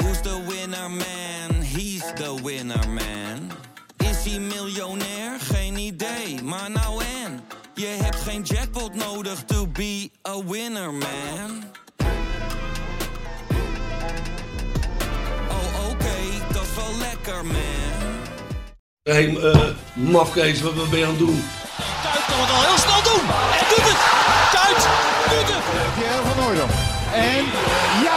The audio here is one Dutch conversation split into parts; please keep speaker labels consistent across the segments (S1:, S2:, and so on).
S1: Who's the winner man? He's the winner man. Is hij miljonair? Geen idee, maar nou en. Je hebt geen jackpot nodig to be a winner man. Oh oké, dat is wel lekker man.
S2: Hé, hey, eh, mafkees, wat wat ben je aan het doen?
S3: Kuit kan het al heel snel doen. En doet het. Kuit doet het.
S4: Pierre van Hooydonk. En ja,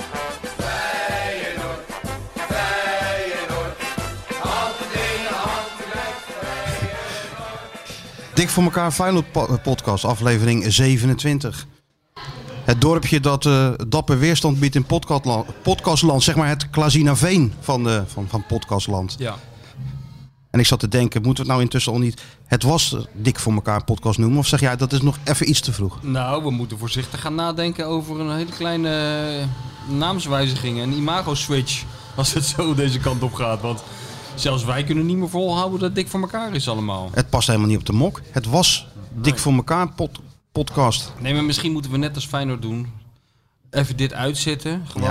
S5: Dik voor elkaar Final po- eh, Podcast, aflevering 27. Het dorpje dat eh, dapper weerstand biedt in podcastla- podcastland, zeg maar het Klazinaveen van, de, van, van podcastland.
S6: Ja.
S5: En ik zat te denken, moeten we het nou intussen al niet... Het was eh, dik voor elkaar podcast noemen, of zeg jij dat is nog even iets te vroeg?
S7: Nou, we moeten voorzichtig gaan nadenken over een hele kleine eh, naamswijziging. Een imago-switch. Als het zo deze kant op gaat. Want zelfs wij kunnen niet meer volhouden dat het dik voor elkaar is allemaal.
S5: Het past helemaal niet op de mok. Het was dik voor elkaar pod- podcast.
S7: Nee, maar misschien moeten we net als Feyenoord doen. Even dit uitzitten. Gewoon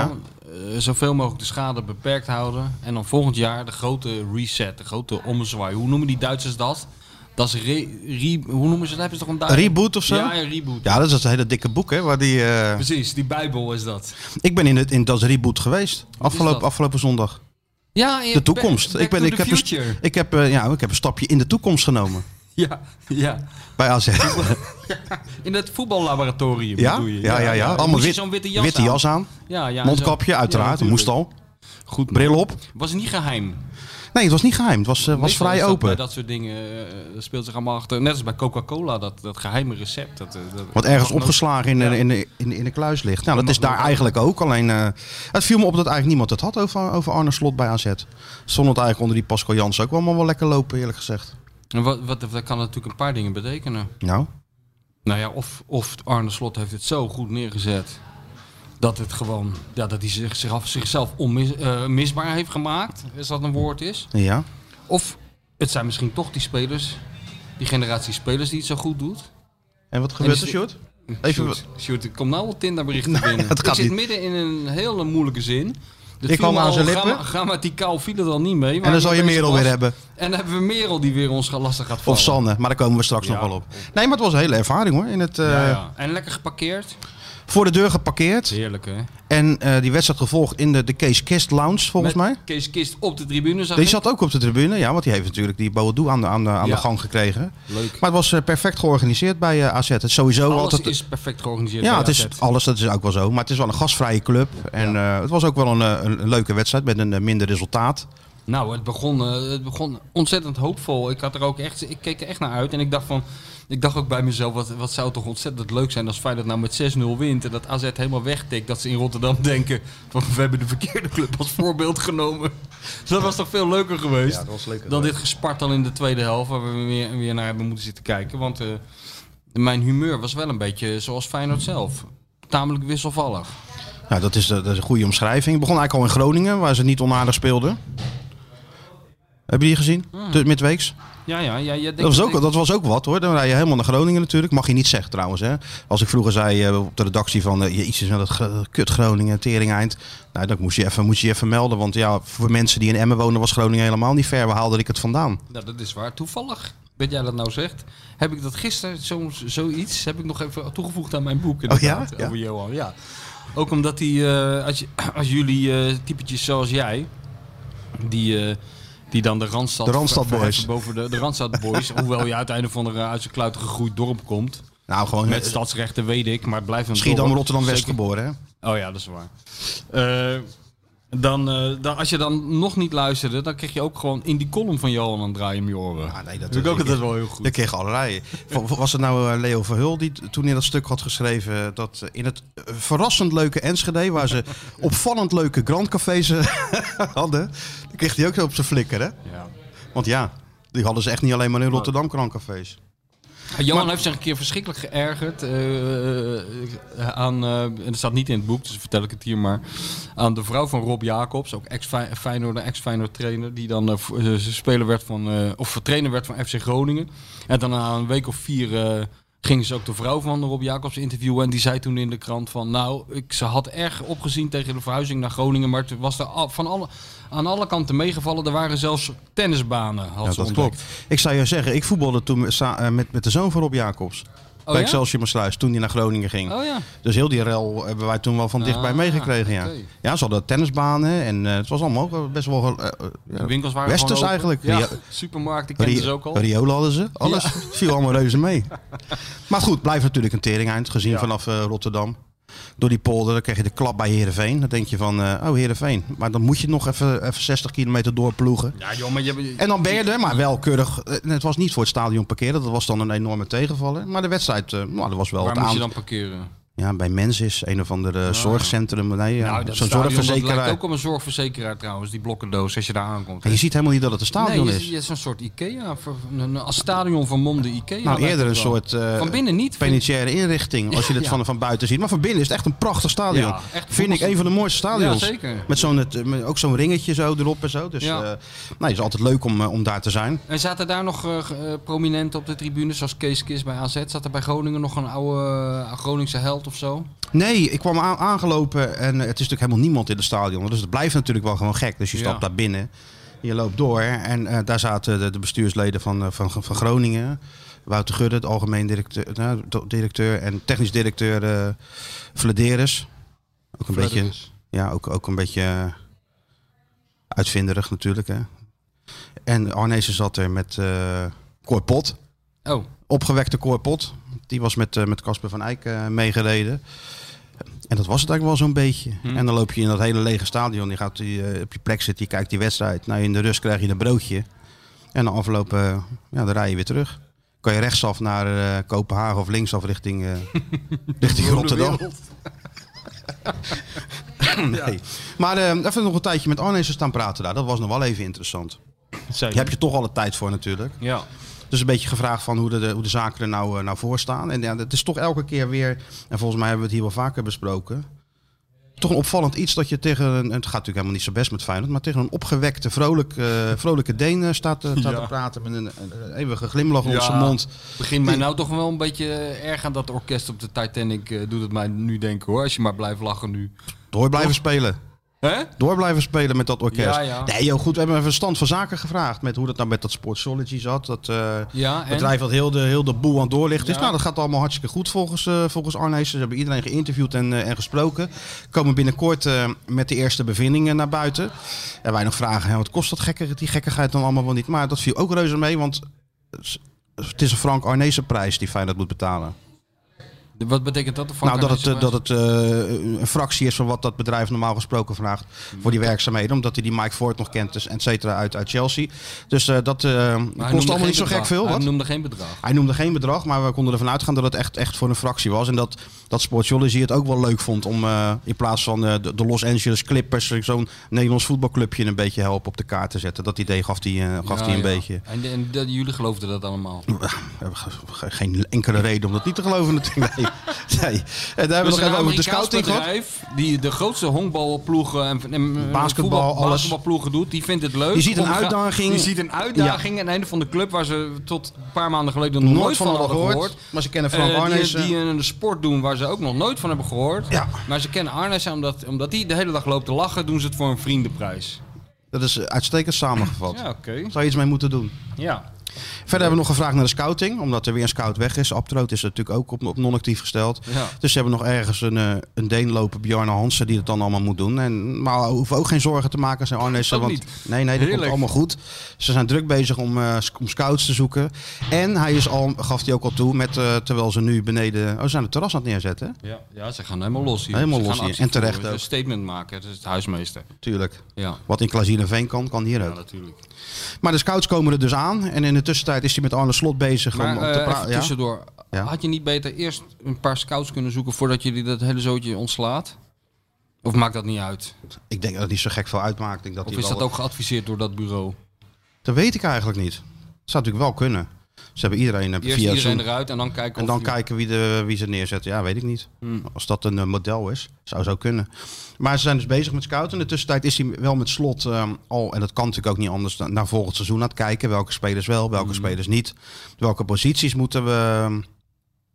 S7: eh, zoveel mogelijk de schade beperkt houden. En dan volgend jaar de grote reset. De grote ommezwaai. Hoe noemen die Duitsers dat? Dat is re, re- hoe noemen ze dat? Hebben ze toch een
S5: Een
S7: Duits-
S5: reboot of zo?
S7: Ah, Ja, een reboot. Dus-
S5: Ja, dat is dat hele dikke boek, hè? Waar die, eh,
S7: Precies, die Bijbel is dat.
S5: Ik ben in, het, in dat reboot geweest, afgelopen,
S7: dat?
S5: afgelopen zondag.
S7: Ja,
S5: De toekomst. Ik, ben, ik, heb een,
S7: future.
S5: ik, heb, eh, ja, ik heb een stapje in de toekomst genomen.
S7: Ja, ja.
S5: Bij AZ.
S7: In het voetballaboratorium
S5: Ja,
S7: bedoel je?
S5: ja, ja, ja.
S7: Moest
S5: Allemaal
S7: je
S5: wit-
S7: zo'n witte jas
S5: witte
S7: aan.
S5: jas aan.
S7: Ja, ja, en
S5: Mondkapje,
S7: zo-
S5: uiteraard.
S7: Ja,
S5: moest
S7: natuurlijk.
S5: al.
S7: Goed,
S5: Bril op.
S7: Was niet geheim.
S5: Nee, het was niet geheim. Het was, eh, was
S7: Meestal is
S5: vrij
S7: dat
S5: open.
S7: Bij dat soort dingen eh, dat speelt zich allemaal achter. Net als bij Coca-Cola, dat, dat geheime recept. Dat, eh, dat-
S5: Wat ergens
S7: mag nooit-
S5: opgeslagen in, de-
S7: Ja.
S5: in, de, in, de- in de kluis ligt. Nou, dat
S7: mag
S5: is daar
S7: nooit-
S5: eigenlijk ook. Alleen eh, het viel me op dat eigenlijk niemand het had over, over Arne Slot bij AZ. Stond het eigenlijk onder die Pascal Jans ook allemaal wel lekker lopen, eerlijk gezegd.
S7: En wat, wat, dat kan natuurlijk een paar dingen betekenen.
S5: Nou,
S7: Nou ja, of, of Arne Slot heeft het zo goed neergezet. Dat het gewoon, ja, dat hij zich, zich, zichzelf onmisbaar heeft gemaakt. Als dat een woord is.
S5: ja.
S7: Of het zijn misschien toch die spelers, die generatie spelers die het zo goed doet.
S5: En wat gebeurt
S7: dus-
S5: er, Sjoerd? Even,
S7: Sjoerd, Sjoerd, er komt nou al Tinderberichten binnen.
S5: het gaat
S7: ik zit
S5: niet.
S7: midden in een hele moeilijke zin. Dit
S5: Ik
S7: viel
S5: hou
S7: me
S5: me aan
S7: al
S5: zijn lippen.
S7: gramma- grammaticaal viel het al niet mee.
S5: en
S7: maar
S5: dan zal je
S7: opeens
S5: Merel
S7: was-
S5: weer hebben.
S7: En dan hebben we Merel die weer ons ga- lastig gaat vallen.
S5: Of Sanne, maar daar komen we straks
S7: Ja.
S5: nog wel op. Nee, maar het was een hele ervaring hoor. In het, eh,
S7: Ja, ja. En lekker geparkeerd.
S5: Voor de deur geparkeerd.
S7: Heerlijk hè.
S5: En eh, die wedstrijd gevolgd in de, de Kees Kist Lounge, volgens
S7: Met
S5: mij.
S7: Kees Kist op de tribune zag
S5: Die
S7: ik.
S5: zat ook op de tribune, ja, want die heeft natuurlijk die Boadou aan de, aan de, aan
S7: Ja.
S5: de gang gekregen.
S7: Leuk.
S5: Maar het was eh, perfect georganiseerd bij eh, AZ. Het is sowieso
S7: Alles
S5: altijd...
S7: is perfect georganiseerd.
S5: ja,
S7: bij
S5: het is
S7: AZ.
S5: alles, dat is ook wel zo. Maar het is wel een gastvrije club. En eh, het was ook wel een, eh, een, een leuke wedstrijd met een eh, minder resultaat.
S7: Nou, het begon, eh, het begon ontzettend hoopvol. Ik, had er ook echt, ik keek er echt naar uit. En ik dacht, van, ik dacht ook bij mezelf, wat, wat zou het toch ontzettend leuk zijn als Feyenoord nou met 6-0 wint. En dat AZ helemaal wegtikt. Dat ze in Rotterdam denken, van, we hebben de verkeerde club als voorbeeld genomen. Dat was toch veel leuker geweest
S5: was leuker.
S7: dan dit gespartel in de tweede helft. Waar we weer, weer naar hebben moeten zitten kijken. Want eh, mijn humeur was wel een beetje zoals Feyenoord zelf. Tamelijk wisselvallig.
S5: Nou, dat is, de- dat is een goede omschrijving. Het begon eigenlijk al in Groningen, waar ze niet onaardig speelden. Hebben jullie gezien?
S7: Hmm.
S5: De- Midweeks?
S7: Ja, ja, ja. jij denkt
S5: Dat was, ook,
S7: ik-
S5: dat was ook wat hoor. Dan rij je helemaal naar Groningen natuurlijk. Mag je niet zeggen trouwens. Hè? Als ik vroeger zei eh, op de redactie van eh, iets is met dat ge- kut Groningen, Tering Eind. Nou, dan moest je, even, moest je je even melden. Want ja, voor mensen die in Emmen wonen was Groningen helemaal niet ver. Waar haalde ik het vandaan?
S7: Nou, dat is waar. Toevallig, dat jij dat nou zegt, heb ik dat gisteren, zo, zoiets, heb ik nog even toegevoegd aan mijn boek. inderdaad,
S5: ja? Oh Ja.
S7: Over Johan, ja. Ook omdat die, eh, als, je- als jullie eh, typetjes zoals jij, die, eh, die dan de Randstad...
S5: De Randstad
S7: ver-
S5: Boys.
S7: verheffen Boven de, de Randstad Boys, hoewel je uiteindelijk van de, uit zijn kluit gegroeid dorp komt.
S5: Nou, gewoon
S7: Met
S5: met
S7: stadsrechten weet ik, maar het blijft een
S5: Schiedam,
S7: dorp.
S5: Rotterdam, West
S7: Zeker-
S5: geboren. Hè?
S7: Oh ja, dat is waar. Eh, dan, eh, dan, als je dan nog niet luisterde, dan kreeg je ook gewoon in die column van Johan een draai om je oren.
S5: Ah, nee,
S7: Dat vind ik ook altijd wel heel goed.
S5: Dat kreeg allerlei. Wa- wa- Was het nou eh, Leo Verhul die t- toen in dat stuk had geschreven eh, dat eh, in het eh, verrassend leuke Enschede, waar ze opvallend leuke Grand Cafés eh, hadden, dan kreeg hij ook zo op zijn flikker hè?
S7: Ja.
S5: Want ja, die hadden ze echt niet alleen maar in Rotterdam krankcafés.
S7: Johan heeft zich een keer verschrikkelijk geërgerd eh, eh, aan, eh, en dat staat niet in het boek, dus vertel ik het hier maar, aan de vrouw van Rob Jacobs, ook ex-Feyenoord, ex-Feyenoord trainer, die dan eh, vo- eh, speler werd van, eh, of trainer werd van FC Groningen. En dan na een week of vier eh, gingen ze ook de vrouw van Rob Jacobs interviewen en die zei toen in de krant van, nou, ik, ze had erg opgezien tegen de verhuizing naar Groningen, maar het was er al- van alle, aan alle kanten meegevallen. Er waren zelfs tennisbanen, had
S5: Ja,
S7: ze
S5: dat
S7: ontdekt.
S5: klopt. Ik zou je zeggen, ik voetbalde toen met, sa- eh, met, met de zoon van Rob Jacobs.
S7: Oh,
S5: bij
S7: ja?
S5: Excelsior Maassluis, toen hij naar Groningen ging.
S7: Oh ja.
S5: Dus heel die rel hebben wij toen wel van dichtbij
S7: Ah,
S5: meegekregen. Ja.
S7: oké.
S5: ja, ze hadden tennisbanen en eh, het was allemaal ook best wel... eh, eh, ja,
S7: De winkels waren
S5: Westers
S7: gewoon open.
S5: eigenlijk.
S7: Ja,
S5: Rio-
S7: supermarkten kenden
S5: Ri-
S7: ze ook al.
S5: Riolen hadden ze. Alles viel allemaal reuze mee. Maar goed, blijft natuurlijk een tering eind, gezien vanaf eh, Rotterdam. Door die polder dan krijg je de klap bij Heerenveen. Dan denk je van, eh, oh Heerenveen. Maar dan moet je nog even, even 60 kilometer doorploegen.
S7: Ja, joh, maar je hebt...
S5: En dan ben je er, maar wel keurig. eh, Het was niet voor het stadion parkeren, dat was dan een enorme tegenvaller. Maar de wedstrijd, eh, nou, dat was wel
S7: Waar
S5: het
S7: moet je
S5: aan-
S7: dan parkeren?
S5: Ja, bij Mensis, een of ander eh, zorgcentrum. Nee, ja,
S7: nou, dat
S5: zo'n
S7: stadion, Dat
S5: zorgverzekeraar.
S7: lijkt ook op een zorgverzekeraar trouwens, die blokkendoos als je daar aankomt.
S5: En je ziet helemaal niet dat het een stadion
S7: nee,
S5: is.
S7: je, je is een soort Ikea, voor- een, een stadion van Monde Ikea.
S5: nou,
S7: lijkt
S5: eerder een
S7: het wel.
S5: soort eh,
S7: Van binnen niet. vind ik.
S5: penitentiaire inrichting, als je dit
S7: Ja.
S5: van, van buiten ziet. Maar van binnen is het echt een prachtig stadion.
S7: Ja, echt
S5: Vind ik
S7: voetbal-
S5: een van de mooiste stadions.
S7: Ja, zeker.
S5: Met zo'n, het- met ook zo'n ringetje zo erop en zo. Dus
S7: Ja.
S5: eh, nee, het is altijd leuk om, eh, om daar te zijn.
S7: En zaten daar nog eh, ge- eh, prominenten op de tribune, zoals Kees Kis bij AZ? Zat er bij Groningen nog een oude eh, Groningse held of zo?
S5: Nee, ik kwam aan- aangelopen en eh, het is natuurlijk helemaal niemand in het stadion. Dus het blijft natuurlijk wel gewoon gek. Dus je
S7: Ja.
S5: stapt daar binnen, je loopt door. En eh, daar zaten de, de bestuursleden van, eh, van, van Groningen. Wouter Gudde, het algemeen directeur, nou, do- directeur en technisch directeur eh Vladeres. Ook een beetje, ja, ook, ook een beetje eh, uitvinderig natuurlijk. Hè. En Arnezen zat er met eh Cor Pot
S7: Oh,
S5: opgewekte koorpot. Die was met eh, met Casper van Eyck eh, meegereden. En dat was het eigenlijk wel zo'n beetje. En dan loop je in dat hele lege stadion. Je gaat die, eh, op je plek zitten, je kijkt die wedstrijd. Nou, in de rust krijg je een broodje. En na afloop, eh, ja, dan rij je weer terug. Kan je rechtsaf naar eh, Kopenhagen of linksaf richting, eh, richting Rotterdam. nee. Maar eh, even nog een tijdje met Arnezen staan praten daar. Dat was nog wel even interessant. Daar heb je toch alle tijd voor natuurlijk.
S7: ja.
S5: Dus een beetje gevraagd van hoe de, de- hoe de zaken er nou, eh, nou voor staan. En ja, het is toch elke keer weer, en volgens mij hebben we het hier wel vaker besproken. Toch een opvallend iets dat je tegen een, het gaat natuurlijk helemaal niet zo best met Feyenoord, maar tegen een opgewekte, vrolijk, eh, vrolijke Deen eh, staat, eh, staat te praten met een, een- een eeuwige glimlach op
S7: Ja.
S5: zijn mond.
S7: Begint mij nou toch wel een beetje eh, erg aan dat orkest op de Titanic. eh, doet het mij nu denken hoor, als je maar blijft lachen nu.
S5: Door blijven spelen.
S7: Hè?
S5: Door blijven spelen met dat orkest.
S7: Ja, ja.
S5: Nee, joh, goed, we hebben even stand van zaken gevraagd met hoe dat nou met dat Sportsology zat. Dat eh,
S7: Ja, en?
S5: bedrijf dat heel de, heel de boel aan het doorlichten is.
S7: Ja.
S5: Nou, dat gaat allemaal hartstikke goed volgens, eh volgens Arnees. Ze hebben iedereen geïnterviewd en, eh, en gesproken. Komen binnenkort eh, met de eerste bevindingen naar buiten. En wij nog vragen, hè, wat kost dat gekke, die gekkigheid dan allemaal wel niet? Maar dat viel ook reuze mee, want het is een Frank Arnezen prijs die Feyenoord moet betalen.
S7: De- Wat betekent dat? De Frank
S5: Nou, dat het,
S7: Arnezen
S5: eh, dat het eh, een fractie is van wat dat bedrijf normaal gesproken vraagt
S7: Hmm.
S5: voor die werkzaamheden. Omdat hij die Mike Ford nog kent, dus, et cetera, uit, uit Chelsea. Dus eh, dat eh,
S7: Maar hij
S5: kost
S7: noemde
S5: allemaal niet
S7: geen
S5: zo gek
S7: bedrag.
S5: veel.
S7: Hij
S5: Wat?
S7: noemde geen bedrag.
S5: Hij noemde geen bedrag, maar we konden ervan uitgaan dat het echt, echt voor een fractie was. En dat, dat Sportsology het ook wel leuk vond om eh, in plaats van eh, de, de Los Angeles Clippers eh, zo'n Nederlands voetbalclubje een beetje helpen op de kaart te zetten. Dat idee gaf hij eh, gaf
S7: Ja,
S5: hij
S7: ja.
S5: een beetje.
S7: En, en dat- jullie geloofden dat allemaal.
S5: We hebben ge- ge- geen enkele reden om dat niet te geloven natuurlijk. Nee. nee. En daar hebben we
S7: Dus
S5: nog even over de scouting gehad.
S7: bedrijf die de grootste honkbalploegen en, en- en
S5: Basketbal,
S7: voetbal-
S5: alles.
S7: basketbalploegen doet, die vindt het leuk.
S5: Die ziet een
S7: om-
S5: uitdaging.
S7: Die ziet een uitdaging en einde van de club waar ze tot een paar maanden geleden nog nooit, van hadden gehoord.
S5: Maar ze kennen Frank
S7: Eh, die-
S5: Arnees.
S7: die, een sport doen waar ze ook nog nooit van hebben gehoord.
S5: Ja.
S7: Maar ze kennen Arnes omdat, omdat die de hele dag loopt te lachen, doen ze het voor een vriendenprijs.
S5: dat is eh, uitstekend samengevat.
S7: Ja, oké.
S5: Zou je iets mee moeten doen.
S7: Ja.
S5: Verder hebben we nog gevraagd naar de scouting. Omdat er weer een scout weg is. Abtroot is natuurlijk ook op, op non-actief gesteld.
S7: Ja.
S5: Dus ze hebben nog ergens een, eh, een Deen lopen, Bjarne Hansen, die het dan allemaal moet doen. En, maar we hoeven ook geen zorgen te maken, zijn Arnees.
S7: Ook
S5: Want,
S7: niet.
S5: Nee, nee, dat komt
S7: Heerlijk.
S5: allemaal goed. Ze zijn druk bezig om, eh, sc- om scouts te zoeken. En hij is al, gaf hij ook al toe, met, eh, terwijl ze nu beneden... Oh, ze zijn het terras aan het neerzetten, hè?
S7: Ja, ja, ze gaan helemaal los hier.
S5: Helemaal
S7: Ze
S5: los
S7: gaan
S5: hier.
S7: actie
S5: En terecht
S7: voeren.
S5: ook.
S7: Een statement maken, dat is het huismeester.
S5: Tuurlijk.
S7: Ja,
S5: Wat in Klaasineveen kan, kan hier
S7: ja
S5: ook.
S7: natuurlijk.
S5: Maar de scouts komen er dus aan. En in de tussentijd is hij met Arne Slot bezig
S7: Maar
S5: om, om
S7: eh,
S5: te
S7: even
S5: praten. Ja?
S7: tussendoor,
S5: Ja.
S7: had je niet beter eerst een paar scouts kunnen zoeken voordat jullie dat hele zootje ontslaat? Of maakt dat niet uit?
S5: Ik denk dat het niet zo gek veel uitmaakt. Ik denk dat
S7: Of
S5: hij
S7: is
S5: wel-
S7: dat ook geadviseerd door dat bureau?
S5: Dat weet ik eigenlijk niet. Dat zou natuurlijk wel kunnen. Ze hebben iedereen eh,
S7: Eerst
S5: via
S7: iedereen
S5: Zoom.
S7: eruit en dan kijken
S5: En dan
S7: of Hmm. je-
S5: kijken wie, de, wie ze neerzetten. Ja, weet ik niet. Als dat een eh, model is, zou zo kunnen. Maar ze zijn dus bezig met scouten. In de tussentijd is hij wel met slot ehm, al, en dat kan natuurlijk ook niet anders, na- naar volgend seizoen aan het kijken. Welke spelers wel,
S7: Hmm.
S5: welke spelers niet. Welke posities moeten we ehm,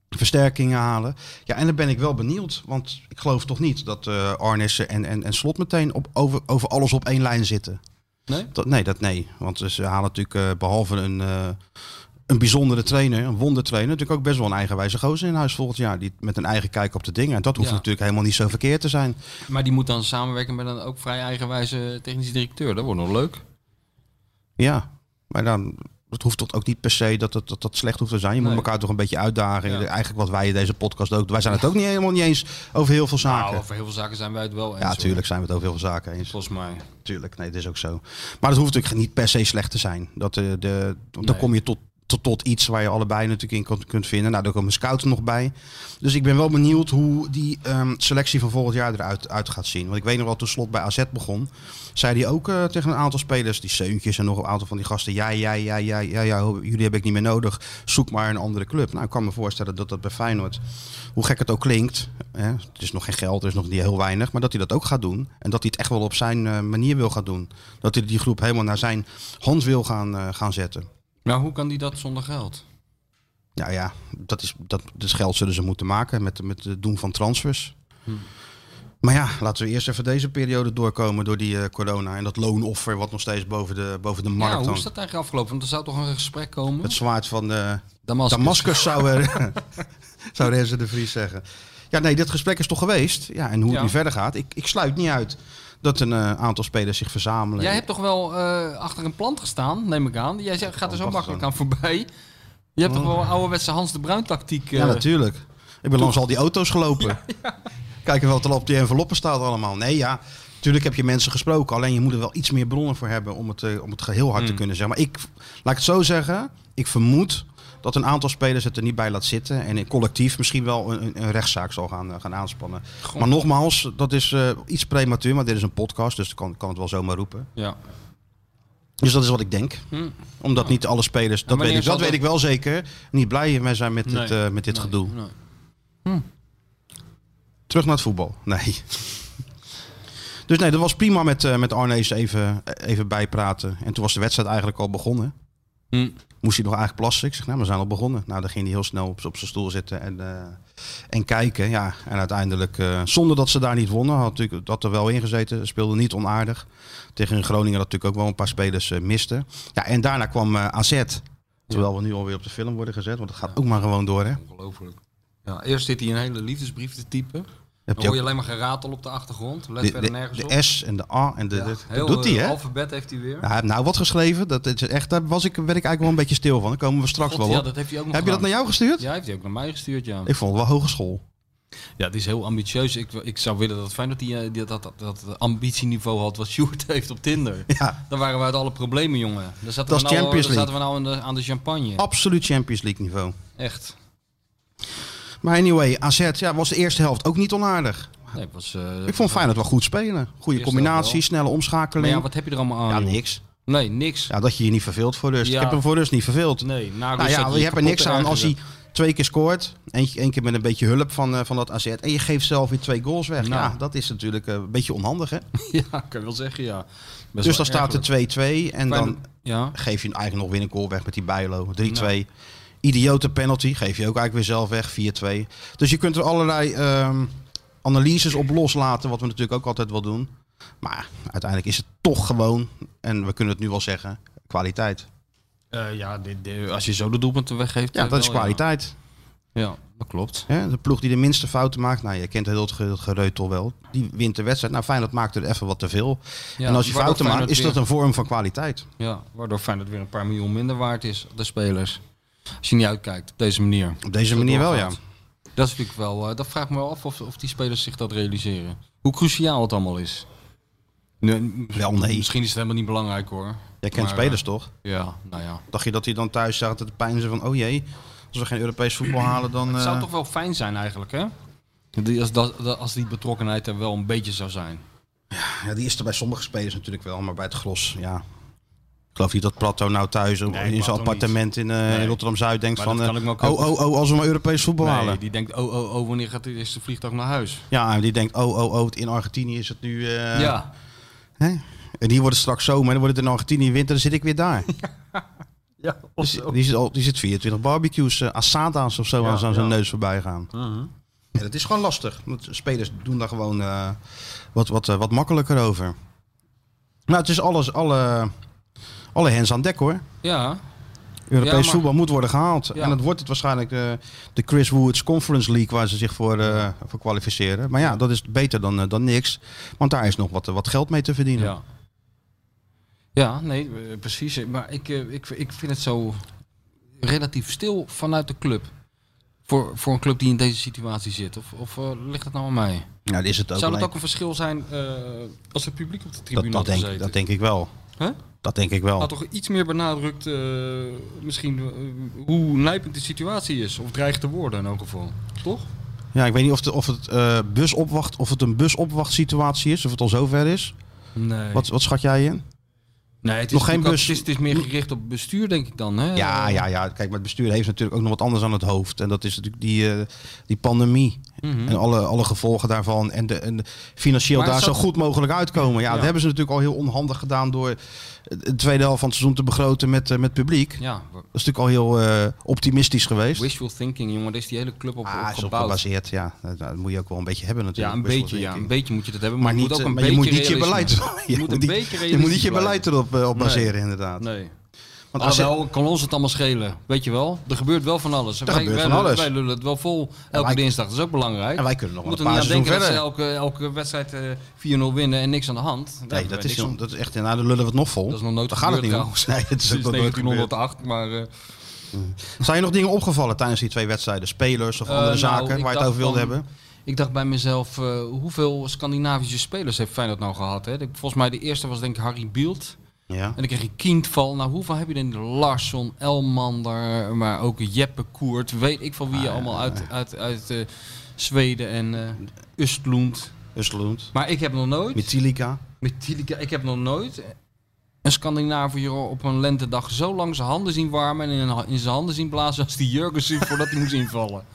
S5: versterkingen halen. Ja, en dan ben ik wel benieuwd. Want ik geloof toch niet dat eh Arnissen en, en, en Slot meteen op, over, over alles op één lijn zitten.
S7: Nee?
S5: Dat, nee, dat nee. Want ze halen natuurlijk eh, behalve een, eh, een bijzondere trainer, een wondertrainer, natuurlijk ook best wel een eigenwijze gozer in huis volgend jaar. Die met een eigen kijk op de dingen. En dat hoeft
S7: Ja.
S5: natuurlijk helemaal niet zo verkeerd te zijn.
S7: Maar die moet dan samenwerken met een ook vrij eigenwijze technische directeur. Dat wordt nog leuk.
S5: Ja, maar dan. Het hoeft toch ook niet per se dat het, dat, dat slecht hoeft te zijn. Je moet
S7: Nee.
S5: elkaar toch een beetje uitdagen.
S7: Ja.
S5: Eigenlijk wat wij in deze podcast ook. Wij zijn het ook niet helemaal niet eens over heel veel zaken.
S7: Nou, over heel veel zaken zijn wij het wel eens.
S5: ja,
S7: hoor.
S5: tuurlijk zijn we het over heel veel zaken eens.
S7: Volgens mij.
S5: Tuurlijk, nee, dat is ook zo. Maar dat hoeft natuurlijk niet per se slecht te zijn. Dat, eh, de, want dan
S7: Nee.
S5: kom je tot, tot, tot iets waar je allebei natuurlijk in kunt, kunt vinden. Nou, daar komen scouten nog bij. Dus ik ben wel benieuwd hoe die ehm, selectie van volgend jaar eruit uit gaat zien. Want ik weet nog wel, toen Slot bij AZ begon, zei hij ook eh, tegen een aantal spelers, die Seuntjes en nog een aantal van die gasten, jij, jij, jij, jij, jij, jij, jullie heb ik niet meer nodig. Zoek maar een andere club. Nou, ik kan me voorstellen dat dat bij Feyenoord, hoe gek het ook klinkt, hè, het is nog geen geld, er is nog niet heel weinig, maar dat hij dat ook gaat doen. En dat hij het echt wel op zijn eh, manier wil gaan doen. Dat hij die groep helemaal naar zijn hand wil gaan, eh, gaan zetten.
S7: Nou, hoe kan die dat zonder geld?
S5: Nou ja, dat is, dat, dus geld zullen ze moeten maken met, met het doen van transfers. Maar ja, laten we eerst even deze periode doorkomen door die eh, corona en dat loonoffer wat nog steeds boven de, boven de markt
S7: ja, hoe
S5: hangt.
S7: is dat eigenlijk afgelopen? Want er zou toch een gesprek komen?
S5: Het zwaard van eh, de
S7: Damascus.
S5: Damascus zou, er, zou Renze de Vries zeggen. Ja, nee, dit gesprek is toch geweest. Ja, en hoe het
S7: Ja.
S5: nu verder gaat. Ik, ik sluit niet uit dat een eh, aantal spelers zich verzamelen.
S7: Jij hebt toch wel eh, achter een plant gestaan, neem ik aan. Jij zegt- gaat er zo
S5: Oh, wacht
S7: makkelijk aan voorbij. Je hebt toch wel een ouderwetse Hans de Bruin tactiek.
S5: Ja,
S7: eh,
S5: natuurlijk. Ik ben langs al die auto's gelopen. Kijken wat er op die enveloppen staat allemaal. Nee, ja. Natuurlijk heb je mensen gesproken. Alleen je moet er wel iets meer bronnen voor hebben om het, eh, om het geheel hard te
S7: Mm.
S5: kunnen zeggen. Maar ik, laat ik het zo zeggen, ik vermoed dat een aantal spelers het er niet bij laat zitten. En in collectief misschien wel een, een- een rechtszaak zal gaan, eh, gaan aanspannen. Maar nogmaals, dat is eh, iets prematuur. Maar dit is een podcast, dus ik kan, kan het wel zomaar roepen.
S7: ja.
S5: Dus dat is wat ik denk. Omdat niet alle spelers, dat,
S7: Hm. wanneer
S5: weet ik,
S7: zal
S5: dat weet
S7: dat-
S5: ik wel zeker, niet blij mee zijn met dit,
S7: Nee,
S5: eh, met dit gedoe.
S7: nee.
S5: Terug naar het voetbal. Nee. Dus nee, dat was prima met, eh met Arnees even, even bijpraten. En toen was de wedstrijd eigenlijk al begonnen.
S7: Hm.
S5: Moest hij nog eigenlijk plassen? Ik zeg, nou, we zijn al begonnen. Nou, dan ging hij heel snel op, op zijn stoel zitten en, eh, en kijken. Ja, en uiteindelijk, eh, zonder dat ze daar niet wonnen, had natuurlijk dat er wel in gezeten. Speelde niet onaardig. Tegen Groningen dat natuurlijk ook wel een paar spelers eh, misten. Ja, en daarna kwam eh, AZ. Terwijl we nu alweer op de film worden gezet, want het gaat ook maar gewoon door, hè?
S7: Ongelooflijk. Ja, eerst zit hij een hele liefdesbrief te typen.
S5: Heb
S7: Dan hoor
S5: je ook
S7: je alleen maar geratel op de achtergrond. Let
S5: de,
S7: verder
S5: de,
S7: nergens op.
S5: de S en de A en de...
S7: Ja,
S5: dat-
S7: heel,
S5: dat doet hij,
S7: eh,
S5: hè?
S7: alfabet heeft hij weer.
S5: Ja, hij heeft nou wat geschreven. Dat is echt, daar was ik, werd ik eigenlijk wel een beetje stil van. Daar komen we straks
S7: God,
S5: wel
S7: ja,
S5: op.
S7: dat heeft hij ook nog
S5: Heb je dat naar
S7: gedaan.
S5: jou gestuurd?
S7: Ja, heeft hij ook naar mij gestuurd, ja.
S5: Ik vond het wel hogeschool.
S7: Ja, het is heel ambitieus. Ik, ik zou willen dat Feyenoord die, eh, die, dat, dat, dat ambitieniveau had wat Sjoerd heeft op Tinder.
S5: Ja,
S7: Dan waren we uit alle problemen, jongen. Dan zaten
S5: Dat
S7: we
S5: is
S7: nou,
S5: Champions Oh.
S7: dan zaten we nou aan de, aan de champagne.
S5: absoluut Champions League niveau.
S7: Echt.
S5: Maar anyway, AZ ja, was de eerste helft ook niet onaardig.
S7: Nee, het was, eh,
S5: Ik vond Feyenoord wel goed spelen. Goede
S7: Eerste helft
S5: combinatie,
S7: wel.
S5: snelle omschakeling.
S7: Maar ja, wat heb je er allemaal aan?
S5: Ja,
S7: joh?
S5: niks.
S7: Nee, niks.
S5: Ja, dat je je niet verveelt voor rust.
S7: Ja.
S5: Ik heb hem voor rust niet verveeld.
S7: Nee, na
S5: Nou
S7: rust
S5: ja,
S7: zat
S5: je hebt er niks
S7: kapot
S5: aan
S7: te
S5: als hij
S7: ergeren.
S5: twee keer scoort. Eentje, één keer met een beetje hulp van, eh, van dat AZ. En je geeft zelf weer twee goals weg.
S7: Nou.
S5: Ja, dat is natuurlijk eh, een beetje onhandig, hè?
S7: Ja, kan je wel zeggen, ja. Best wel
S5: dus dan staat
S7: ergerlijk.
S5: er 2-2 en dan
S7: Feyenoord- Ja.
S5: geef je eigenlijk nog weer een goal weg met die Bijlo.
S7: Nou.
S5: 3-2. Idiote penalty. Geef je ook eigenlijk weer zelf weg. 4-2. Dus je kunt er allerlei ehm, analyses op loslaten. Wat we natuurlijk ook altijd wel doen. Maar uiteindelijk is het toch gewoon. En we kunnen het nu wel zeggen. Kwaliteit.
S7: Eh, ja, dit- dit- als je zo de doelpunten weggeeft...
S5: Ja,
S7: eh,
S5: dat is
S7: wel,
S5: kwaliteit.
S7: Ja, ja dat klopt.
S5: Hè, De ploeg die de minste fouten maakt. Nou, je kent heel het ge- het gereutel wel. Die wint de wedstrijd. Nou, Feyenoord maakt er even wat te veel.
S7: Ja,
S5: en als
S7: waardoor
S5: je fouten maakt,
S7: Feyenoord
S5: is dat
S7: weer-
S5: een vorm van kwaliteit.
S7: Ja, waardoor Feyenoord weer een paar miljoen minder waard is, de spelers. Als je niet uitkijkt op deze manier.
S5: Op deze manier wel, ja.
S7: doorgaat. Dat is natuurlijk wel... eh, dat vraagt me wel af of, of die spelers zich dat realiseren. Hoe cruciaal het allemaal is. Nee,
S5: Wel, nee.
S7: Misschien is het helemaal niet belangrijk, hoor.
S5: Jij kent
S7: Maar,
S5: spelers toch?
S7: eh, Ja, nou ja.
S5: Dacht je dat hij dan thuis zat te pijnzen van, oh jee, als we geen Europees voetbal halen, dan...
S7: Het zou
S5: eh,
S7: toch wel fijn zijn eigenlijk, hè? Die, als, dat, dat- als die betrokkenheid er wel een beetje zou zijn.
S5: Ja, die is er bij sommige spelers natuurlijk wel, maar bij het gros, ja. Ik geloof niet dat Plato nou thuis op- in
S8: Plato
S5: zijn
S8: niet.
S5: appartement in, eh, in Rotterdam-Zuid denkt
S7: Maar
S5: van...
S7: dat
S5: eh,
S7: kan ik me ook
S5: oh,
S7: heel
S5: oh, oh, als we maar Europees voetbal halen.
S7: Nee, die denkt, oh, oh, oh, wanneer gaat dit eerste vliegtuig naar huis?
S5: Ja, en die denkt, oh, oh, oh, in Argentinië is het nu... eh,
S7: ja.
S5: hè? En hier wordt het straks zomer en dan wordt het in Argentinië winter, dan zit ik weer daar.
S7: ja
S5: Dus die, zit al, die zit 24 barbecues, eh, asada's of zo aan zo'n zo'n neus voorbij gaan.
S7: Uh-huh.
S5: Ja, dat is gewoon lastig. Want spelers doen daar gewoon eh, wat, wat, eh, wat makkelijker over. Nou, het is alles, alle, alle hens aan dek hoor.
S7: ja.
S5: Europees
S7: Ja, maar-
S5: voetbal moet worden gehaald.
S7: Ja.
S5: En dat wordt het waarschijnlijk eh, de Chris Woods Conference League waar ze zich voor, eh, voor kwalificeren. Maar ja, dat is beter dan, eh, dan niks. Want daar is nog wat, eh, wat geld mee te verdienen.
S7: Ja. Ja, nee, eh, precies. Maar ik, eh, ik, ik vind het zo relatief stil vanuit de club. Voor, voor een club die in deze situatie zit. Of, of eh, ligt het nou aan mij?
S5: Nou, dat is het ook.
S7: Zou dat
S5: alleen-
S7: ook een verschil zijn eh, als het publiek op de tribune
S5: dat, dat,
S7: had
S5: denk,
S7: gezeten?
S5: dat denk ik wel.
S7: Hè?
S5: Dat denk ik wel.
S7: Had toch iets meer benadrukt eh, misschien eh, hoe nijpend de situatie is. Of dreigt te worden in elk geval. Toch?
S5: Ja, ik weet niet of, de, of het eh bus opwacht, of het een busopwachtsituatie is, of het al zover is.
S7: Nee.
S5: Wat, wat schat jij in?
S7: nee het is
S5: nog geen
S7: natuurlijk ook-
S5: bus-
S7: Het is, het is meer gericht op bestuur denk ik dan. Hè?
S5: Ja, ja, ja. Kijk, maar het bestuur heeft natuurlijk ook nog wat anders aan het hoofd. En dat is natuurlijk die, eh, die pandemie. En alle, alle gevolgen daarvan. En, de, en de- financieel
S7: Mhm. Maar
S5: daar
S7: het
S5: zo
S7: zat-
S5: goed mogelijk uitkomen. Ja,
S7: Ja.
S5: dat hebben ze natuurlijk al heel onhandig gedaan door de tweede helft van het seizoen te begroten met, eh, met publiek.
S7: Ja,
S5: Dat is natuurlijk al heel eh, optimistisch geweest.
S7: wishful thinking, jongen. Daar is die hele club op,
S5: ah,
S7: op
S5: is op
S7: gebouwd.
S5: gebaseerd. Ja, dat, dat moet je ook wel een beetje hebben
S7: Ja,
S5: natuurlijk.
S7: een
S5: wishful
S7: beetje, ja,
S5: thinking.
S7: een beetje moet je dat hebben. Maar,
S5: Maar
S7: je
S5: niet,
S7: moet ook
S5: eh,
S7: een
S5: maar je
S7: beetje
S5: moet niet je beleid.
S7: realisme.
S5: Je
S7: moet
S5: moet
S7: een
S5: niet-
S7: beetje
S5: Je moet niet
S7: realistisch
S5: je beleid erop eh, op baseren, inderdaad.
S7: Nee.
S5: Want als je-
S7: Alhoewel, kan ons het allemaal schelen. Weet je wel? Er gebeurt wel van alles. Er
S5: gebeurt van alles.
S7: Wij lullen het wel vol elke
S5: wij-
S7: dinsdag. Dat is ook belangrijk.
S5: En wij kunnen nog
S7: we
S5: wel een
S7: moeten
S5: paar
S7: niet aan denken
S5: seizoen
S7: dat ze
S5: verder.
S7: elke, elke wedstrijd eh 4-0 winnen en niks aan de hand. Daar
S5: Nee,
S7: hebben
S5: dat
S7: wij
S5: is,
S7: niks
S5: nog- dat is echt... Nou, dan lullen we het nog vol.
S7: Dat is nog nooit
S5: Daar gaat het niet om.
S7: gebeurd trouwens.
S5: Nee, dat is ook
S7: Sinds
S5: nog nooit gebeurd.
S7: 1908, maar... eh,
S5: Zijn je nog dingen opgevallen tijdens die twee wedstrijden? Spelers of
S7: Eh,
S5: andere
S7: nou,
S5: zaken
S7: ik
S5: waar je
S7: dacht
S5: het over wilde
S7: van-
S5: hebben?
S7: Ik dacht bij mezelf, eh, hoeveel Scandinavische spelers heeft Feyenoord nou gehad? Hè? De- Volgens mij de eerste was denk ik Harry Bielt.
S5: Ja.
S7: En dan kreeg je Kindval. Nou, hoeveel heb je dan? Larsson, Elmander, maar ook Jeppe Koert. Weet ik van wie je allemaal uit, uit, uit eh, Zweden en eh Östlund.
S5: Ustelund,
S7: Maar ik heb nog nooit,
S5: Mitilica.
S7: met Tilika, ik heb nog nooit een Scandinaviër op een lentedag zo lang zijn handen zien warmen en in, een- in zijn handen zien blazen als die Jurgensen voordat hij moest invallen.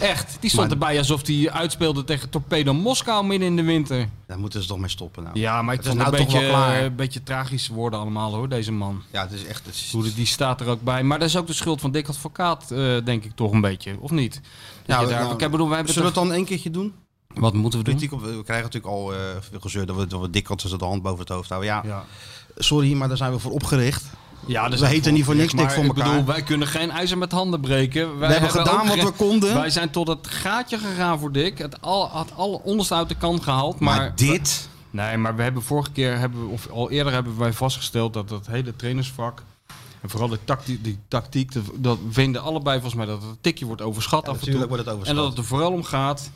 S7: Echt, die stond
S5: Maar-
S7: erbij alsof hij uitspeelde tegen Torpedo Moskou midden in de winter.
S5: Daar moeten ze toch mee stoppen nou.
S7: Ja, maar ik
S5: Het is
S7: vond het
S5: nou
S7: een
S5: toch wel
S7: beetje,
S5: klaar.
S7: een beetje tragisch worden allemaal hoor, deze man.
S5: Ja, het is echt... Het is,
S7: Hoe de- Die staat er ook bij. Maar dat is ook de schuld van Dick Advocaat, eh, denk ik toch een beetje. Of niet? Dat
S5: Nou,
S7: je daar,
S5: nou,
S7: ik bedoel, wij hebben
S5: Zullen we
S7: toch-
S5: het dan één keertje doen?
S7: Wat moeten we doen?
S5: Kritiek op, we krijgen natuurlijk al eh, veel gezeur dat we, dat we dikkant de hand boven het hoofd houden. Ja,
S7: Ja,
S5: sorry, maar daar zijn we voor opgericht.
S7: ja
S5: We heten niet voor niks dik
S7: niks
S5: voor
S7: Ik bedoel,
S5: elkaar.
S7: wij kunnen geen ijzer met handen breken. Wij
S5: We hebben gedaan
S7: ook
S5: wat
S7: ge-
S5: we konden.
S7: Wij zijn tot het gaatje gegaan voor Dick. Het al, had alle onderste uit de kant gehaald. Maar,
S5: Maar dit...
S7: Nee, maar we hebben vorige keer, hebben, we- of al eerder hebben wij vastgesteld dat dat hele trainersvak... En vooral de tactiek, die tactiek dat- dat vinden allebei volgens mij dat het een tikje wordt overschat af en toe.
S5: natuurlijk wordt het
S7: En
S5: overschat.
S7: dat het er vooral om gaat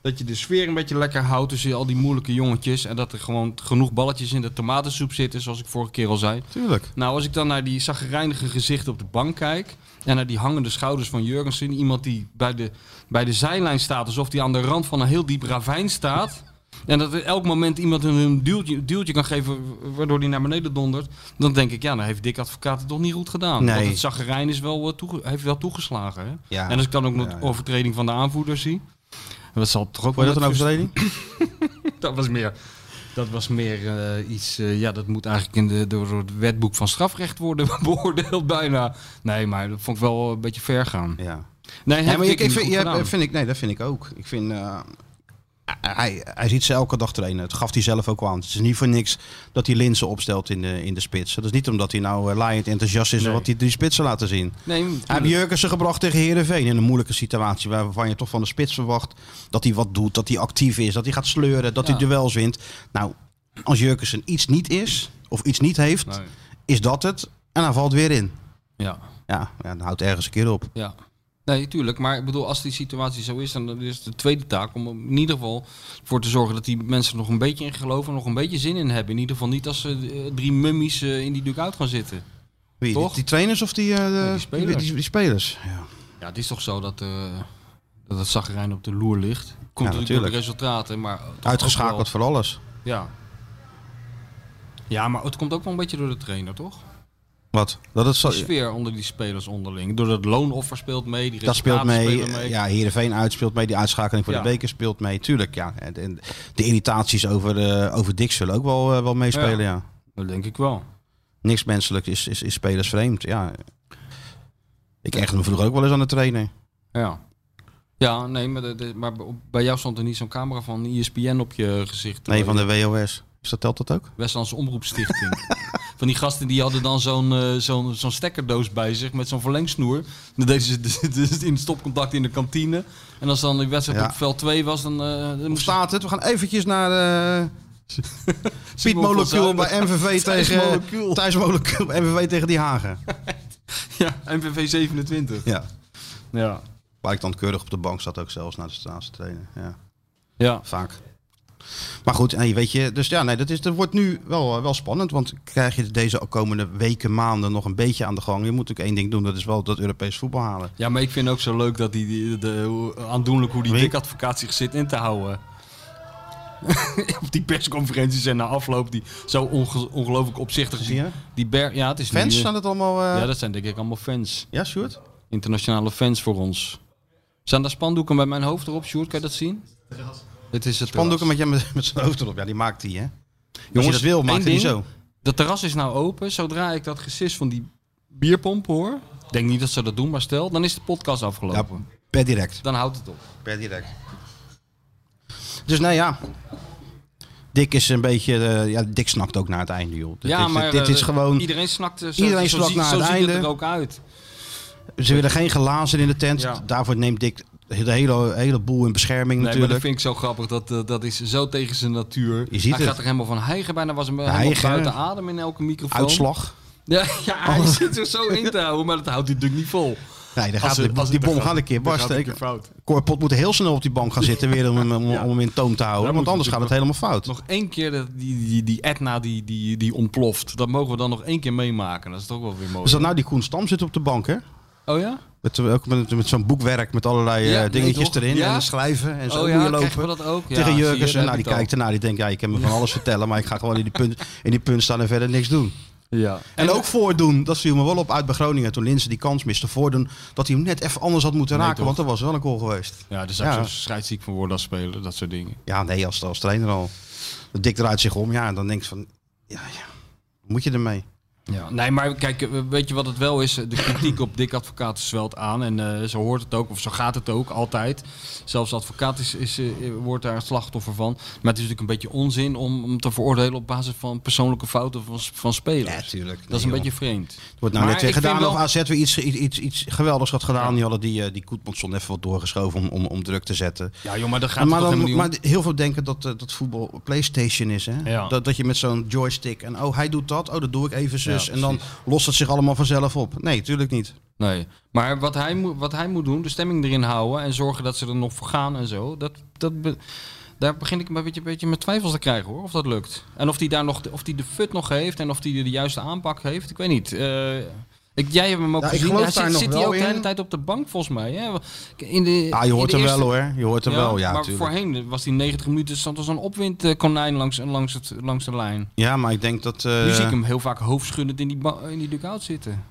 S7: dat je de sfeer een beetje lekker houdt tussen al die moeilijke jongetjes. En dat er gewoon genoeg balletjes in de tomatensoep zitten, zoals ik vorige keer al zei.
S5: Tuurlijk.
S7: Nou, als ik dan naar die zagrijnige gezichten op de bank kijk. En naar die hangende schouders van Jurgensen. Iemand die bij de, bij de zijlijn staat. Alsof hij aan de rand van een heel diep ravijn staat. En dat er elk moment iemand een- een duwtje, duwtje kan geven. Waardoor hij naar beneden dondert. Dan denk ik, ja, dan heeft Dick Advocaat het toch niet goed gedaan.
S5: Nee.
S7: Want het zagrijn is wel, eh, toege- heeft wel toegeslagen. Hè?
S5: Ja.
S7: En als ik dan ook nog
S5: Ja,
S7: de
S5: ja.
S7: overtreding van de aanvoerder zie. Dat zal toch ook
S5: Vond je dat
S7: met
S5: een
S7: frust-
S5: overtreding?
S7: dat was meer, dat was meer eh, iets. eh, ja, dat moet eigenlijk in de, door het wetboek van strafrecht worden beoordeeld bijna. Nee, maar dat vond ik wel een beetje ver gaan.
S5: Ja.
S7: Nee,
S5: Ja,
S7: heb
S5: maar
S7: ik
S5: ik, ik
S7: niet
S5: vind,
S7: goed
S5: ja,
S7: gedaan.
S5: vind ik, nee, dat vind ik ook. Ik vind, eh, hij, hij ziet ze elke dag trainen. Het gaf hij zelf ook aan. Het is niet voor niks dat hij linzen opstelt in de, in de spits. Dat is niet omdat hij nou eh laaiend enthousiast is
S7: Nee.
S5: wat hij die spitsen laten zien.
S7: Nee,
S5: Hij heeft Jurkensen gebracht tegen Heerenveen in een moeilijke situatie. Waarvan je toch van de spits verwacht dat hij wat doet. Dat hij actief is, dat hij gaat sleuren, dat
S7: Ja.
S5: hij duels wint. Nou, als Jurkensen iets niet is of iets niet heeft,
S7: Nee.
S5: is dat het. En hij valt weer in.
S7: Ja,
S5: Ja, ja dan houdt ergens een keer op.
S7: ja. Nee, tuurlijk. Maar ik bedoel, als die situatie zo is, dan is het de tweede taak om in ieder geval voor te zorgen dat die mensen er nog een beetje in geloven, nog een beetje zin in hebben. In ieder geval niet als ze eh, drie mummies eh, in die dugout gaan zitten.
S5: Wie, die-
S7: Toch?
S5: Die, trainers of die, eh, de-
S7: die spelers.
S5: die- die- die spelers. Ja.
S7: Ja, het is toch zo dat, eh dat het zagrijn op de loer ligt. Komt natuurlijk door de
S5: natuurlijk.
S7: resultaten, maar toch ook wel-
S5: Uitgeschakeld voor alles. Oh,
S7: Ja. Ja, maar het komt ook wel een beetje door de trainer, toch?
S5: Wat? Dat het zo...
S7: De sfeer onder die spelers onderling. Door dat loonoffer speelt mee. Die
S5: Dat speelt
S7: resultaten
S5: mee.
S7: spelen
S5: Ja, Heerenveen uit speelt mee. Die uitschakeling voor
S7: Ja.
S5: de beker speelt mee. Tuurlijk, ja. En, en de irritaties over, eh over Dick zullen ook wel, eh, wel meespelen, ja.
S7: Dat denk ik wel.
S5: Niks menselijk is, is, is spelersvreemd, ja. Ik echt me vroeger ook wel eens aan de trainer.
S7: Ja. Ja, nee, maar, de- de- maar bij jou stond er niet zo'n camera van E ESPN op je gezicht. eh,
S5: Nee, van de WOS. Is dat telt dat ook?
S7: Westlandse Omroepstichting. van die gasten die hadden dan zo'n eh, zo'n zo'n stekkerdoos bij zich met zo'n verlengsnoer. Dan deden ze het dus in het stopcontact in de kantine. En als dan die wedstrijd
S5: Ja.
S7: op veld 2 was, dan, eh dan
S5: Hoe
S7: moest
S5: staat het? We gaan eventjes naar eh Piet
S7: Simon van
S5: Molecuul
S7: Zuilen.
S5: bij MVV tegen...
S7: Molecuul.
S5: Thijs Molecuul bij MVV tegen Die Hagen.
S7: Ja, MVV 27.
S5: Ja.
S7: Ja.
S5: Waar ik dan keurig op de bank zat ook zelfs na de staatse trainen. Ja.
S7: Ja.
S5: Vaak. Maar goed, nee, weet je, dus ja, nee, dat, is, dat wordt nu wel, eh, wel spannend. Want krijg je deze komende weken, maanden nog een beetje aan de gang. Je moet natuurlijk één ding doen, dat is wel dat Europees voetbal halen.
S7: Ja, maar ik vind ook zo leuk dat die, die- de, hoe- aandoenlijk hoe die
S5: Wie?
S7: dik advocaat zich zit in te houden. Op die persconferenties en na afloop die zo onge- ongelooflijk opzichtig.
S5: Zie je?
S7: Die ber ja, het is
S5: Fans
S7: nu-
S5: staan het allemaal... eh,
S7: Ja, dat zijn denk ik allemaal fans.
S5: Ja, Sjoerd?
S7: Internationale fans voor ons. Zijn daar spandoeken bij mijn hoofd erop, Sjoerd? Kan je dat zien? Het is het
S5: Pandoeken
S7: terras.
S5: met, jij met, met zijn hoofd erop. Ja, die maakt die, hè? Als je
S7: Jongens,
S5: dat wil,
S7: één
S5: maakt hij die
S7: ding.
S5: zo.
S7: Dat terras is nou open. Zodra ik dat gesis van die bierpomp hoor... ik denk niet dat ze dat doen, maar stel... dan is de podcast
S5: Ja,
S7: afgelopen.
S5: per direct.
S7: Dan houdt het op.
S5: Per direct. Dus nou ja. Dick is een beetje... eh, ja, Dick snakt ook naar het einde, joh. Dit,
S7: ja,
S5: is,
S7: maar
S5: dit
S7: eh,
S5: is gewoon...
S7: Iedereen snakt, eh, zo,
S5: iedereen
S7: zo
S5: snakt
S7: zie-
S5: naar
S7: zo
S5: het
S7: ziet
S5: einde.
S7: er ook uit.
S5: Ze willen geen glazen in de tent.
S7: Ja.
S5: Daarvoor neemt Dick de hele, hele boel in bescherming
S7: Nee, maar
S5: natuurlijk.
S7: dat vind ik zo grappig. Dat, eh, dat is zo tegen zijn natuur.
S5: Je ziet
S7: hij
S5: het.
S7: gaat er helemaal van hijgen. Bijna was hem eh, helemaal
S5: Hijgen.
S7: buiten adem in elke microfoon.
S5: Uitslag. Oh.
S7: Ja, ja hij zit er zo in te houden, maar dat houdt hij natuurlijk niet vol.
S5: Nee, dan gaat
S7: ze-
S5: de-
S7: als
S5: die
S7: het-
S5: bom
S7: dan
S5: gaat een keer
S7: dan gaat het
S5: barsten.
S7: een keer fout.
S5: Korpot moet heel snel op die bank gaan zitten weer om, hem- om, om hem in toom te houden.
S7: Daar
S5: want
S7: moeten
S5: anders gaat het helemaal fout.
S7: Nog één keer dat die, die, die Etna die, die, die ontploft. Dat mogen we dan nog één keer meemaken. Dat is toch wel weer mooi.
S5: Dus dat nou die Koen Stam zit op de bank, hè?
S7: Oh ja?
S5: Met, ook met, met zo'n boekwerk met allerlei eh,
S7: Ja, nee,
S5: dingetjes
S7: toch?
S5: erin.
S7: Ja?
S5: En schrijven en zo
S7: oh
S5: hoe
S7: ja,
S5: je
S7: krijgen we
S5: lopen.
S7: dat ook? Ja,
S5: Tegen
S7: zie je,
S5: Jurkens.
S7: daar
S5: En nou,
S7: heb
S5: die
S7: je het
S5: kijkt ernaar. Die denkt, ja, ik kan me van alles vertellen. Maar ik ga gewoon in die punt, in die punt staan en verder niks doen.
S7: al. Ja.
S5: En ook voordoen, dat viel me wel op uit bij Groningen toen Linse die kans miste. Voordoen dat hij hem net even anders had moeten
S7: Nee,
S5: raken,
S7: toch?
S5: want er was wel een goal geweest.
S7: Ja, dus
S5: Ja.
S7: daar is scheidsziek van worden als speler. Dat soort dingen.
S5: Ja, nee, als, als trainer al. Dik draait zich om, ja, en dan denkt van, ja, ja, wat moet je ermee?
S7: Ja, nee, maar kijk, eh, weet je wat het wel is? De kritiek op Dick Advocaat zwelt aan. En eh, zo hoort het ook, of zo gaat het ook, altijd. Zelfs de advocaat is, is, eh, wordt daar het slachtoffer van. Maar het is natuurlijk een beetje onzin om, om te veroordelen op basis van persoonlijke fouten van, s- van spelers.
S5: tuurlijk.
S7: dat is een beetje vreemd.
S5: Wordt nou
S7: Maar
S5: net weer
S7: ik vind
S5: gedaan
S7: wel-
S5: of AZ weer iets, iets, iets, iets geweldigs had gedaan. Die hadden die, eh, die Koetmanson even wat doorgeschoven om, om, om druk te zetten.
S7: Ja, joh, maar dat gaat
S5: Maar,
S7: maar toch
S5: dan,
S7: helemaal
S5: maar
S7: niet
S5: heel veel denken dat, eh, dat voetbal PlayStation is. Hè?
S7: Ja.
S5: Dat, dat je met zo'n joystick en oh, hij doet dat, oh, dat doe ik even zus.
S7: Ja,
S5: en dan lost het zich allemaal vanzelf op. Nee, tuurlijk niet.
S7: om. Nee. Maar wat hij, moet, wat hij moet doen, de stemming erin houden... en zorgen dat ze er nog voor gaan en zo... Dat, dat be- daar begin ik een beetje, een beetje met twijfels te krijgen hoor, of dat lukt. En of hij daar nog, of die de fut nog heeft en of hij de juiste aanpak heeft, ik weet niet. Eh, ik, jij hebt hem ook
S5: Ja, ik
S7: gezien. hij
S5: geloof daar
S7: zit,
S5: nog
S7: zit hij
S5: wel
S7: ook de hele
S5: in.
S7: tijd op de bank volgens mij. Hè? In de,
S5: Ja, Ah, je hoort
S7: in
S5: hem
S7: de
S5: wel
S7: eerste-
S5: hoor. Je hoort hem wel, ja,
S7: maar
S5: tuurlijk.
S7: voorheen was die 90 minuten stond als een opwindkonijn langs, langs, het, langs de lijn.
S5: Ja, maar ik denk dat... eh,
S7: nu zie ik hem heel vaak hoofdschuddend in die, ba- in die dugout zitten.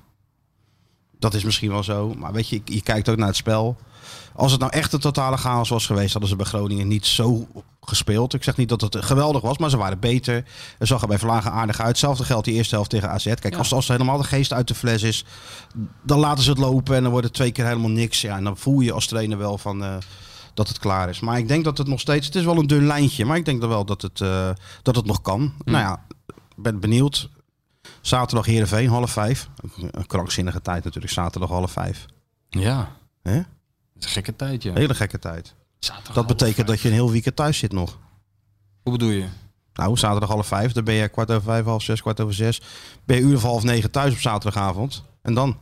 S5: Dat is misschien wel zo. Maar weet je, je kijkt ook naar het spel. Als het nou echt een totale chaos was geweest, hadden ze bij Groningen niet zo gespeeld. Ik zeg niet dat het geweldig was, maar ze waren beter. Er zag er bij Vlagen aardig uit. Hetzelfde geldt die eerste helft tegen AZ. Kijk,
S7: Ja.
S5: als, als er helemaal de geest uit de fles is, dan laten ze het lopen en dan wordt het twee keer helemaal niks. Ja, en dan voel je als trainer wel van eh, dat het klaar is. Maar ik denk dat het nog steeds, het is wel een dun lijntje, maar ik denk dan wel dat het, eh, dat het nog kan. Nou ja, ik ben benieuwd. Zaterdag Heerenveen, half vijf. Een krankzinnige tijd natuurlijk, zaterdag half vijf.
S7: Ja,
S5: Hè?
S7: dat is een gekke tijd ja.
S5: Hele gekke tijd. Dat betekent dat je een heel weekend thuis zit nog.
S7: Hoe bedoel je?
S5: Nou, zaterdag half vijf, dan ben je kwart over vijf, half zes, kwart over zes. Ben je uur of half negen thuis op zaterdagavond. En dan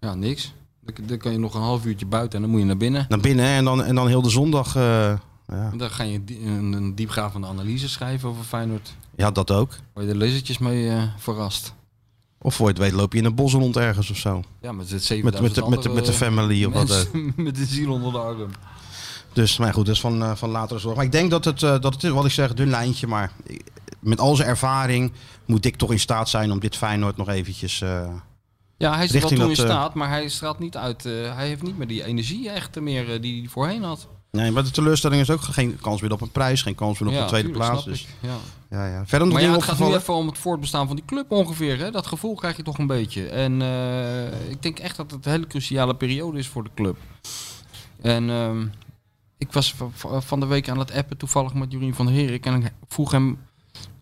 S7: Ja, niks. Dan, dan kan je nog een half uurtje buiten en dan moet je naar binnen.
S5: naar binnen hè, en dan, en dan heel de zondag. eh, ja.
S7: Dan ga je die- een, een diepgravende analyse schrijven over Feyenoord.
S5: ja, dat ook.
S7: Waar je de lezertjes mee eh, verrast.
S5: Of voor je het weet loop je in een bos rond ergens of zo.
S7: Ja, met het
S5: Met,
S7: 7000
S5: met, de, met, de,
S7: andere eh,
S5: met de family of wat. ook.
S7: mensen met de ziel onder de arm.
S5: Dus, maar goed, dat is van, eh, van latere zorg. Maar ik denk dat het, eh, dat het is, wat ik zeg, dun lijntje. Maar met al zijn ervaring moet Dick toch in staat zijn om dit Feyenoord nog eventjes eh,
S7: Ja, hij is er wel
S5: Richting
S7: toe in
S5: dat, eh,
S7: staat, maar hij straalt niet uit. eh, hij heeft niet meer die energie echt eh, meer eh, die hij voorheen had.
S5: Nee, maar de teleurstelling is ook geen kans meer op een prijs, geen kans meer op
S7: ja,
S5: een tweede
S7: tuurlijk,
S5: plaats.
S7: snap
S5: Dus,
S7: ik, ja.
S5: ja, ja. Verder nog
S7: Maar ja,
S5: dingen
S7: het gaat nu
S5: opgevallen.
S7: even om het voortbestaan van die club ongeveer. Hè? Dat gevoel krijg je toch een beetje. En eh, ik denk echt dat het een hele cruciale periode is voor de club. En ehm, ik was va- va- van de week aan het appen toevallig met Jurien van der Herik. En ik vroeg hem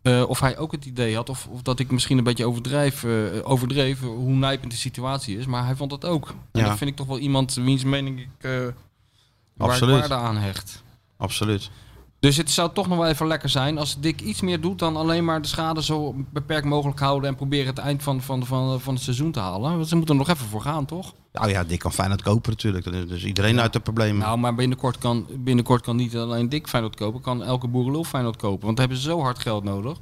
S7: eh, of hij ook het idee had. Of, of dat ik misschien een beetje overdrijf, eh, overdreef hoe nijpend de situatie is. Maar hij vond dat ook. En
S5: Ja.
S7: dat vind ik toch wel iemand wiens mening ik, eh, waar ik
S5: Absoluut.
S7: waarde aan hecht.
S5: Absoluut.
S7: Dus het zou toch nog wel even lekker zijn als Dick iets meer doet dan alleen maar de schade zo beperkt mogelijk houden en proberen het eind van, van, van, van het seizoen te halen. Want ze moeten er nog even voor gaan, toch?
S5: Nou ja, Dick kan Feyenoord kopen natuurlijk. Dan is Dus iedereen uit de problemen.
S7: Nou, maar binnenkort kan, binnenkort kan niet alleen Dick Feyenoord kopen, kan elke boerenlul Feyenoord kopen. Want daar hebben ze zo hard geld nodig.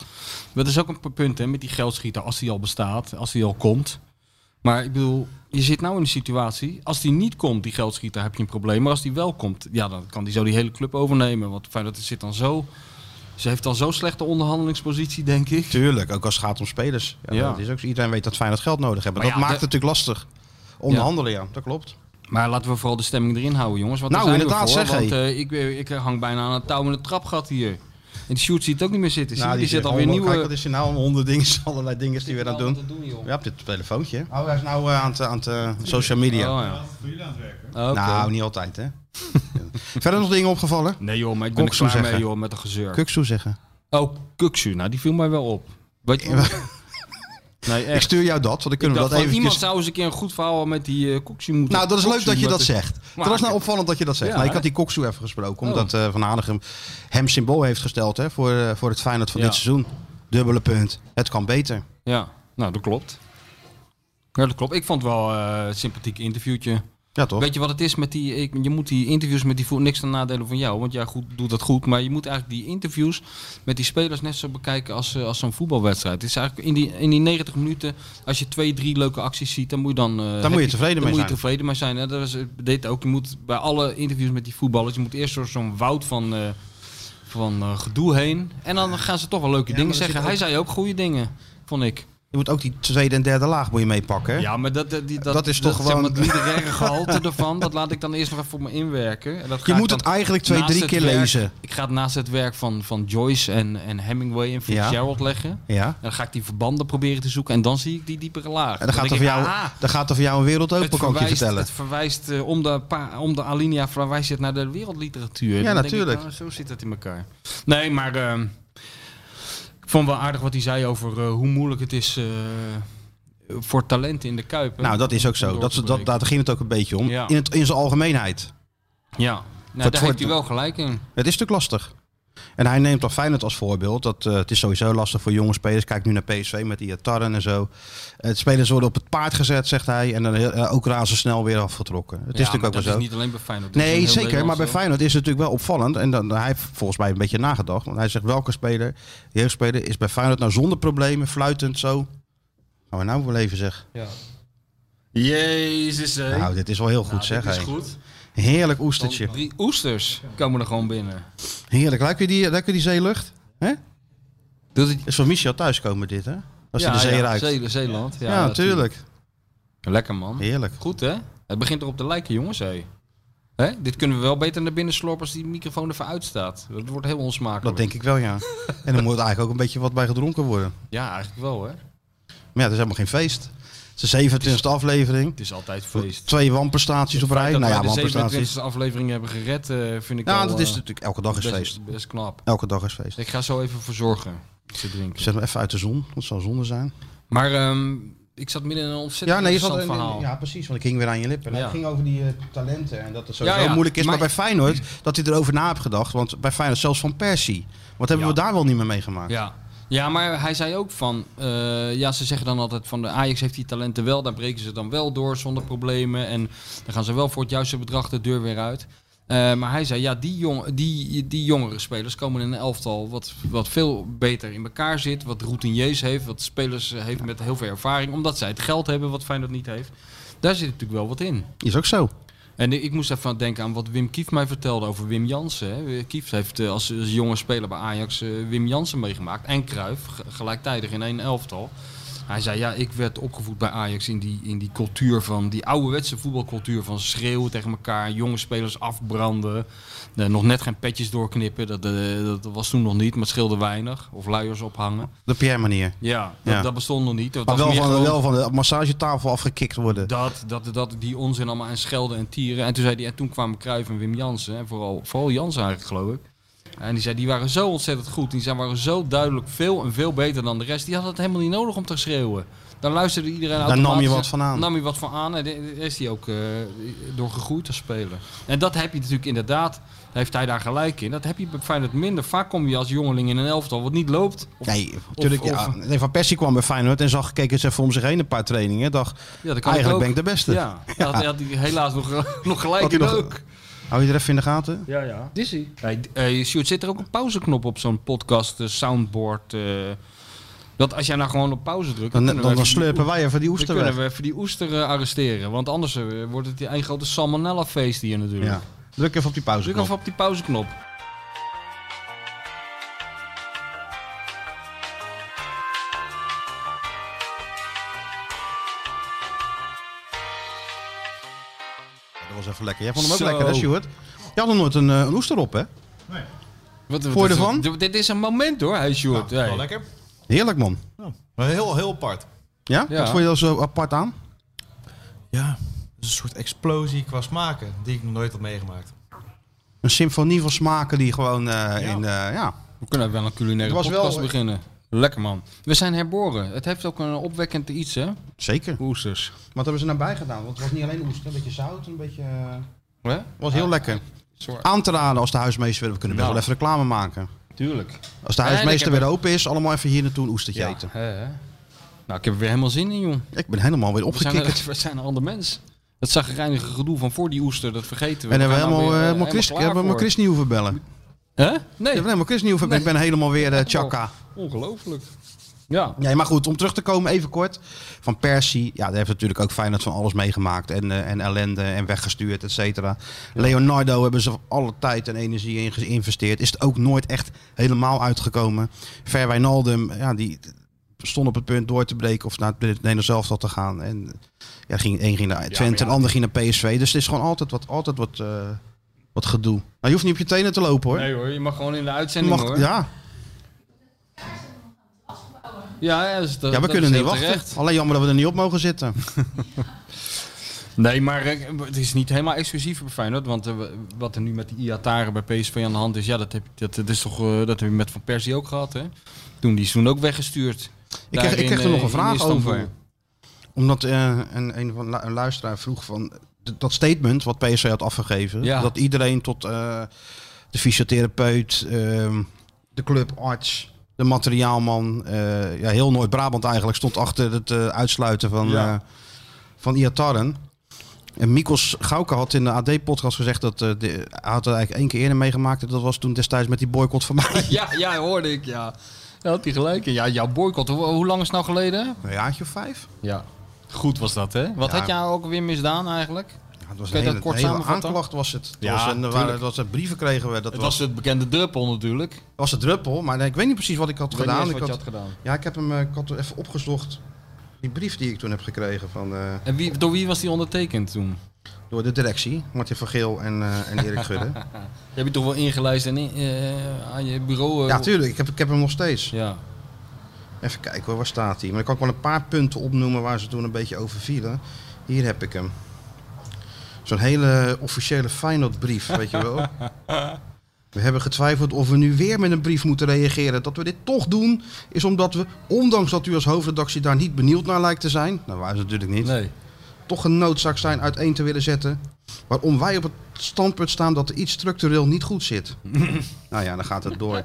S7: Dat is ook een punt hè, met die geldschieter, als die al bestaat, als die al komt. Maar ik bedoel, je zit nou in een situatie, als die niet komt, die geldschieter, heb je een probleem. Maar als die wel komt, ja, dan kan die zo die hele club overnemen. Want Feyenoord zit dan zo, ze heeft dan zo'n slechte onderhandelingspositie, denk ik.
S5: Tuurlijk, ook als het gaat om spelers. Ja,
S7: Ja.
S5: Dat is ook, zo. iedereen weet dat Feyenoord geld nodig hebben.
S7: Maar
S5: dat
S7: ja,
S5: maakt
S7: de-
S5: het natuurlijk lastig. Onderhandelen, ja. Dat klopt.
S7: Maar laten we vooral de stemming erin houden, jongens. Want
S5: Nou,
S7: daar zijn
S5: inderdaad,
S7: we voor,
S5: zeg,
S7: Want eh, ik, ik hang bijna aan het touw in het trapgat hier. En de shoot ziet het ook niet meer zitten. zie je? die, zit
S5: zegt
S7: alweer
S5: Nou, allemaal,
S7: nieuwe...
S5: Kijk, wat is hier nou? Honderd dingen, allerlei dingen die we aan het doen. Ja, op dit telefoontje. Oh, hij is nou eh, aan het aan het, eh, social media.
S7: Oh, ja. Oh, oké.
S5: Nou, niet altijd, hè. Verder nog dingen opgevallen?
S7: nee joh, maar ik ben er
S5: Koksu
S7: klaar mee
S5: zeggen.
S7: joh, met de gezeur.
S5: Kuksu zeggen.
S7: oh, Kuksu, nou die viel mij wel op. Weet je Nee,
S5: Ik
S7: echt.
S5: stuur jou dat, want dan kunnen
S7: Ik
S5: we
S7: dacht
S5: dat
S7: van,
S5: eventjes...
S7: Iemand zou eens een keer een goed verhaal met die eh Kuksu moeten...
S5: Nou, dat is leuk
S7: Kuksu
S5: dat je
S7: met
S5: dat
S7: de-
S5: zegt.
S7: Maar-
S5: Het was nou opvallend dat je dat zegt.
S7: Ja,
S5: nou, ik
S7: hè?
S5: had die Koksu even gesproken,
S7: Oh.
S5: omdat eh, Van Hanegem hem symbool heeft gesteld hè, voor, eh, voor het Feyenoord van
S7: Ja.
S5: dit seizoen. Dubbele punt. Het kan beter.
S7: Ja, nou dat klopt. Ja, dat klopt. Ik vond het wel eh, een sympathiek interviewtje.
S5: Ja, toch?
S7: Weet je wat het is met die. Ik, je moet die interviews met die voer- niks ten nadelen van jou. Want jij goed, doet dat goed. Maar je moet eigenlijk die interviews met die spelers net zo bekijken als, eh, als zo'n voetbalwedstrijd. Het is eigenlijk in die, in die 90 minuten, als je twee, drie leuke acties ziet, dan moet je dan. eh,
S5: moet je
S7: happy-
S5: tevreden
S7: dan
S5: mee
S7: moet
S5: zijn.
S7: Je tevreden mee zijn. Hè? Dat is eh, dit ook. Je moet bij alle interviews met die voetballers, je moet eerst door zo'n woud van. eh, van eh, gedoe heen. En dan gaan ze toch wel leuke
S5: Ja,
S7: dingen
S5: maar er
S7: zeggen.
S5: zit
S7: Hij
S5: ook-
S7: zei ook goede dingen, vond ik.
S5: Je moet ook die tweede en derde laag moet je meepakken. hè?
S7: Ja, maar dat, dat, die- dat,
S5: Dat is toch
S7: zeg maar,
S5: gewoon-
S7: het literaire gehalte ervan, dat laat ik dan eerst nog even voor me inwerken. En dat ga
S5: je
S7: ik
S5: moet
S7: dan
S5: het eigenlijk twee,
S7: naast
S5: drie
S7: het
S5: keer
S7: werk-
S5: lezen.
S7: Ik ga het naast het werk van, van Joyce en, en Hemingway en Fitzgerald leggen. En
S5: Ja.
S7: dan ga ik die verbanden proberen te zoeken en dan zie ik die diepere laag.
S5: En dan gaat, er
S7: ik "Ah,
S5: voor jou, dan gaat er voor jou een wereld open,
S7: het
S5: kan ik je
S7: verwijst,
S5: vertellen.
S7: het verwijst eh, om, de pa, om de alinea verwijst het naar de wereldliteratuur. Dan denk ik,
S5: natuurlijk.
S7: nou, zo zit het in elkaar. Nee, maar ehm, ik vond wel aardig wat hij zei over eh, hoe moeilijk het is eh, voor talenten in de Kuip. hè,
S5: Nou, dat is ook
S7: om
S5: zo.
S7: door
S5: Dat,
S7: te
S5: dat, daar ging het ook een beetje om.
S7: Ja.
S5: In, het, in zijn algemeenheid.
S7: breken. Ja, nou,
S5: Dat
S7: daar
S5: voor-
S7: heeft hij wel gelijk in.
S5: Het is natuurlijk lastig. En hij neemt dan Feyenoord als voorbeeld. Dat, eh, het is sowieso lastig voor jonge spelers. Kijk nu naar PSV met die Tarren en zo. Het spelers worden op het paard gezet, zegt hij. En dan eh, ook razendsnel weer afgetrokken. Het is
S7: Ja, maar
S5: natuurlijk ook wel
S7: dat
S5: zo.
S7: is niet alleen bij Feyenoord. dat is in
S5: Nee,
S7: heel
S5: zeker. Maar
S7: Nederland
S5: bij
S7: zo.
S5: Feyenoord is het natuurlijk wel opvallend. En dan, hij heeft volgens mij een beetje nagedacht. Want hij zegt welke speler, jeugdspeler, is bij Feyenoord nou zonder problemen, fluitend zo. Gaan we nou wel even zeggen.
S7: Jezus, hé.
S5: Nou, dit is wel heel goed
S7: Nou,
S5: zeg.
S7: dit is
S5: hé.
S7: goed.
S5: Heerlijk
S7: Dan
S5: oestertje.
S7: drie oesters komen er gewoon binnen.
S5: Heerlijk. Lekker die, lekker die zeelucht. Hè?
S7: Doet het...
S5: Is van Michel thuiskomen dit, hè? Als hij de zee ruikt.
S7: Zee- Zeeland. Ja,
S5: Ja, natuurlijk.
S7: Lekker, man.
S5: Heerlijk.
S7: Goed, hè? Het begint erop te lijken, jongens, hé. Hè? Dit kunnen we wel beter naar binnen slorpen als die microfoon even uitstaat. Dat wordt heel onsmakelijk.
S5: Dat denk ik wel, ja. En dan moet eigenlijk ook een beetje wat bij gedronken worden.
S7: Ja, eigenlijk wel, hè?
S5: Maar ja, het is helemaal geen feest. Het is de 27e aflevering.
S7: Het is altijd feest.
S5: Twee wanprestaties op rij.
S7: Dat
S5: Nou ja,
S7: wij de
S5: wanprestaties.
S7: 27e aflevering hebben gered, eh, vind ik
S5: Nou,
S7: al,
S5: dat is
S7: eh,
S5: natuurlijk elke dag is
S7: best,
S5: feest.
S7: best knap.
S5: Elke dag is feest.
S7: Ik ga zo even verzorgen. iets Te drinken.
S5: Zet hem even uit de zon. want Het zal zonde zijn.
S7: Maar ehm, ik zat midden in een ontzettend
S5: Ja, nee, je zat
S7: interessant verhaal.
S5: ja, precies. Want ik ging weer aan je lippen. Nee,
S7: Ja.
S5: Het ging over die eh, talenten. En dat het sowieso
S7: Ja, ja.
S5: moeilijk is. Maar,
S7: Maar-
S5: bij Feyenoord, dat hij erover na heeft gedacht. Want bij Feyenoord zelfs van Persie. Wat hebben
S7: Ja.
S5: we daar wel niet meer meegemaakt?
S7: Ja. ja, maar hij zei ook van... eh, ja, ze zeggen dan altijd van de Ajax heeft die talenten wel. Daar breken ze dan wel door zonder problemen. En dan gaan ze wel voor het juiste bedrag de deur weer uit. Eh, maar hij zei, ja, die, jong, die, die jongere spelers komen in een elftal wat, wat veel beter in elkaar zit. Wat routiniers heeft, wat spelers eh, heeft met heel veel ervaring. Omdat zij het geld hebben wat Feyenoord niet heeft. Daar zit natuurlijk wel wat in.
S5: Is ook zo.
S7: En ik moest even aan denken aan wat Wim Kieft mij vertelde over Wim Jansen. hè. Kieft heeft eh, als, als jonge speler bij Ajax eh, Wim Jansen meegemaakt. En Kruif, gelijktijdig in één elftal. Hij zei, ja, ik werd opgevoed bij Ajax in die, in die cultuur van... die ouderwetse voetbalcultuur van schreeuwen tegen elkaar... jonge spelers afbranden, eh, nog net geen petjes doorknippen. Dat, eh, dat was toen nog niet, maar het scheelde weinig. Of luiers ophangen.
S5: De Pierre-manier.
S7: Ja, dat,
S5: Ja.
S7: dat bestond nog niet. Dat
S5: Maar
S7: was
S5: wel
S7: meer
S5: van,
S7: gewoon-
S5: wel van de massagetafel afgekikt worden.
S7: dat, dat, dat die onzin allemaal en schelden en tieren. En toen, zei die, en toen kwamen Cruijff en Wim Jansen, en vooral, vooral Jansen eigenlijk geloof ik. En die zei, die waren zo ontzettend goed. Die zijn, waren zo duidelijk veel en veel beter dan de rest. Die hadden het helemaal niet nodig om te schreeuwen. Dan luisterde iedereen
S5: nam je
S7: automatisch-
S5: wat van aan.
S7: Nam je wat van aan en daar is hij ook eh, door gegroeid als speler. En dat heb je natuurlijk inderdaad, heeft hij daar gelijk in. Dat heb je bij Feyenoord minder. Vaak kom je als jongeling in een elftal wat niet loopt. Of-
S5: Nee, natuurlijk.
S7: of-
S5: ja. Nee, van Persie kwam bij Feyenoord en zag, keek eens even om zich heen een paar trainingen. Dacht,
S7: Ja, dat kan
S5: eigenlijk
S7: ook.
S5: ben ik de beste.
S7: Ja, dat had, had hij helaas nog, nog gelijk
S5: Had hij
S7: in
S5: nog-
S7: ook.
S5: Hou je er even in de gaten?
S7: Ja, ja. Dizzy. Hey, d- hey, Sjoerd, zit er ook een pauzeknop op zo'n podcast, eh, soundboard? eh, dat als jij nou gewoon op pauze drukt...
S5: Dan, dan,
S7: kunnen we
S5: dan
S7: even die
S5: slurpen wij even die
S7: oe-
S5: oester
S7: Dan
S5: weg.
S7: kunnen we even die oester eh, arresteren. Want anders eh, wordt het die een grote salmonella-feest hier natuurlijk.
S5: Ja. Druk even op die pauze.
S7: Druk even op die pauzeknop.
S5: Dat was even lekker. Jij vond hem ook
S7: Zo.
S5: lekker, hè, Stuart? Je had nog nooit een, eh, een oester op, hè?
S7: Wat,
S5: Voor
S7: wat-
S5: je ervan?
S7: dit- Dit is een moment hoor, hey Sjoerd. Hey.
S8: Wel lekker.
S5: Heerlijk, man.
S8: Maar heel, heel apart.
S5: Ja?
S7: Ja.
S5: Wat vond je dat zo apart aan?
S8: Ja, dat is een soort explosie qua smaken die ik nog nooit had meegemaakt.
S5: Een symfonie van smaken die gewoon eh, in... eh, ja.
S7: We kunnen wel een culinaire
S5: Het was wel-
S7: podcast beginnen. Lekker man. We zijn herboren. Het heeft ook een opwekkend iets hè,
S5: Zeker.
S7: oesters.
S5: Wat hebben ze nou bij gedaan? Want het was niet alleen oester, een beetje zout, een beetje... eh,
S7: Hè?
S5: was heel lekker.
S7: Soort-
S5: Aan te raden als de huismeester... wil- We kunnen best
S7: Nou.
S5: wel even reclame maken.
S7: Tuurlijk.
S5: Als de
S7: Nee,
S5: huismeester
S7: ik heb
S5: weer open is, allemaal even hier naartoe een oestertje eten.
S7: hè, hè. Nou, ik heb er weer helemaal zin in joh.
S5: Ik ben helemaal weer
S7: We zijn,
S5: opgekikkerd.
S7: een, we zijn een ander mens. Dat zagrijnige gedoe van voor die oester, dat vergeten we.
S5: En
S7: Daar
S5: hebben
S7: gaan
S5: we
S7: we
S5: helemaal,
S7: weer,
S5: eh,
S7: eh,
S5: helemaal Chris,
S7: klaar
S5: hebben we
S7: voor.
S5: helemaal Chris niet hoeven bellen. Ik
S7: Hè?
S5: heb
S7: Nee.
S5: helemaal Chris niet hoeven bellen. Ik ben helemaal weer eh chaka.
S7: Ongelooflijk. Ja.
S5: Nee, maar goed, om terug te komen even kort. Van Persie, ja, daar heeft natuurlijk ook Feyenoord van alles meegemaakt. En, eh, en ellende en weggestuurd, et cetera. Leonardo hebben ze alle tijd en energie in geïnvesteerd. Is het ook nooit echt helemaal uitgekomen. Ver Wijnaldum, ja, die stond op het punt door te breken of naar het Nederlands elftal te gaan. En ja, ging, één ging naar Twente en de ander ging naar PSV. Dus het is gewoon altijd wat, altijd wat, eh, wat gedoe. Maar je hoeft niet op je tenen te lopen hoor.
S7: Nee hoor, je mag gewoon in de
S5: Je
S7: uitzending
S5: mag,
S7: hoor.
S5: ja,
S7: ja, ja, dat is- dat-
S5: ja, we
S7: dat
S5: kunnen
S7: is
S5: niet
S7: heel
S5: wachten.
S7: terecht.
S5: Alleen jammer dat we er niet op mogen zitten.
S7: Nee, maar eh, het is niet helemaal exclusief voor Feyenoord. Want eh, wat er nu met die Iataren bij PSV aan de hand is, ja, dat heb, dat, dat is toch, eh, dat heb je met Van Persie ook gehad hè. Toen die is toen ook weggestuurd. eh,
S5: Ik kreeg, ik kreeg er nog een vraag over. Omdat eh, een, een, van lu- een luisteraar vroeg van d- dat statement wat PSV had afgegeven.
S7: Ja.
S5: Dat iedereen tot eh, de fysiotherapeut, ehm, de clubarts, de materiaalman, eh, ja, heel Noord-Brabant eigenlijk stond achter het eh, uitsluiten van,
S7: Ja.
S5: eh, van Iataren. En Mikos Gauke had in de AD-podcast gezegd dat eh, de, hij had er eigenlijk één keer eerder meegemaakt. En dat was toen destijds met die boycott van mij.
S7: Ja, ja, hoorde ik, ja. Daar had hij gelijk in. Ja, jouw boycott, hoe, hoe lang is het nou geleden?
S5: Een jaartje of vijf?
S7: Ja. Goed was dat, hè? Wat
S5: Ja.
S7: had jij ook weer misdaan eigenlijk? Het
S5: Ja, het was
S7: Kun
S5: een
S7: je
S5: hele,
S7: dat kort
S5: een hele
S7: samenvatten?
S5: aanklacht was het. Het
S7: Ja,
S5: was een,
S7: tuurlijk.
S5: waar, het was een brieven kregen we. Dat was, was,
S7: het bekende druppel natuurlijk.
S5: de druppel, maar ik weet niet precies wat ik had
S7: Weet niet
S5: gedaan.
S7: eens
S5: Ik
S7: wat
S5: had,
S7: je had gedaan.
S5: Ja, ik heb hem eh, ik had er even opgezocht. Die brief die ik toen heb gekregen van, eh,
S7: En wie, door wie was die ondertekend toen?
S5: door de directie. Martin van Geel en, eh, en Erik Gudde.
S7: Je hebt je toch wel ingelijst en in, eh, aan je bureau... eh,
S5: ja, tuurlijk. Ik heb, ik heb hem nog steeds.
S7: Ja.
S5: Even kijken hoor, waar staat hij? Maar ik kan ik wel een paar punten opnoemen waar ze toen een beetje over vielen. Hier heb ik hem. Zo'n hele officiële Feyenoordbrief, weet je wel. We hebben getwijfeld of we nu weer met een brief moeten reageren. Dat we dit toch doen, is omdat we, ondanks dat u als hoofdredactie daar niet benieuwd naar lijkt te zijn... Nou, waren ze natuurlijk niet
S7: Nee.
S5: toch een noodzaak zijn uiteen te willen zetten. Waarom wij op het standpunt staan dat er iets structureel niet goed zit. nou ja, dan gaat het door.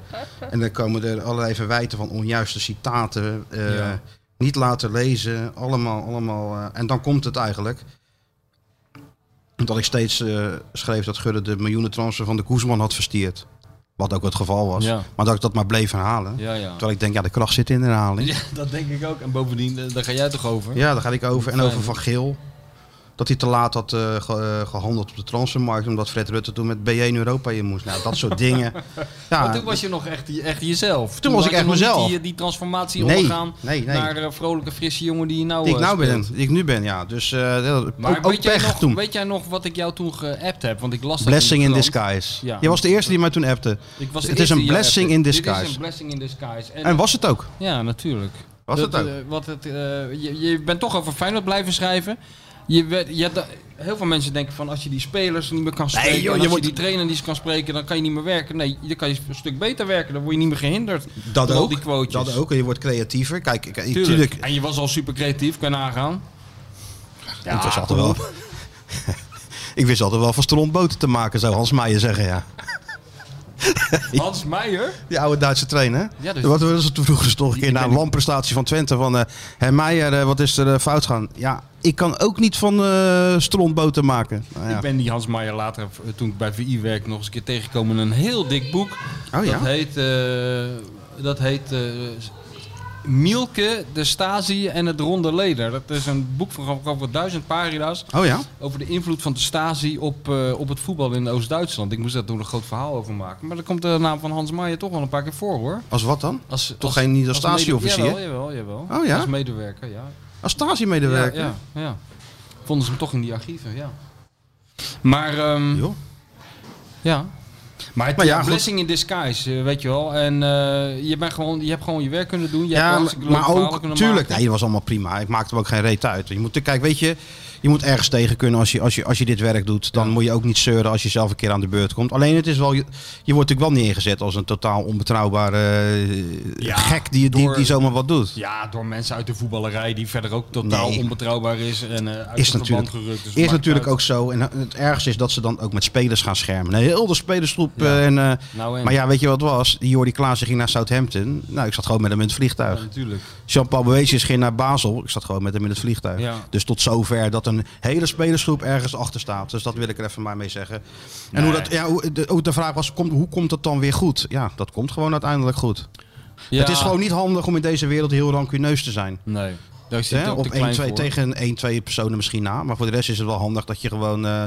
S5: En dan komen er allerlei verwijten van onjuiste citaten. eh,
S7: Ja.
S5: Niet laten lezen. Allemaal, allemaal. eh, en dan komt het eigenlijk. Omdat ik steeds eh, schreef dat Gudde de miljoenen transfer van de Koesman had verstierd. Wat ook het geval was.
S7: Ja.
S5: Maar dat ik dat maar bleef herhalen.
S7: Ja, ja.
S5: Terwijl ik denk, ja, de kracht zit in de herhaling.
S7: Ja, dat denk ik ook. En bovendien, eh, daar ga jij toch over?
S5: Ja, daar ga ik over. En
S7: Fijn.
S5: over Van Geel. dat hij te laat had eh, ge- eh, gehandeld op de transfermarkt. Omdat Fred Rutte toen met B1 Europa in moest. Nou, dat soort dingen. Ja,
S7: Maar toen was je nog echt, echt jezelf. Toen,
S5: was ik
S7: had
S5: echt
S7: je nog niet
S5: mezelf.
S7: Die, die transformatie
S5: Nee,
S7: ondergaan
S5: nee, nee.
S7: naar eh, vrolijke, frisse jongen die je nou,
S5: die ik
S7: eh,
S5: nou ben,
S7: speelt.
S5: die ik nu ben, ja. Dus eh, ja, dat-
S7: Maar
S5: ook, ook
S7: weet, jij
S5: pech
S7: nog,
S5: toen.
S7: weet jij nog wat ik jou toen geappt heb? Want ik las dat
S5: Blessing in
S7: de krant.
S5: disguise.
S7: Ja.
S5: Je was de eerste die mij toen appte.
S7: Ik was de
S5: Het is
S7: eerste
S5: een
S7: die jou
S5: blessing
S7: appte.
S5: in
S7: Dit is
S5: disguise.
S7: een blessing in disguise. En,
S5: En was het ook.
S7: ja, natuurlijk.
S5: Was
S7: Dat,
S5: het ook.
S7: eh, wat het, eh, je, je bent toch over Feyenoord blijven schrijven. Je werd, je had da- heel veel mensen denken van als je die spelers niet meer kan spreken,
S5: joh,
S7: en
S5: je
S7: als
S5: wordt-
S7: je die trainer niet kan spreken, dan kan je niet meer werken. Nee, dan kan je een stuk beter werken, dan word je niet meer gehinderd.
S5: Dat
S7: door al
S5: ook.
S7: Die quotejes.
S5: Dat ook. En je wordt creatiever. Kijk, ik,
S7: Tuurlijk.
S5: tuurlijk.
S7: En je was al super creatief, kan je nagaan.
S5: Ja, ik wist altijd wel. ik wist altijd wel van strontboten te maken, zou Hans Meijer zeggen, ja.
S7: Hans Meijer?
S5: Die oude Duitse trainer.
S7: Ja,
S5: Ja,
S7: dus-
S5: dus wat was het toen vroeger toch een keer na
S7: ken
S5: een
S7: ik.
S5: wanprestatie van Twente van eh Herr Meijer, eh, wat is er eh, fout gaan? Ja, ik kan ook niet van eh strontboten maken. Nou, ja.
S7: Ik ben die Hans Meijer later, eh, toen ik bij VI werkte, nog eens een keer tegengekomen in een heel dik boek.
S5: Oh ja.
S7: Dat heet, eh, dat heet eh, Mielke, de Stasi en het Ronde Leder. Dat is een boek van geloof ik, over duizend pagina's
S5: Oh ja.
S7: over de invloed van de Stasi op, eh, op het voetbal in Oost-Duitsland. Ik moest daar toen een groot verhaal over maken. Maar daar komt de naam van Hans Meijer toch wel een paar keer voor hoor.
S5: Als wat dan?
S7: Als,
S5: Toch geen- niet als
S7: mede-
S5: Stasi-officier?
S7: Jawel, jawel, jawel.
S5: Oh ja?
S7: Als medewerker, ja.
S5: Als Stasi-medewerker.
S7: Ja, ja, ja. Vonden ze hem toch in die archieven, ja. Maar, ehm,
S5: Joh.
S7: ja. Maar, het,
S5: Maar ja,
S7: ja,
S5: goed.
S7: blessing in disguise, eh, weet je wel. En eh, je, bent gewoon, je hebt gewoon je werk kunnen doen. Je hebt
S5: Ja,
S7: wel
S5: maar,
S7: hartstikke leuke
S5: maar
S7: verhalen
S5: ook,
S7: kunnen
S5: tuurlijk,
S7: maken.
S5: nee, dat was allemaal prima. Ik maakte hem ook geen reet uit. Je moet, kijk, weet je, je moet ergens tegen kunnen als je, als je, als je dit werk doet. Dan moet je ook niet zeuren als je zelf een keer aan de beurt komt. Alleen het is wel, je, je wordt natuurlijk wel neergezet als een totaal onbetrouwbare eh,
S7: Ja,
S5: gek die, die,
S7: door-
S5: die zomaar wat doet.
S7: Ja, door mensen uit de voetballerij die verder ook totaal
S5: Nee.
S7: onbetrouwbaar is. En eh, uit
S5: Is
S7: het verband
S5: natuurlijk,
S7: gerukt. Dus het
S5: is
S7: maakt
S5: natuurlijk
S7: uit.
S5: ook zo. En het ergste is dat ze dan ook met spelers gaan schermen. Nee, heel de spelersgroep.
S7: Ja.
S5: eh, En, eh,
S7: Nou, en,
S5: maar ja, weet je wat het was? Die Jordi Klaassen ging naar Southampton. Nou, ik zat gewoon met hem in het
S7: Ja,
S5: vliegtuig.
S7: natuurlijk.
S5: Jean-Paul Boetius ging naar Basel. Ik zat gewoon met hem in het vliegtuig.
S7: Ja.
S5: Dus tot zover dat een hele spelersgroep ergens achter staat. Dus dat wil ik er even maar mee zeggen. En hoe dat, ja, hoe, de, ook de vraag was, komt, hoe komt dat dan weer goed? Ja, dat komt gewoon uiteindelijk goed.
S7: Ja,
S5: Het is gewoon niet handig om in deze wereld heel rancuneus te zijn.
S7: Nee, daar zit
S5: Hè?
S7: ook
S5: Op
S7: te klein
S5: 1, 2,
S7: voor.
S5: tegen een 1, 2 personen misschien na. Maar voor de rest is het wel handig dat je gewoon eh,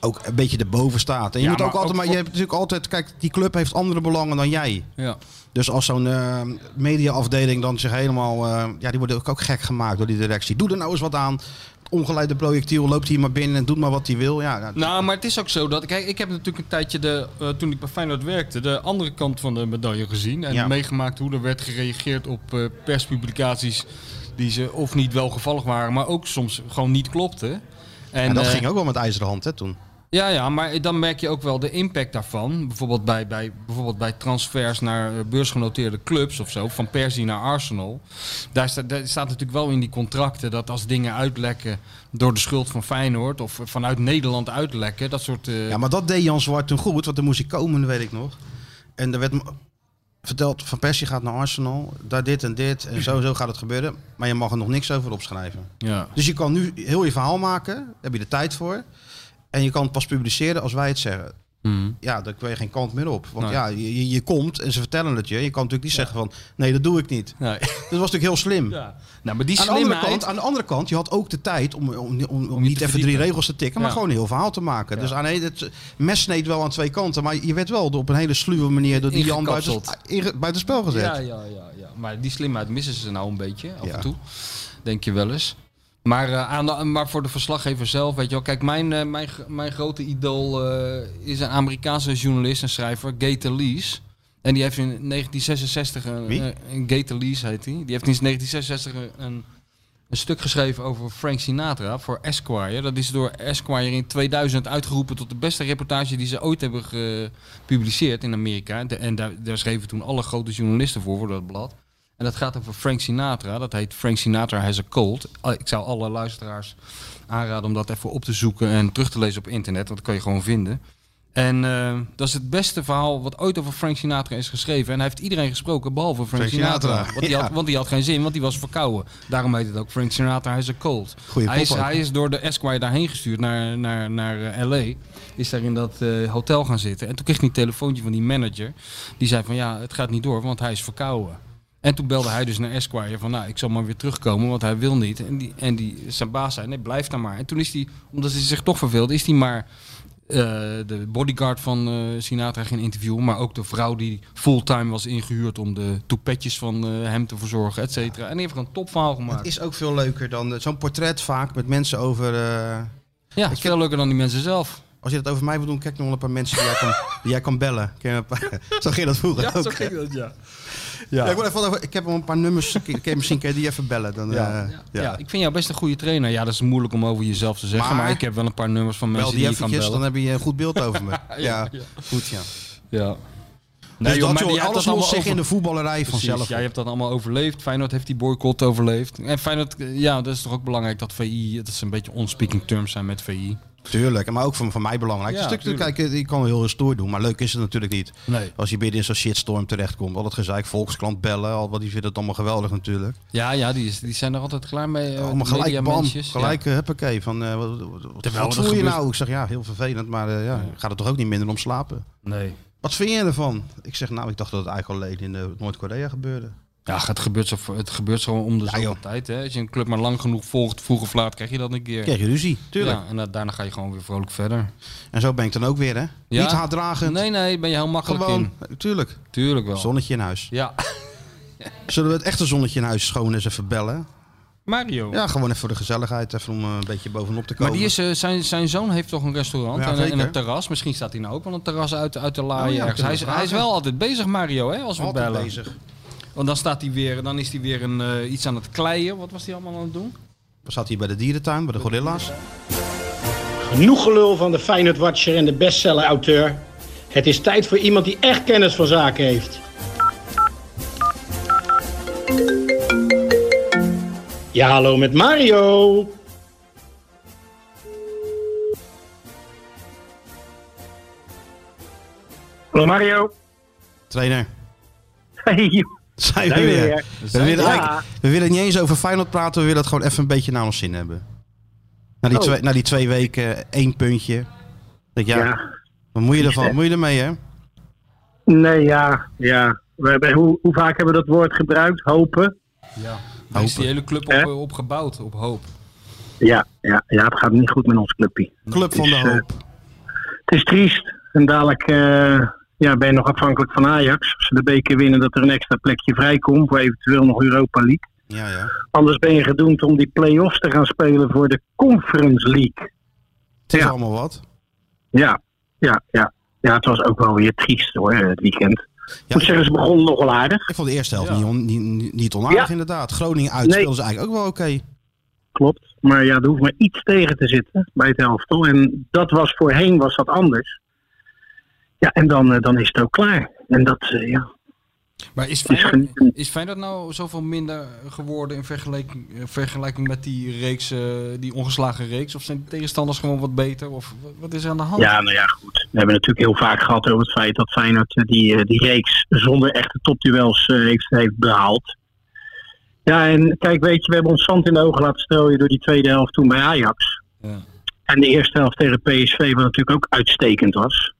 S5: ook een beetje erboven staat. En je
S7: Ja,
S5: moet ook
S7: maar
S5: altijd,
S7: ook
S5: maar je
S7: voor-
S5: hebt natuurlijk altijd, kijk, die club heeft andere belangen dan jij.
S7: Ja.
S5: Dus als zo'n eh, mediaafdeling dan zich helemaal... eh, ja, die worden ook, ook gek gemaakt door die directie. Doe er nou eens wat aan. Het ongeleide projectiel loopt hier maar binnen en doet maar wat hij wil. Ja, ja,
S7: Nou, maar het is ook zo dat... Kijk, ik heb natuurlijk een tijdje, de, eh, toen ik bij Feyenoord werkte... de andere kant van de medaille gezien. En
S5: Ja.
S7: meegemaakt hoe er werd gereageerd op eh, perspublicaties... die ze of niet welgevallig waren... maar ook soms gewoon niet klopten.
S5: en dat
S7: eh,
S5: ging ook wel met ijzeren hand hè, toen.
S7: Ja, ja, maar dan merk je ook wel de impact daarvan. Bijvoorbeeld bij, bij, bijvoorbeeld bij transfers naar eh, beursgenoteerde clubs of zo. Van Persie naar Arsenal. Daar, sta- daar staat natuurlijk wel in die contracten dat als dingen uitlekken door de schuld van Feyenoord... of eh, vanuit Nederland uitlekken, dat soort... eh,
S5: Ja, maar dat deed Jan Zwart toen goed. Want dan moest hij komen, weet ik nog. En er werd me verteld, Van Persie gaat naar Arsenal. Daar dit en dit. En zo, zo gaat het gebeuren. Maar je mag er nog niks over opschrijven.
S7: ja.
S5: Dus je kan nu heel je verhaal maken. Daar heb je de tijd voor. En je kan het pas publiceren als wij het zeggen.
S7: Mhm.
S5: ja, daar kun je geen kant meer op. Want
S7: Nee.
S5: ja, je, je- je komt en ze vertellen het je. Je kan natuurlijk niet zeggen van, nee, dat doe ik niet.
S7: Nee.
S5: Dat was natuurlijk heel slim.
S7: Ja. Nou, maar die
S5: Aan de, andere
S7: slimheid...
S5: kant, aan de andere kant, je had ook de tijd om, om, om, om
S7: je te
S5: niet even drie
S7: verdiepen.
S5: regels te tikken, maar
S7: Ja.
S5: gewoon een heel verhaal te maken. Dus aan een, het mes sneed wel aan twee kanten, maar je werd wel op een hele sluwe manier door die Jan buiten,
S7: Ingekapseld.
S5: inge- buitenspel gezet.
S7: ja, ja, ja, ja. Maar die slimheid missen ze nou een beetje, af
S5: Ja.
S7: en toe. Denk je wel eens. Maar, eh, aan de, maar voor de verslaggever zelf, weet je wel. Kijk, mijn, eh, mijn, gr- mijn grote idool eh, is een Amerikaanse journalist en schrijver, Gator Lees. En die heeft in 1966, een,
S5: Wie?
S7: eh, een Gator Lees heet hij. Die. die heeft in 1966 een, een, een stuk geschreven over Frank Sinatra voor Esquire. Dat is door Esquire in 2000 uitgeroepen tot de beste reportage die ze ooit hebben gepubliceerd in Amerika. De- en daar, daar schreven toen alle grote journalisten voor, voor dat blad. En dat gaat over Frank Sinatra. Dat heet Frank Sinatra Has a Cold. Ah, Ik zou alle luisteraars aanraden om dat even op te zoeken en terug te lezen op internet. Want dat kan je gewoon vinden. En eh, dat is het beste verhaal wat ooit over Frank Sinatra is geschreven. En hij heeft iedereen gesproken, behalve Frank,
S5: Frank
S7: Sinatra.
S5: Sinatra,
S7: Want, die had, want die had geen zin, want die was verkouden. Daarom heet het ook Frank Sinatra Has a Cold.
S5: Goeie
S7: hij, is,
S5: pop ook.
S7: hij is door de Esquire daarheen gestuurd, naar, naar, naar eh, L.A. Is daar in dat eh, hotel gaan zitten. En toen kreeg hij een telefoontje van die manager. Die zei van ja, het gaat niet door, want hij is verkouden. En toen belde hij dus naar Esquire van, nou, ik zal maar weer terugkomen, want hij wil niet. En, die, en die, zijn baas zei, nee, blijf daar maar. En toen is hij, omdat hij zich toch verveelde, is hij maar eh, de bodyguard van eh, Sinatra ging interviewen. Maar ook de vrouw die fulltime was ingehuurd om de toepetjes van eh, hem te verzorgen, et cetera. En die heeft gewoon een topverhaal gemaakt.
S5: Het is ook veel leuker dan eh, zo'n portret vaak met mensen over... eh,
S7: ja, het is veel leuker dan die mensen zelf.
S5: als je dat over mij wil doen, kijk nog wel een paar mensen die jij kan, die jij kan bellen. Ken je een paar- zo ging dat vroeger ook. hè?
S7: dat, ja.
S5: Ja, ik, wil even, wat- ik heb wel een paar nummers. Ik- ik- misschien kan je die even bellen. Dan, eh, ja.
S7: Ja. ik vind jou best een goede trainer. Ja, dat is moeilijk om over jezelf te zeggen, maar,
S5: Maar-
S7: ik heb wel een paar nummers van
S5: Bel
S7: mensen
S5: die
S7: die je kan
S5: eventjes,
S7: bellen.
S5: dan heb je een goed beeld over me. ja,
S7: ja.
S5: goed ja.
S7: Ja.
S5: Nee,
S7: joh,
S5: Dus dat,
S7: maar
S5: joh,
S7: jij hebt
S5: alles
S7: dat
S5: los
S7: allemaal
S5: zich in
S7: over-
S5: de voetballerij
S7: Precies,
S5: vanzelf.
S7: jij hebt dat allemaal overleefd. Feyenoord heeft die boycott overleefd. En Feyenoord, eh, ja, dat is toch ook belangrijk dat VI, dat ze een beetje onspeaking terms zijn met VI.
S5: Tuurlijk, maar ook voor, voor mij belangrijk.
S7: Ja,
S5: Het is natuurlijk-
S7: tuurlijk.
S5: kijk, ik kan wel heel stoer doen, maar leuk is het natuurlijk niet.
S7: Nee.
S5: Als je midden in zo'n shitstorm terechtkomt, al dat gezeik, Volkskrant bellen, al wat die vinden het allemaal geweldig natuurlijk.
S7: Ja, ja, die, is, die zijn er altijd klaar mee. eh,
S5: allemaal
S7: de
S5: Oh, gelijk, bam,
S7: mediamensjes.
S5: gelijk, eh, huppakee. Van, eh, wat wat, wat
S7: Terwijl
S5: wat
S7: er
S5: voel je
S7: gebeurt-
S5: nou? Ik zeg, ja, heel vervelend, maar eh, ja, gaat het toch ook niet minder om slapen?
S7: Ja. Nee.
S5: Wat vind je ervan? Ik zeg, nou, ik dacht dat het eigenlijk alleen in eh, Noord-Korea gebeurde.
S7: Ja, het gebeurt zo, het gebeurt zo om de
S5: Ja,
S7: zoveel
S5: joh.
S7: tijd. Hè. Als je een club maar lang genoeg volgt, vroeg of laat, krijg je dat een keer.
S5: Kreeg je ruzie, tuurlijk.
S7: Ja, en da- daarna ga je gewoon weer vrolijk verder.
S5: En zo ben ik dan ook weer, hè?
S7: Ja?
S5: Niet haatdragend,
S7: Nee, nee, ben je heel makkelijk
S5: gewoon,
S7: in.
S5: tuurlijk.
S7: Tuurlijk wel.
S5: Zonnetje in huis.
S7: Ja.
S5: Zullen we het echte zonnetje in huis schoon eens even bellen?
S7: Mario.
S5: Ja, gewoon even voor de gezelligheid, even om eh, een beetje bovenop te komen.
S7: Maar die is, eh, zijn, zijn zoon heeft toch een restaurant
S5: Ja,
S7: en, een- en
S5: zeker.
S7: een terras. Misschien staat hij nou ook wel een terras uit, uit de laaien
S5: Oh ja,
S7: ergens. Hij is,
S5: kunnen we
S7: hij is
S5: vragen.
S7: wel altijd bezig, Mario, hè, als we
S5: altijd
S7: bellen.
S5: bezig.
S7: Want dan, staat hij weer, dan is hij weer een, eh, iets aan het kleien. Wat was hij allemaal aan het doen?
S5: We zaten hier bij de dierentuin, bij de gorilla's.
S9: Genoeg gelul van de Feyenoord Watcher en de bestseller-auteur. Het is tijd voor iemand die echt kennis van zaken heeft. Ja, hallo met Mario.
S10: Hallo Mario.
S5: Trainer,
S10: Hey,
S5: zijn we
S10: Zijn we
S5: weer.
S10: weer.
S5: We, willen
S10: we-
S5: eigenlijk- we willen niet eens over Feyenoord praten, we willen het gewoon even een beetje naar ons zin hebben. Na die,
S10: Oh.
S5: twee, na die twee weken, één puntje. Ik, ja,
S10: Ja.
S5: Wat moet je ervan? Wat moet je ermee, hè?
S10: Nee, ja. ja. We hebben, hoe, hoe vaak hebben we dat woord gebruikt? Hopen.
S7: Ja. Daar is
S5: Hopen.
S7: die hele club
S10: Hè?
S7: op, op gebouwd, op hoop.
S10: Ja, ja, ja, het gaat niet goed met ons clubje.
S5: Club van de
S10: is, eh,
S5: hoop.
S10: Het is triest. En dadelijk eh, ja, ben je nog afhankelijk van Ajax. Als ze de beker winnen, dat er een extra plekje vrijkomt. Voor eventueel nog Europa League.
S5: Ja, ja.
S10: Anders ben je gedoemd om die play-offs te gaan spelen voor de Conference League.
S5: Het is
S10: Ja.
S5: allemaal wat.
S10: Ja, ja, ja. Ja, het was ook wel weer triest hoor, het weekend. Ik moet
S5: ik-
S10: zeggen, ze begonnen nogal aardig.
S5: Ik vond de eerste helft
S7: Ja.
S5: niet, on, niet- niet, niet onaardig,
S10: Ja.
S5: inderdaad. Groningen uit
S10: Nee.
S5: speelden ze eigenlijk ook wel oké.
S10: Klopt. Maar ja, er hoeft maar iets tegen te zitten bij het elftal. En dat was voorheen was dat anders. Ja, en dan, eh, dan is het ook klaar. En dat, eh, ja.
S7: Maar is
S10: is
S7: Feyenoord,
S10: genieten.
S7: is Feyenoord nou zoveel minder geworden in vergelijking, eh, vergelijking met die, reeks, eh, die ongeslagen reeks? Of zijn de tegenstanders gewoon wat beter? Of wat- wat is er aan de hand?
S10: ja, nou ja, goed. We hebben natuurlijk heel vaak gehad over het feit dat Feyenoord eh, die, eh, die reeks zonder echte topduels eh, heeft, heeft behaald. Ja, en kijk, weet je, we hebben ons zand in de ogen laten strooien door die tweede helft toen bij Ajax.
S7: Ja.
S10: En de eerste helft tegen PSV, wat natuurlijk ook uitstekend was.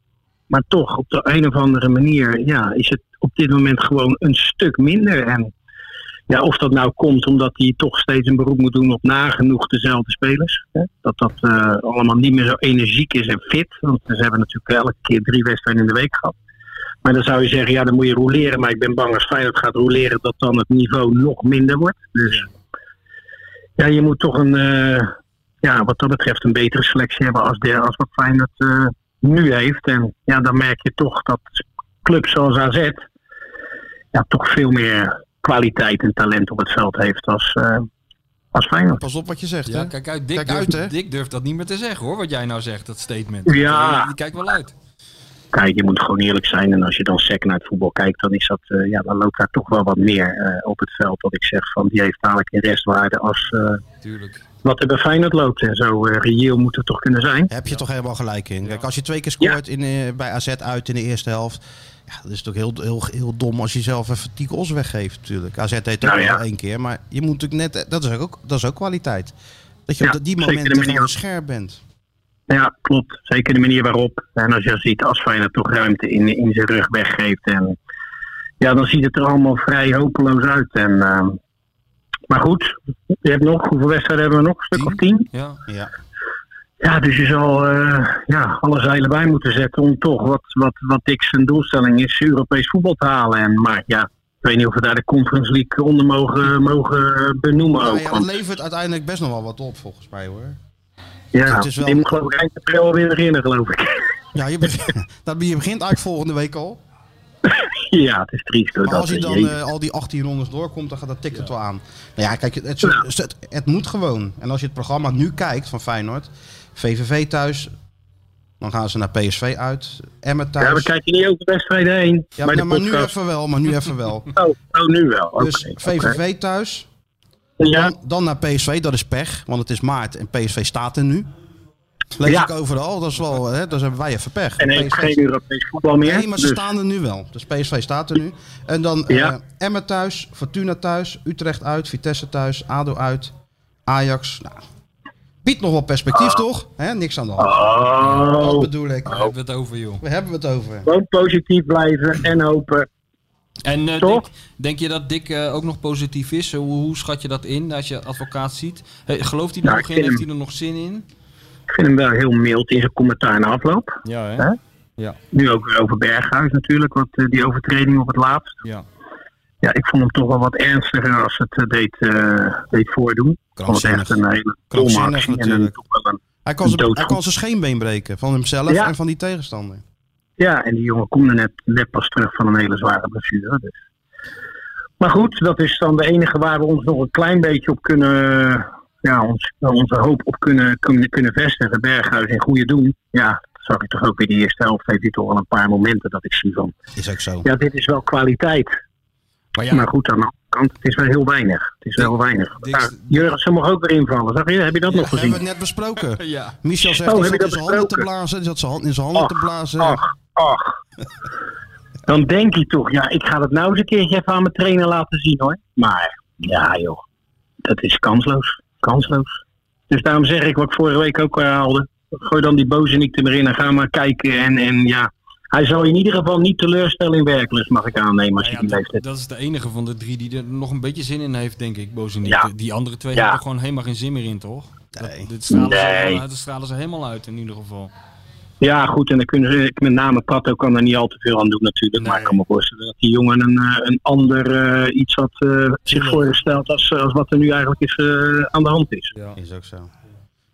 S10: Maar toch, op de een of andere manier ja, is het op dit moment gewoon een stuk minder. En ja, of dat nou komt omdat hij toch steeds een beroep moet doen op nagenoeg dezelfde spelers. Hè? Dat dat eh, allemaal niet meer zo energiek is en fit. Want ze hebben natuurlijk elke keer drie wedstrijden in de week gehad. Maar dan zou je zeggen, ja, dan moet je roleren. Maar ik ben bang als Feyenoord gaat roleren dat dan het niveau nog minder wordt. Dus ja, je moet toch een, eh, ja, wat dat betreft een betere selectie hebben als, der, als wat Feyenoord eh, nu heeft. En ja, dan merk je toch dat clubs zoals AZ ja, toch veel meer kwaliteit en talent op het veld heeft als, eh als Feyenoord.
S5: Pas op wat je zegt,
S7: Ja,
S5: hè?
S7: kijk uit. Dick,
S5: Kijk
S7: durft,
S5: uit, hè?
S7: Dick durft dat niet meer te zeggen hoor, wat jij nou zegt, dat statement.
S10: Ja.
S7: Die kijkt wel uit.
S10: Kijk, je moet gewoon eerlijk zijn. En als je dan sec naar het voetbal kijkt, dan, is dat, eh, ja, dan loopt daar toch wel wat meer eh, op het veld. Dat ik zeg van die heeft dadelijk een restwaarde als eh,
S7: Tuurlijk.
S10: wat er bij Feyenoord loopt. En zo eh, reëel moet het toch kunnen zijn.
S5: Heb je toch helemaal gelijk in. Kijk, als je twee keer scoort in, eh, bij AZ uit in de eerste helft... Ja, dat is natuurlijk heel, heel, heel dom als je zelf even Tiek Os weggeeft natuurlijk. AZ deed dat
S10: Nou ja.
S5: wel één keer, maar je moet natuurlijk net... Dat is ook, dat is ook kwaliteit. Dat je
S10: Ja,
S5: op die
S10: zeker de
S5: momenten
S10: manier.
S5: gewoon scherp bent.
S10: Nou Ja, klopt. Zeker de manier waarop. En als je ziet, als Feyenoord toch ruimte in, in zijn rug weggeeft. En ja, dan ziet het er allemaal vrij hopeloos uit. En, eh, maar goed, je hebt nog, hoeveel wedstrijden hebben we nog? Een stuk of tien?
S7: Ja.
S5: Ja.
S10: Ja, dus je zal eh, ja, alle zeilen bij moeten zetten om toch wat, wat, wat Dick zijn doelstelling is, Europees voetbal te halen. En, maar ja, ik weet niet of we daar de Conference League onder mogen, mogen benoemen
S5: Nou
S10: ook.
S5: ja, het
S10: want-
S5: levert uiteindelijk best nog wel wat op, volgens mij hoor.
S10: ja,
S5: het is wel-
S10: die moet geloof ik eind april weer beginnen, geloof ik.
S5: Ja, je, begint, dat, je begint eigenlijk volgende week al.
S10: ja, het is triest. hoor,
S5: Maar als
S10: dat,
S5: je dan
S10: jezus.
S5: eh, al die 18 rondes doorkomt, dan gaat dat tikt het wel aan. Nou ja, kijk, het, het, het, het moet gewoon. En als je het programma nu kijkt van Feyenoord, VVV thuis, dan gaan ze naar PSV uit, Emmen thuis.
S10: Ja, we kijken niet over wedstrijden heen.
S5: Ja,
S10: bij
S5: maar,
S10: de
S5: maar nu
S10: podcast.
S5: even wel, maar nu even wel.
S10: Oh, oh, nu wel. Oké.
S5: Dus
S10: oké.
S5: VVV thuis,
S10: Ja,
S5: dan, dan naar PSV, dat is pech, want het is maart en PSV staat er nu. Lees
S10: Ja.
S5: ik overal, dat is wel, hè, dus hebben wij even pech.
S10: en eh, heeft
S5: PSV
S10: geen Europees voetbal meer.
S5: Nee, maar ze
S10: dus,
S5: staan er nu wel. Dus PSV staat er nu. En dan eh
S10: Ja.
S5: Emmen thuis, Fortuna thuis, Utrecht uit, Vitesse thuis, ADO uit, Ajax. Nou, biedt nog wel perspectief, toch? Hè, niks aan de hand. Dat
S10: Oh,
S5: bedoel ik.
S7: Daar hebben we het over, joh.
S5: We hebben het over.
S10: gewoon positief blijven en hopen.
S7: En eh,
S10: Toch?
S7: Dick, denk je dat Dick eh, ook nog positief is? Hoe, hoe schat je dat in als je advocaat ziet? Hey, gelooft hij er
S10: Nou,
S7: nog
S10: ik
S7: in?
S10: ken
S7: Heeft
S10: hem.
S7: hij er nog zin in?
S10: Ik vind hem wel heel mild in zijn commentaar na afloop.
S8: Ja, hè?
S10: Hè? Nu ook weer over Berghuis natuurlijk, wat, eh, die overtreding op het laatst.
S8: Ja.
S10: Ja, ik vond hem toch wel wat ernstiger als het eh, deed, eh, deed voordoen. Ik vond het echt een hele domme
S5: Krankzinnig
S10: actie. En een,
S5: natuurlijk.
S10: toch wel een,
S5: Hij kan, zijn,
S10: Doodgoed.
S5: hij kan zijn scheenbeen breken van hemzelf
S10: Ja.
S5: en van die tegenstander.
S10: Ja, en die jongen komt er net, net pas terug van een hele zware blessure. Dus. Maar goed, dat is dan de enige waar we ons nog een klein beetje op kunnen. Ja, ons, eh, onze hoop op kunnen, kunnen, kunnen vestigen. Berghuis in goede doen. Ja, dat zag ik toch ook in die eerste helft. Heeft hij toch wel een paar momenten dat ik zie van.
S5: Is ook zo.
S10: Ja, dit is wel kwaliteit.
S7: Maar ja,
S10: Maar goed, aan de andere kant, het is wel heel weinig. Het is wel weinig.
S7: Dick-
S10: Nou, Jurgensen mag ook weer invallen. Zag je, heb je dat nog
S5: We
S10: gezien?
S5: hebben het net besproken.
S7: ja.
S5: Michel zegt
S10: Oh,
S5: hij zat
S10: heb je
S5: in
S10: dat
S5: zijn handen te
S10: besproken? Ah.
S5: blazen. Hij zat zijn hand in zijn handen te blazen.
S7: eh,
S10: Ach, ach. Dan denk hij toch, ja, ik ga dat nou eens een keertje even aan mijn trainer laten zien hoor. Maar ja joh, dat is kansloos. Kansloos. Dus daarom zeg ik wat ik vorige week ook herhaalde. Gooi dan die bozenik er maar in en ga maar kijken. En, en ja, hij zal je in ieder geval niet teleurstellen in werklust, mag ik aannemen als je
S7: Nou
S10: die
S7: ja,
S10: leeftijd
S7: dat, dat is de enige van de drie die er nog een beetje zin in heeft, denk ik, Bozenik.
S10: Ja.
S7: Die andere twee
S10: Ja.
S7: hebben er gewoon helemaal geen zin meer in, toch?
S5: Nee.
S7: Dat, dit stralen, ze
S10: Nee.
S7: helemaal, uit- dat stralen ze helemaal uit, in ieder geval.
S10: Ja, goed, en dan kunnen ze, met name Kato kan er niet al te veel aan doen natuurlijk. Maar ik kan me voorstellen dat die jongen een, eh, een ander eh, iets had eh, zich voorgesteld als, eh, als wat er nu eigenlijk is, eh, aan de hand is.
S5: Is ook zo.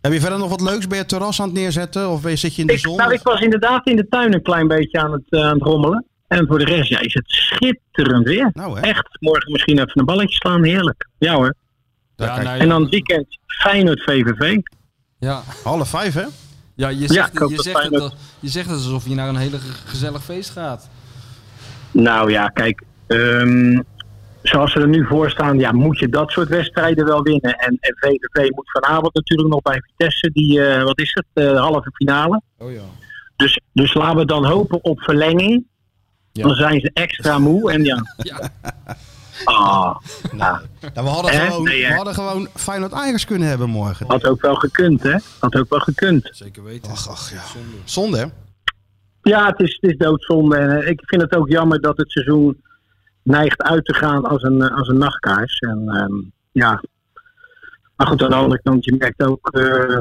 S5: Heb je verder nog wat leuks? Ben je het terras aan het neerzetten? Of ben je, zit je in de
S10: Ik,
S5: zon?
S10: nou, ik was inderdaad in de tuin een klein beetje aan het, eh, aan het rommelen. En voor de rest ja, is het schitterend weer.
S5: Nou, hè?
S10: Echt, morgen misschien even een balletje slaan, heerlijk. Ja hoor.
S5: Daar
S7: Ja,
S5: kijk-
S7: nou ja.
S10: En dan het weekend Feyenoord VVV.
S7: Ja,
S5: Half vijf, hè?
S7: ja, je,
S10: Ja,
S7: zegt,
S10: ik hoop
S7: je,
S10: dat
S7: zegt het,
S10: Feyenoord-
S7: al- je zegt het alsof je naar een hele ge- gezellig feest gaat.
S10: Nou ja, kijk, ehm, zoals ze er nu voor staan, ja, moet je dat soort wedstrijden wel winnen. En, en VVV moet vanavond natuurlijk nog bij Vitesse, die, eh, wat is het, eh, halve finale.
S7: Oh ja.
S10: Dus, dus laten we dan hopen op verlenging. Dan zijn ze extra moe en ja.
S7: Ja.
S10: Ah, nou,
S5: Ja, we, hadden
S10: Hè?
S5: gewoon,
S10: Nee, hè?
S5: we hadden gewoon Feyenoord Ajax kunnen hebben morgen.
S10: had ook wel gekund, hè? Had ook wel gekund.
S7: Zeker weten.
S5: Ach, ach ja. Zonde, hè?
S10: Ja, het is, het is doodzonde. En eh, ik vind het ook jammer dat het seizoen neigt uit te gaan als een, eh, als een nachtkaars. En ehm, ja. Maar goed, aan de andere kant, je merkt ook. eh,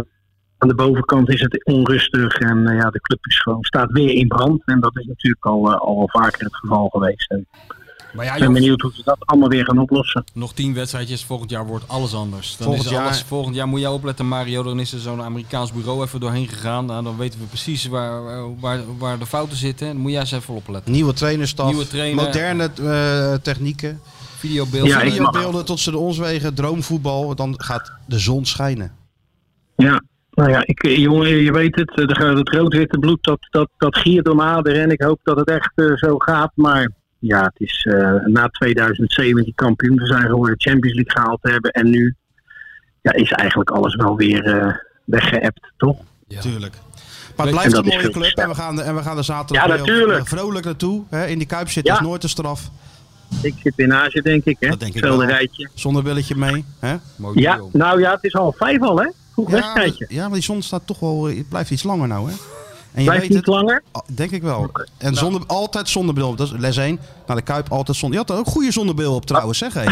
S10: aan de bovenkant is het onrustig. En eh, ja, de club is gewoon, staat weer in brand. En dat is natuurlijk al, eh, al wel vaker het geval geweest. En
S7: Maar ja,
S10: ik ben
S7: joh,
S10: benieuwd hoe ze dat allemaal weer gaan oplossen.
S7: nog tien wedstrijdjes, volgend jaar wordt alles anders. Dan
S5: Volgend
S7: is
S5: jaar-
S7: alles, volgend jaar moet jij opletten, Mario. Dan is er zo'n Amerikaans bureau even doorheen gegaan. Nou, dan weten we precies waar, waar- waar, waar de fouten zitten. Dan moet jij eens even opletten.
S5: Nieuwe trainerstaf,
S7: Nieuwe trainer.
S5: moderne eh, technieken,
S7: Videobeeld.
S10: Ja, ik- mag-
S5: beelden tot ze de ons wegen, droomvoetbal. Dan gaat de zon schijnen.
S10: Ja, nou ja, ik, eh, jongen, je weet het. eh, de- Het rood-witte bloed, dat, dat, dat giert door mijn aderen. En ik hoop dat het echt eh, zo gaat. Maar ja, het is eh, na 2007 die kampioen te zijn geworden, Champions League gehaald te hebben. En nu ja, is eigenlijk alles wel weer eh weggeëpt, toch?
S5: Tuurlijk. Maar
S7: En
S5: het blijft
S10: dat
S5: een
S10: is
S5: mooie
S10: veel.
S5: club en we gaan, er- en we gaan er zaterdag
S10: Ja,
S5: weer
S10: natuurlijk.
S5: vrolijk naartoe. Hè? In die Kuip zitten
S10: Ja.
S5: is nooit een straf.
S10: Ik zit in Azië, denk ik, hè?
S5: Dat denk ik
S10: Hetzelfde
S5: wel.
S10: rijtje.
S5: Zonnebilletje mee. Hè?
S7: Mooi
S10: Ja,
S7: deal.
S10: nou ja, het is al vijf al, hè? Vroeg wedstrijdje.
S5: ja, maar die zon staat toch wel, eh, het blijft iets langer nou. Hè? En je
S10: Blijft
S5: weet
S10: niet
S5: het,
S10: langer?
S5: Ah, Denk ik wel.
S7: Nou.
S5: En zonder, altijd zonnebril op. Dat is les 1. Naar de Kuip altijd zonder. Je had er ook goede zonnebril op trouwens, zeg
S10: Oh,
S5: hé.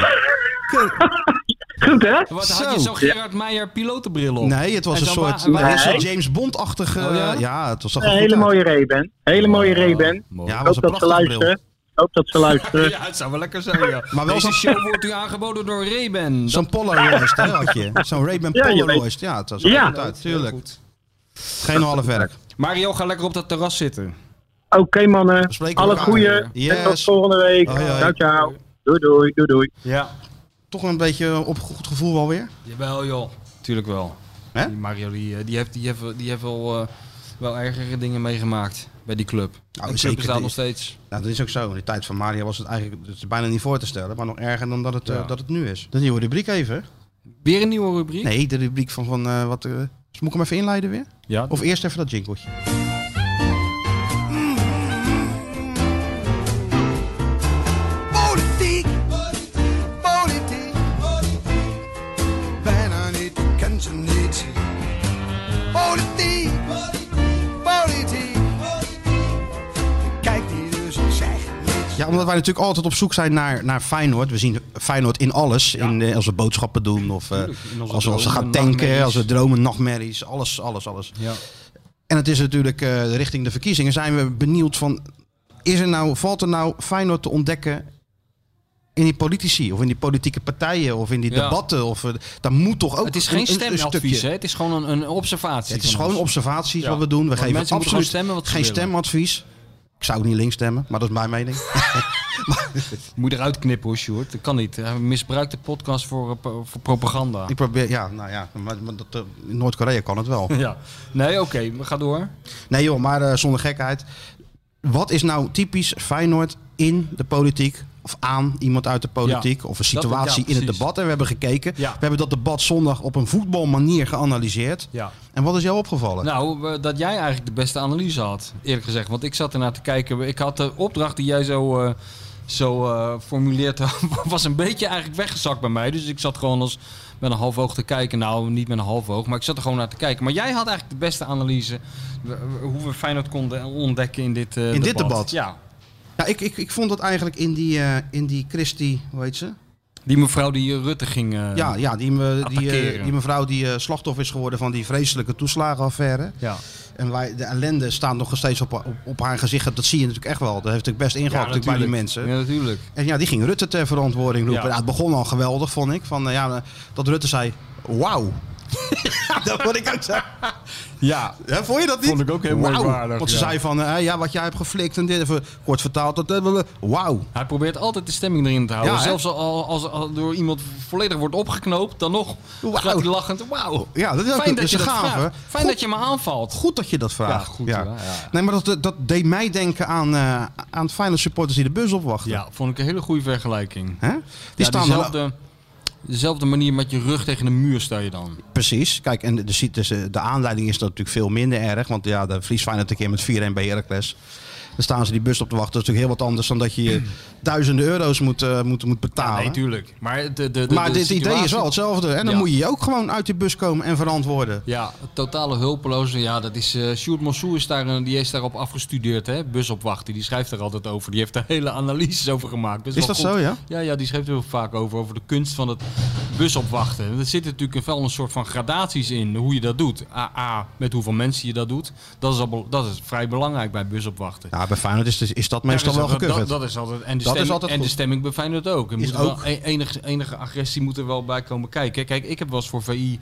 S10: Goed hè?
S7: Wat had je
S5: Zo.
S7: zo'n Gerard Meijer pilotenbril op?
S5: Nee, het was
S7: En
S5: een
S7: dan
S5: soort,
S7: wa- wa-
S5: een soort
S10: Nee.
S5: James Bond-achtige...
S7: Oh, ja?
S5: ja? het was er
S10: Een
S5: goed
S10: hele
S5: uit.
S10: mooie Ray-Ban. Hele mooie
S5: Ja,
S10: Ray-Ban.
S5: het
S10: Hoop
S5: was een
S10: dat ze
S5: prachtige bril.
S10: luisteren. Hoop dat ze luisteren.
S7: Ja, het zou wel lekker zijn, ja.
S5: Maar wel
S7: Deze
S5: zo'n-
S7: show wordt u aangeboden door Ray-Ban. Dat
S5: Zo'n Polaroid hè, had je. Zo'n Ray-Ban
S10: Ja, je weet.
S5: Polaroid. Ja, het was er
S10: Ja.
S5: goed uit.
S7: is heel
S5: Tuurlijk.
S7: goed.
S5: Geen half werk.
S7: Mario, ga lekker op dat terras zitten.
S10: Oké mannen,
S5: We spreken
S10: alle
S5: elkaar
S10: goeie.
S5: weer.
S10: En tot
S5: Yes.
S10: volgende week.
S5: Hoi, hoi.
S10: Ciao, ciao. Doei, doei, doei, doei.
S7: Ja.
S5: Toch een beetje op goed gevoel alweer.
S7: Jawel, joh. Tuurlijk wel.
S5: Hè?
S7: Die Mario, die, eh, die heeft, die heeft, die heeft wel, eh, wel ergere dingen meegemaakt bij die club. Nou, de club
S5: Oh, zeker
S7: bestaat
S5: die-
S7: nog steeds.
S5: Nou, dat is ook zo. In de tijd van Mario was het eigenlijk het is bijna niet voor te stellen, maar nog erger dan dat het, eh,
S7: Ja.
S5: dat het nu is. De nieuwe rubriek even.
S7: Weer een nieuwe rubriek?
S5: Nee, de rubriek van, van eh, wat. eh, dus moet ik hem even inleiden weer?
S7: Ja.
S5: Of eerst even dat jingletje.
S1: Politiek, politiek, politiek. Bijna niet, ken ze niet. Politiek, politiek, Kijk die dus, zeg niets.
S5: Ja, omdat wij natuurlijk altijd op zoek zijn naar, naar Feyenoord. We zien Feyenoord in alles. In, eh, als we boodschappen doen, of eh,
S7: in onze
S5: als, we- als we gaan
S7: dromen,
S5: tanken,
S7: nachtmerries.
S5: als we dromen, nachtmerries. Alles, alles, alles.
S7: Ja.
S5: En het is natuurlijk eh, richting de verkiezingen zijn we benieuwd van... Is er nou, valt er nou Feyenoord te ontdekken in die politici? Of in die politieke partijen? Of in die
S7: Ja.
S5: debatten? Of, eh, daar moet toch ook
S7: Het is
S5: een-
S7: geen
S5: een- een
S7: stemadvies,
S5: stukje-
S7: hè? Het is gewoon een, een observatie.
S5: Het is
S7: van
S5: gewoon
S7: ons.
S5: observaties
S7: Ja.
S5: wat we doen. We
S7: Want
S5: geven
S7: mensen moeten gewoon
S5: absoluut
S7: stemmen wat ze
S5: geen
S7: willen.
S5: stemadvies. Ik zou ook niet links stemmen, maar dat is mijn mening.
S7: Moet je eruit knippen hoor, Sjoerd. Dat kan niet. Hij misbruikt de podcast voor, eh, pro- voor propaganda.
S5: Ik probeer, ja, nou ja, maar, maar dat, eh, in Noord-Korea kan het wel.
S7: Ja. Nee, oké. we gaan door.
S5: Nee joh, maar eh, zonder gekheid. Wat is nou typisch Feyenoord in de politiek? Of aan iemand uit de politiek?
S7: Ja,
S5: of een
S7: dat-
S5: situatie
S7: ja,
S5: in het
S7: precies.
S5: debat? En we hebben gekeken.
S7: Ja.
S5: We hebben dat debat zondag op een voetbalmanier geanalyseerd.
S7: Ja.
S5: En wat is jou opgevallen?
S7: Nou, eh, dat jij eigenlijk de beste analyse had, eerlijk gezegd. Want ik zat ernaar te kijken. Ik had de opdracht die jij zo, eh, zo eh, formuleerd had, was een beetje eigenlijk weggezakt bij mij. Dus ik zat gewoon als met een half oog te kijken. Nou, niet met een half oog, maar ik zat er gewoon naar te kijken. Maar jij had eigenlijk de beste analyse w- w- hoe we Feyenoord konden ontdekken in dit eh
S5: In dit debat?
S7: Ja.
S5: Ja, ik, ik, ik vond dat eigenlijk in die, eh, in die Christie, hoe heet ze?
S7: Die mevrouw die eh, Rutte ging... eh,
S5: Ja, ja die, me, die, eh,
S7: attackeren.
S5: die mevrouw die eh, slachtoffer is geworden van die vreselijke toeslagenaffaire.
S7: ja.
S5: En wij, de ellende staat nog steeds op, op, op haar gezicht. Dat zie je natuurlijk echt wel. Dat heeft natuurlijk best ingehakt natuurlijk bij die mensen.
S7: Ja, natuurlijk.
S5: En ja, die ging Rutte ter verantwoording roepen.
S7: Ja.
S5: Ja. het begon al geweldig, vond ik. Van, eh, ja, eh, dat Rutte zei, wauw. dat vond ik ook zo.
S7: Ja.
S5: Ja, vond je dat niet?
S7: Vond ik ook heel
S5: Wauw.
S7: merkwaardig,
S5: Want ze
S7: ja.
S5: zei van, eh, ja, wat jij hebt geflikt en dit. Even kort vertaald. Dat, eh, eh, wauw.
S7: Hij probeert altijd de stemming erin te houden.
S5: Ja, hè?
S7: Zelfs al, al- als, al door iemand volledig wordt opgeknoopt, dan nog
S5: Wauw.
S7: gaat hij lachend. Wauw.
S5: Ja, dat is ook
S7: Fijn
S5: dat
S7: dat
S5: is
S7: je
S5: een
S7: dat
S5: gave.
S7: vraagt. Fijn
S5: Goed.
S7: dat je me aanvalt.
S5: Goed dat je dat vraagt.
S7: goed, hoor, ja.
S5: Nee, maar dat, dat deed mij denken aan, eh aan Feyenoord supporters die de bus opwachten.
S7: Ja, vond ik een hele goede vergelijking.
S5: Hè? Die
S7: Ja,
S5: staan dan-
S7: dezelfde, dezelfde manier met je rug tegen de muur sta je dan.
S5: Precies. Kijk, en de, de, de, de aanleiding is dat natuurlijk veel minder erg. Want ja, de verlies Feyenoord een keer met 4-1 bij Heracles. Dan staan ze die bus op te wachten. Dat is natuurlijk heel wat anders dan dat je je duizenden euro's moet, eh, moet, moet betalen.
S7: nee, tuurlijk. Maar, de, de, de,
S5: maar
S7: de
S5: dit idee is
S7: situatie-
S5: wel hetzelfde. En dan
S7: Ja.
S5: moet je je ook gewoon uit die bus komen en verantwoorden.
S7: Ja, totale hulpeloze. Ja, dat is. eh Sjoerd Mossoe is daar, een- die is daarop afgestudeerd, hè? Bus opwachten. Die schrijft daar altijd over. Die heeft daar hele analyses over gemaakt.
S5: Is
S7: wel
S5: dat
S7: goed.
S5: zo, ja?
S7: Ja, ja, die schrijft er heel vaak over. Over de kunst van het bus opwachten. En Er zitten natuurlijk wel een soort van gradaties in hoe je dat doet. A, A, met hoeveel mensen je dat doet. Dat is, al, be- dat is vrij belangrijk bij bus opwachten.
S5: Ja, bij Feyenoord is, is dat meestal
S7: Ja, dus dat
S5: wel
S7: is altijd-
S5: gecoverd.
S7: Dat, dat is altijd, en de,
S5: Dat is
S7: stemming,
S5: altijd
S7: en de
S5: goed.
S7: stemming bij Feyenoord ook. Er
S5: Is
S7: moet wel
S5: ook.
S7: e- enige, enige agressie moet er wel bij komen kijken. Kijk, ik heb wel eens voor VI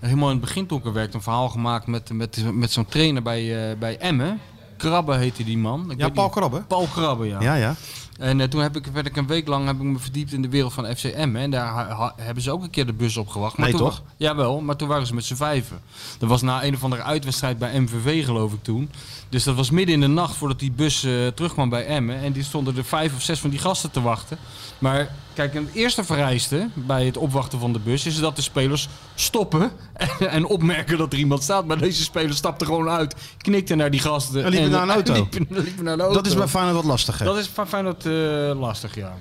S7: helemaal in het begin toen ik er werkte een verhaal gemaakt met, met, met zo'n trainer bij, eh, bij Emmen. Krabbe heette die man. Ik weet
S5: Ja,
S7: niet-
S5: Paul Krabbe.
S7: Paul Krabbe, ja.
S5: Ja, ja.
S7: En eh, toen heb ik, werd ik een week lang heb ik me verdiept in de wereld van FCM. En daar ha- ha- hebben ze ook een keer de bus opgewacht. Maar
S5: Nee,
S7: toen
S5: toch?
S7: wa- jawel, maar toen waren ze met z'n vijven. Dat was na een of andere uitwedstrijd bij MVV, geloof ik toen. Dus dat was midden in de nacht voordat die bus eh, terugkwam bij Emmen. En die stonden er vijf of zes van die gasten te wachten. Maar kijk, een eerste vereiste bij het opwachten van de bus is dat de spelers stoppen. En, en opmerken dat er iemand staat. Maar deze speler stapte gewoon uit, knikte naar die gasten.
S5: En liep naar een auto.
S7: liep- liep naar de auto.
S5: Dat is bij Feyenoord wat lastiger.
S7: eh, Dat is van Feyenoord eh, lastig, ja.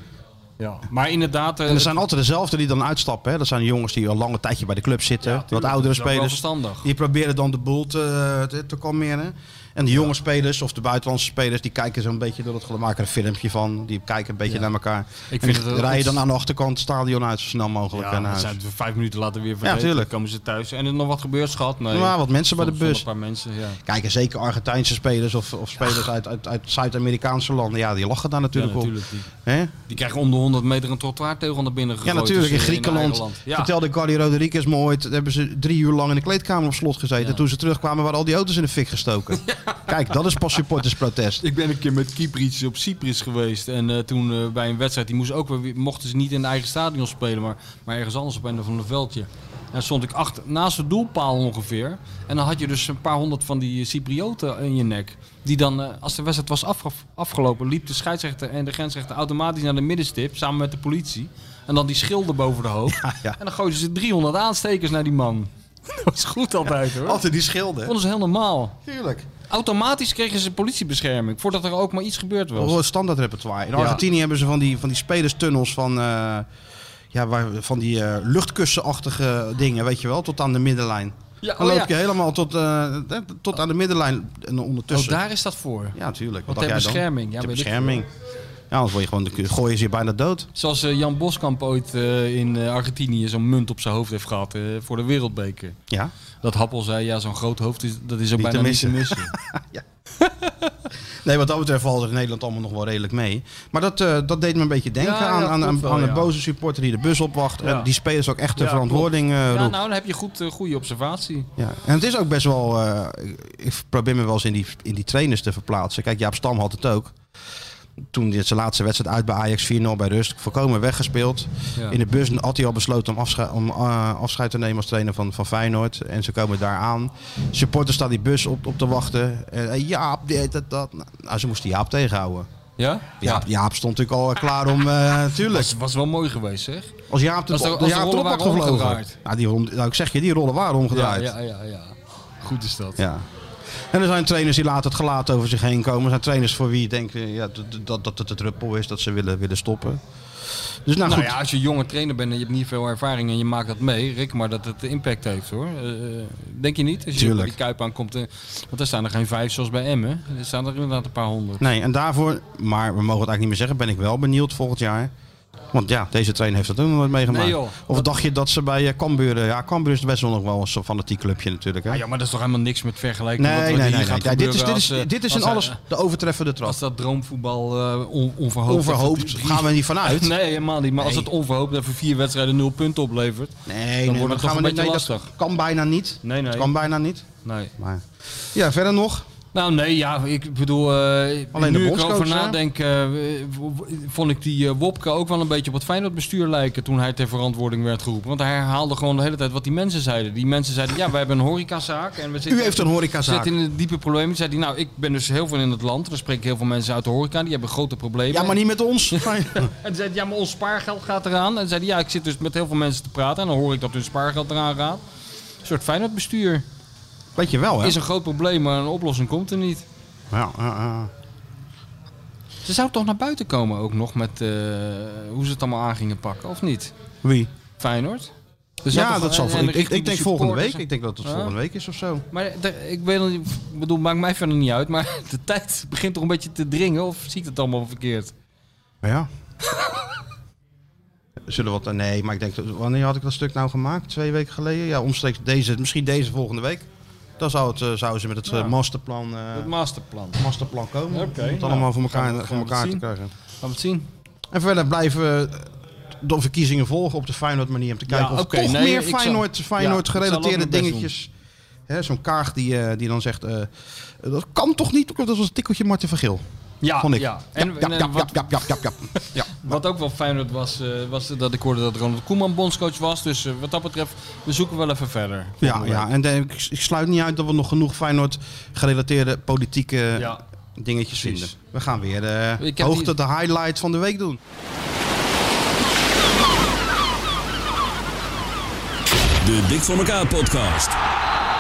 S7: ja. Maar inderdaad... eh,
S5: En er zijn altijd dezelfde die dan uitstappen. Hè? Dat zijn jongens die al lange tijdje bij de club zitten. wat oudere
S7: dat is ook wel
S5: spelers.
S7: verstandig.
S5: Die proberen dan de boel te, te, te kalmeren. En de jonge spelers of de buitenlandse spelers, die kijken zo'n beetje door het we maken er een filmpje van. Die kijken een beetje naar elkaar.
S7: Ik
S5: Ik
S7: vind
S5: vind
S7: het wel
S5: rij je dan
S7: ontst-
S5: aan de achterkant het stadion uit zo snel mogelijk en naar
S7: dan
S5: huis.
S7: zijn we vijf minuten later weer vergeten.
S5: tuurlijk.
S7: Dan komen ze thuis. En er nog wat gebeurt, schat? Nee.
S5: Ja, wat mensen bij de
S7: Stond-
S5: bus.
S7: stonden Een paar mensen, ja.
S5: Kijk, en zeker Argentijnse spelers of, of spelers uit, uit, uit Zuid-Amerikaanse landen. Ja, die lachen daar natuurlijk,
S7: Ja, natuurlijk.
S5: op.
S7: Die,
S5: Hè?
S7: die krijgen om de 100 meter een trottoirtegel naar binnen
S5: Ja,
S7: gegooid.
S5: natuurlijk. In
S7: Dus, eh,
S5: Griekenland.
S7: eigen land. Ja.
S5: Vertelde Cardi Rodriguez me ooit. daar Hebben ze drie uur lang in de kleedkamer op slot gezeten. En toen ze terugkwamen waren al die auto's in de fik gestoken. Kijk, dat is pas supportersprotest.
S7: Ik ben een keer met Kypriets op Cyprus geweest. En eh, toen eh, bij een wedstrijd, die moest ook, weer- mochten ze niet in de eigen stadion spelen, maar, maar ergens anders op een van een veldje. En dan stond ik achter, naast de doelpaal ongeveer. En dan had je dus een paar honderd van die Cyprioten in je nek. Die dan, eh, als de wedstrijd was afge- afgelopen, liep de scheidsrechter en de grensrechter automatisch naar de middenstip samen met de politie. En dan die schilden boven de hoofd.
S5: ja.
S7: En dan gooiden ze 300 aanstekers naar die man. Dat was goed altijd hoor.
S5: Altijd die schilden.
S7: vonden ze heel normaal.
S5: Tuurlijk.
S7: Automatisch kregen ze politiebescherming voordat er ook maar iets gebeurd was.
S5: Wel standaard repertoire. In
S7: Ja.
S5: Argentinië hebben ze van die, van die spelerstunnels van, eh, ja, waar, van die eh, luchtkussenachtige dingen, weet je wel, tot aan de middenlijn.
S7: Ja,
S5: Dan
S7: oh
S5: loop
S7: ja.
S5: je helemaal tot, eh, eh, tot aan de middenlijn en
S7: Oh,
S5: ondertussen.
S7: daar is dat voor.
S5: Ja, natuurlijk.
S7: Wat
S5: dacht
S7: ter
S5: jij dan?
S7: bescherming. Ja,
S5: Ter
S7: weet ik
S5: bescherming. Ja, anders word je gewoon, dan gooien ze je bijna dood.
S7: Zoals eh, Jan Boskamp ooit eh, in eh, Argentinië zo'n munt op zijn hoofd heeft gehad eh, voor de wereldbeker.
S5: Ja.
S7: Dat Happel zei, ja, zo'n groot hoofd, is, dat is ook
S5: Niet te
S7: bijna niet te
S5: missen.
S7: missen.
S5: Nee, wat dat betreft valt er in Nederland allemaal nog wel redelijk mee. Maar dat, eh, dat deed me een beetje denken
S7: Ja, ja,
S5: aan, aan,
S7: klopt
S5: aan,
S7: wel,
S5: aan de
S7: ja.
S5: boze supporter die de bus opwacht.
S7: Ja.
S5: En die spelers ook echt de
S7: Ja,
S5: verantwoording eh,
S7: ja,
S5: roept.
S7: nou, dan heb je goed, eh, goede observatie.
S5: Ja, en het is ook best wel. eh, ik probeer me wel eens in die, in die trainers te verplaatsen. Kijk, Jaap Stam had het ook. Toen dit zijn laatste wedstrijd uit bij Ajax 4-0 bij rust, voorkomen weggespeeld.
S7: Ja.
S5: In de bus had hij al besloten om, afsche- om eh, afscheid te nemen als trainer van, van Feyenoord. En ze komen daar aan. Supporters staan die bus op, op te wachten. En, eh, Jaap, dit, dat, dat. Nou, ze moesten Jaap tegenhouden.
S7: Ja?
S5: Jaap, Jaap stond natuurlijk al eh, klaar om. eh tuurlijk.
S7: Was, was wel mooi geweest, zeg.
S5: Als Jaap de,
S7: Als de-
S5: de
S7: als de
S5: Jaap de
S7: rollen
S5: op had
S7: waren
S5: gevlogen.
S7: omgedraaid.
S5: Nou, die, rond- nou, ik zeg je, die rollen waren
S7: Ja,
S5: omgedraaid.
S7: ja, ja, ja. Goed is dat.
S5: Ja. En er zijn trainers die laten het gelaat over zich heen komen. Er zijn trainers voor wie je denkt eh, ja, dat, dat, dat het het druppel is dat ze willen, willen stoppen. Dus nou,
S7: Nou
S5: goed.
S7: ja, als je jonge trainer bent en je hebt niet veel ervaring en je maakt dat mee, Rick, maar dat het impact heeft hoor. Eh, eh, denk je niet? Als je
S5: Tuurlijk.
S7: bij die Kuip aankomt, eh, want daar staan er geen vijf zoals bij Emmen. Er staan er inderdaad een paar honderd.
S5: Nee, en daarvoor, maar we mogen het eigenlijk niet meer zeggen, ben ik wel benieuwd volgend jaar. Want ja, deze trainer heeft dat ook nog nooit meegemaakt.
S7: Nee, joh.
S5: of dacht je dat ze bij eh, Cambuur... eh, Ja, Cambuur is best wel nog wel een soort fanatiek clubje natuurlijk. Hè?
S7: Ah ja, maar dat is toch helemaal niks met vergelijking.
S5: nee,
S7: met
S5: nee,
S7: wat
S5: nee.
S7: hier
S5: nee,
S7: gaat
S5: Ja, dit is,
S7: gebeuren
S5: dit
S7: als,
S5: is,
S7: eh,
S5: dit is
S7: als
S5: in
S7: hij-
S5: alles de overtreffende trap.
S7: Als dat droomvoetbal eh, on- onverhoopt...
S5: Onverhoopt
S7: dat-
S5: gaan we niet vanuit.
S7: Nee, helemaal niet. Maar als
S5: Nee.
S7: het onverhoopt even vier wedstrijden nul punten oplevert...
S5: Nee,
S7: Dan
S5: nee,
S7: wordt het
S5: maar
S7: toch
S5: gaan we
S7: een
S5: niet,
S7: beetje
S5: nee, dat
S7: lastig.
S5: kan bijna niet.
S7: Nee, nee.
S5: Dat kan bijna niet.
S7: Nee.
S5: Maar, ja, verder nog.
S7: Nou nee, ja, ik bedoel, eh
S5: Alleen de
S7: nu ik
S5: bondscoach,
S7: erover
S5: hè?
S7: nadenk, eh, w- w- vond ik die eh, Wopke ook wel een beetje op het Feyenoordbestuur lijken toen hij ter verantwoording werd geroepen. Want hij herhaalde gewoon de hele tijd wat die mensen zeiden. Die mensen zeiden, ja, wij hebben een horecazaak. En we zitten,
S5: U heeft een horecazaak.
S7: zitten in een diepe problemen. Toen zei hij, nou, ik ben dus heel veel in het land. Er spreken heel veel mensen uit de horeca, die hebben grote problemen.
S5: Ja, maar niet met ons.
S7: En toen zei hij, ja, maar ons spaargeld gaat eraan. En toen zei hij, ja, ik zit dus met heel veel mensen te praten en dan hoor ik dat hun spaargeld eraan gaat. Een soort Feyenoordbestuur.
S5: Weet je wel, hè?
S7: Is een groot probleem, maar een oplossing komt er niet.
S5: Ja, ja, ja.
S7: Ze zou toch naar buiten komen ook nog met eh, hoe ze het allemaal aan gingen pakken, of niet?
S5: Wie?
S7: Feyenoord? Er zou
S5: Ja,
S7: toch-
S5: dat zal.
S7: en- en
S5: Ik, ik,
S7: richting
S5: ik denk
S7: de
S5: volgende
S7: supporters
S5: week. Ik denk dat het
S7: Ja.
S5: volgende week is of zo.
S7: en- Maar er- ik weet nog niet- ik bedoel, maakt mij verder niet uit, maar de tijd begint toch een beetje te dringen, of zie ik het allemaal verkeerd?
S5: Maar ja. Zullen we wat. Nee, maar ik denk. dat- Wanneer had ik dat stuk nou gemaakt? Twee weken geleden? Ja, omstreeks deze. Misschien deze volgende week. Dan zou het, eh, zouden ze met het eh, masterplan, eh,
S7: Het masterplan.
S5: masterplan komen.
S7: Oké,
S5: om het
S7: nou,
S5: allemaal voor
S7: gaan
S5: elkaar,
S7: we- gaan
S5: voor
S7: we
S5: elkaar
S7: het
S5: te
S7: zien.
S5: krijgen.
S7: Gaan we het zien?
S5: En verder blijven we de verkiezingen volgen op de Feyenoord manier. Om te kijken of
S7: oké,
S5: toch
S7: nee,
S5: meer
S7: ik zal-
S5: Feyenoord, Feyenoord
S7: ja, ik zal ook
S5: gerelateerde
S7: mijn best
S5: dingetjes. Hè, Zo'n kaag die, eh, die dan zegt, eh, dat kan toch niet? Dat was een tikkeltje Marten van Geel,
S7: Ja,
S5: vond ik.
S7: ja. En,
S5: ja, ja,
S7: en
S5: ja,
S7: wat,
S5: ja, ja, ja, ja, ja.
S7: wat ook wel Feyenoord was, eh, was dat ik hoorde dat Ronald Koeman bondscoach was. Dus eh, wat dat betreft, we zoeken wel even verder.
S5: Ja, ja, en eh, ik, ik sluit niet uit dat we nog genoeg Feyenoord gerelateerde politieke
S7: Ja.
S5: dingetjes
S7: Precies.
S5: vinden. We gaan weer de
S7: Ik heb
S5: hoogte,
S7: die-
S5: de highlight van de week doen.
S1: De Dik voor elkaar podcast.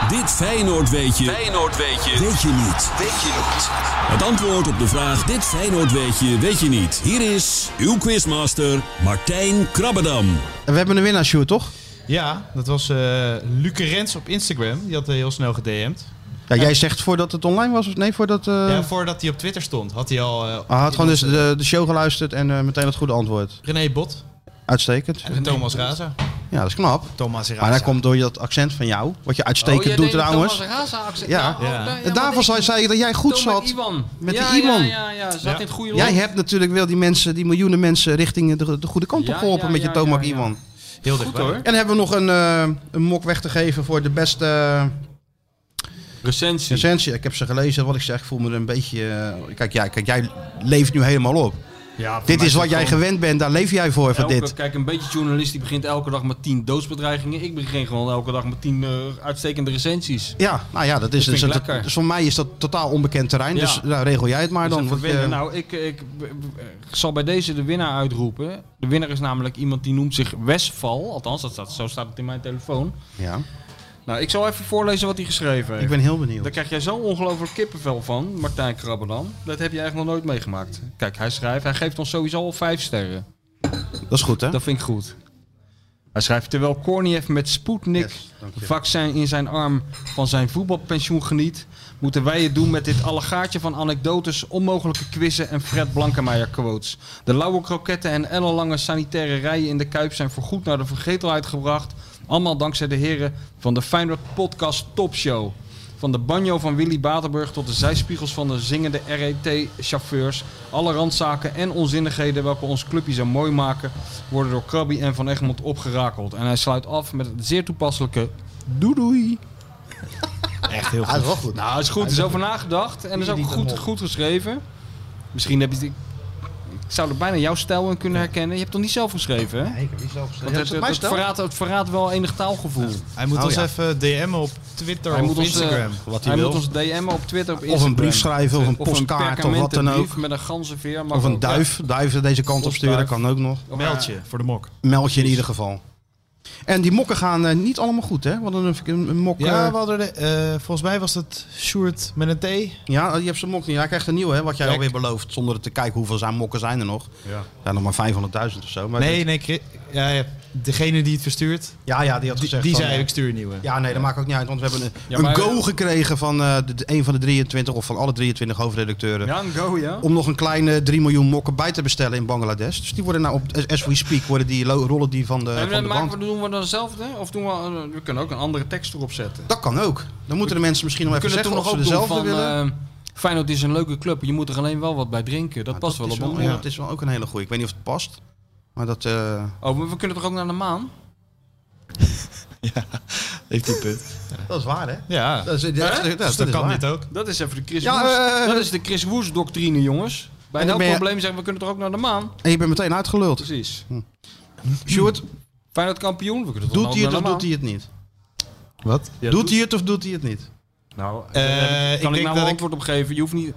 S1: Dit Feyenoord weet je. Feyenoord weet je. Weet je niet. Weet je niet. Het antwoord op de vraag dit Feyenoord weet je, weet je niet. Hier is uw quizmaster Martijn Krabbedam.
S5: En we hebben een winnaar, Sjoerd, toch?
S8: Ja, dat was eh Luc Rens op Instagram. Die had eh, heel snel gedM'd.
S5: Ja, jij zegt voordat het online was? Of nee, voordat... eh
S8: Ja, voordat hij op Twitter stond, had hij al... eh,
S5: Ah, had gewoon dus de, de show geluisterd en eh, meteen het goede antwoord.
S8: René Bot
S5: Uitstekend.
S8: en Thomas Raza.
S5: Ja, dat is knap.
S8: Thomas Raza.
S5: Maar dat komt door dat accent van jou, wat je
S7: Oh,
S5: uitstekend
S7: jij
S5: doet
S7: deed het
S5: trouwens.
S7: Thomas Raza accent.
S5: Ja.
S7: oh,
S8: Ja.
S7: daar-
S5: en
S7: maar
S5: daarvan
S7: ik-
S5: zei zei je dat jij goed
S7: Thomas
S5: zat.
S7: Iwan.
S5: Met
S7: ja,
S5: de Iwan.
S7: Ja, ja, ja. Zat in het goede
S5: Jij
S7: lot.
S5: hebt natuurlijk wel die mensen, die miljoenen mensen, richting de, de goede kant op
S7: Ja,
S5: geholpen
S7: ja,
S5: met je
S7: ja,
S5: Tomac
S7: ja, ja.
S5: Iwan.
S8: Heel
S7: Goed
S8: dichtbij.
S7: hoor.
S5: En hebben we nog een, eh, een mok weg te geven voor de beste eh,
S7: Recensie.
S5: recensie. Ik heb ze gelezen, wat ik zeg, ik voel me er een beetje... eh, kijk, ja, kijk, jij leeft nu helemaal op.
S7: Ja,
S5: Dit is wat jij gewend bent, daar leef jij voor, van
S7: Elke-
S5: dit.
S7: Kijk, een beetje journalist die begint elke dag met 10 doodsbedreigingen. Ik begin gewoon elke dag met 10 eh, uitstekende recensies.
S5: Ja, nou ja, dat is,
S7: Dat vind ik
S5: dat-
S7: lekker.
S5: dus voor mij is dat totaal onbekend terrein.
S7: Ja.
S5: Dus nou, regel jij het maar
S7: Dus
S5: dan.
S7: even
S5: want,
S7: winnen.
S5: eh,
S7: nou, ik, ik, b- b- ik zal bij deze de winnaar uitroepen. De winnaar is namelijk iemand die noemt zich Westval. Althans, dat staat, zo staat het in mijn telefoon.
S5: ja.
S7: Nou, ik zal even voorlezen wat hij geschreven heeft.
S5: Ik ben heel benieuwd.
S7: Daar krijg jij zo ongelooflijk kippenvel van, Martijn Krabbenam. Dat heb je eigenlijk nog nooit meegemaakt. Kijk, hij schrijft, hij geeft ons sowieso al vijf sterren.
S5: Dat is goed, hè?
S7: Dat vind ik goed. Hij schrijft, terwijl Korniev met Sputnik
S5: Yes, dank je.
S7: vaccin in zijn arm van zijn voetbalpensioen geniet, moeten wij het doen met dit allegaartje van anekdotes, onmogelijke quizzen en Fred Blankenmeijer quotes. De lauwe kroketten en ellenlange sanitaire rijen in de Kuip zijn voorgoed naar de vergetelheid gebracht. Allemaal dankzij de heren van de Feyenoord Podcast Top Show. Van de banjo van Willy Batenburg tot de zijspiegels van de zingende RET-chauffeurs. Alle randzaken en onzinnigheden welke ons clubje zo mooi maken, worden door Krabby en Van Egmond opgerakeld. En hij sluit af met het zeer toepasselijke doei doei.
S8: Echt heel
S5: Ah,
S8: goed.
S5: is wel goed.
S7: Nou, het is goed. Er is over nagedacht en er is ook goed, goed geschreven. Misschien heb je... Ik zou er bijna jouw stijl in kunnen herkennen. Je hebt het nog niet zelf geschreven, hè?
S5: Nee, ik heb niet zelf
S7: Want het, het, het verraadt, het verraadt wel enig taalgevoel.
S8: Hij moet
S5: Oh,
S8: ons
S5: ja.
S8: even DM'en op Twitter
S7: Hij
S8: of
S7: moet ons, eh,
S8: Instagram.
S5: Wat hij
S7: Hij
S5: wil.
S7: moet ons DM'en op Twitter, op
S5: Of
S7: Instagram.
S5: een brief schrijven, of een postkaart, of wat dan ook.
S7: perkamentenbrief met een ganzenveer. mag
S5: Of een
S7: ook.
S5: duif, duiven deze kant op
S7: Of
S5: sturen,
S7: duif.
S5: kan ook nog.
S7: Ja. Of,
S8: Meld je
S7: eh,
S8: voor de mok.
S5: Meld je in ieder geval. En die mokken gaan eh, niet allemaal goed, hè? We hadden een, een, een mok...
S8: Ja,
S5: Ja,
S8: we hadden de, eh, volgens mij was dat Sjoerd met een T.
S5: ja, je hebt zijn mok niet. Hij krijgt een nieuwe, hè? Wat jij
S8: Ja,
S5: alweer belooft. Zonder te kijken hoeveel zijn mokken zijn er nog. Ja, nog maar 500.000 of zo. Maar
S8: Nee, nee, Chri- ja, ja, degene die het verstuurt,
S5: ja, ja, die had
S8: die,
S5: gezegd...
S8: die
S5: van,
S8: zei
S5: eh,
S8: ik stuur een nieuwe.
S5: Ja, nee, dat maakt ook niet uit. Want we hebben een,
S7: Ja,
S5: een
S7: maar-
S5: go gekregen van eh, de, de- een van de 23 of van alle 23 hoofdredacteuren.
S7: Ja, een go, ja.
S5: Om nog een kleine 3 miljoen mokken bij te bestellen in Bangladesh. Dus die worden nou op as we speak, worden die lo- rollen die eh, van de,
S7: en
S5: van
S7: dan
S5: de
S7: maken we,
S5: band.
S7: doen we dan hetzelfde? Of doen we, eh, we kunnen ook een andere tekst erop zetten.
S5: Dat kan ook. Dan moeten de mensen misschien nog
S7: We
S5: even
S7: kunnen
S5: zeggen
S7: toen
S5: of
S7: nog
S5: ze
S7: ook doen
S5: dezelfde
S7: van...
S5: willen.
S7: eh, Feyenoord is een leuke club, je moet er alleen wel wat bij drinken. Dat
S5: Ja,
S7: past
S5: is
S7: wel op een...
S5: ja, Ah, Dat is wel ook een hele goeie. Ik weet niet of het past. Maar dat... eh,
S7: Oh, maar we kunnen toch ook naar de maan?
S8: Heeft die punt.
S5: dat is waar, hè?
S8: Ja,
S5: Dat is, dat,
S7: Hè?
S5: dat-
S7: Dus
S5: dat
S8: dus
S5: is
S8: dat kan
S5: waar.
S8: dit ook.
S7: Dat is even de Chris
S5: Ja,
S7: Woes.
S5: eh,
S7: dat is de Chris Woes doctrine, jongens. Bij elk
S5: En dan ben je-
S7: probleem zeggen we kunnen toch ook naar de maan?
S5: En je bent meteen uitgeluld.
S7: Precies.
S5: Sjoerd,
S7: Feyenoord kampioen, we kunnen toch
S5: Hm. doet
S7: ook
S5: hij
S7: naar
S5: het
S7: de
S5: of
S7: maan?
S5: doet hij het niet?
S8: Wat?
S7: Ja,
S5: Doet hij het of doet hij het niet?
S7: Nou,
S8: Eh, ik
S7: kan ik, nou
S8: denk dat
S7: een
S8: ik-
S7: antwoord op geven? Je hoeft niet...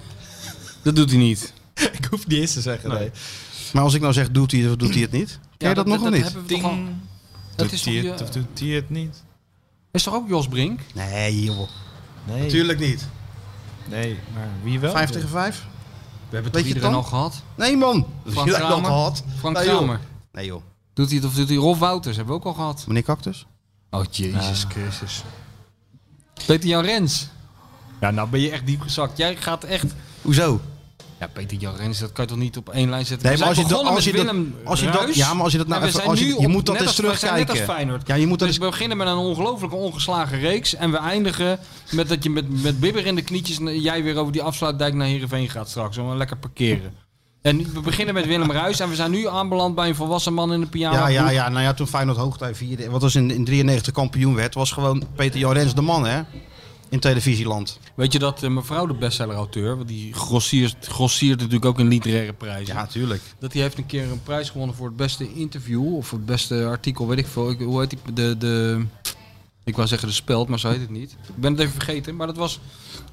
S7: Dat doet hij niet.
S8: ik hoef niet eens te zeggen.
S7: Nee.
S8: Nee.
S5: Maar als ik nou zeg doet hij het of doet hij het niet? Ken je dat, nog of niet?
S7: hebben we toch al- Dat
S8: Doet
S7: is
S8: hij
S7: toch
S8: het
S7: je-
S8: of doet hij het niet?
S7: Is toch ook Jos Brink?
S5: Nee, joh.
S8: Nee.
S5: Tuurlijk niet.
S8: Nee, maar wie wel?
S5: 5 tegen 5?
S7: We hebben
S5: Weet je het dan?
S7: al gehad.
S5: Nee, man.
S7: Frank
S5: Dat heb ik al
S7: Kramer?
S5: gehad.
S7: Frank
S5: nee, joh.
S7: Kramer.
S5: Nee, joh.
S7: Doet hij het of doet hij Rolf Wouters? Hebben we ook al gehad.
S5: Meneer Cactus?
S7: Oh, jezus Christus. Peter Jan Rens. Ja, nou ben je echt diep gezakt. Jij gaat echt...
S5: Hoezo?
S7: Ja, Peter Jan Rens, dat kan je toch niet op één lijn zetten?
S5: Nee,
S7: We
S5: maar als je,
S7: zijn
S5: dat,
S7: begonnen
S5: als, je
S7: met
S5: dat,
S7: Willem
S5: als je dat,
S7: Ruijs.
S5: ja, maar als je dat
S7: En
S5: nou
S7: we
S5: even,
S7: zijn
S5: als je,
S7: nu
S5: je
S7: op-
S5: moet dat
S7: net
S5: eens
S7: als- we zijn
S5: terugkijken.
S7: Net als Feyenoord.
S5: ja, je moet dat
S7: Dus we beginnen met een ongelooflijke ongeslagen reeks. En we eindigen met dat je met, met bibber in de knietjes... en jij weer over die afsluitdijk naar Heerenveen gaat straks. Om lekker parkeren. En we beginnen met Willem Ruijs. En we zijn nu aanbeland bij een volwassen man in een piano.
S5: ja, ja, ja, nou ja, toen Feyenoord hoogtij vierde, wat was in, in 93 kampioen werd, was gewoon Peter Jan Rens de man, hè? In televisieland.
S7: Weet je dat eh, mevrouw de bestseller-auteur... want die grossiert, grossiert natuurlijk ook in literaire prijzen...
S5: tuurlijk.
S7: dat die heeft een keer een prijs gewonnen voor het beste interview... of het beste artikel, weet ik veel. Ik, hoe heet die? De, de, ik wou zeggen de speld, maar zo heet het niet. Ik ben het even vergeten, maar dat was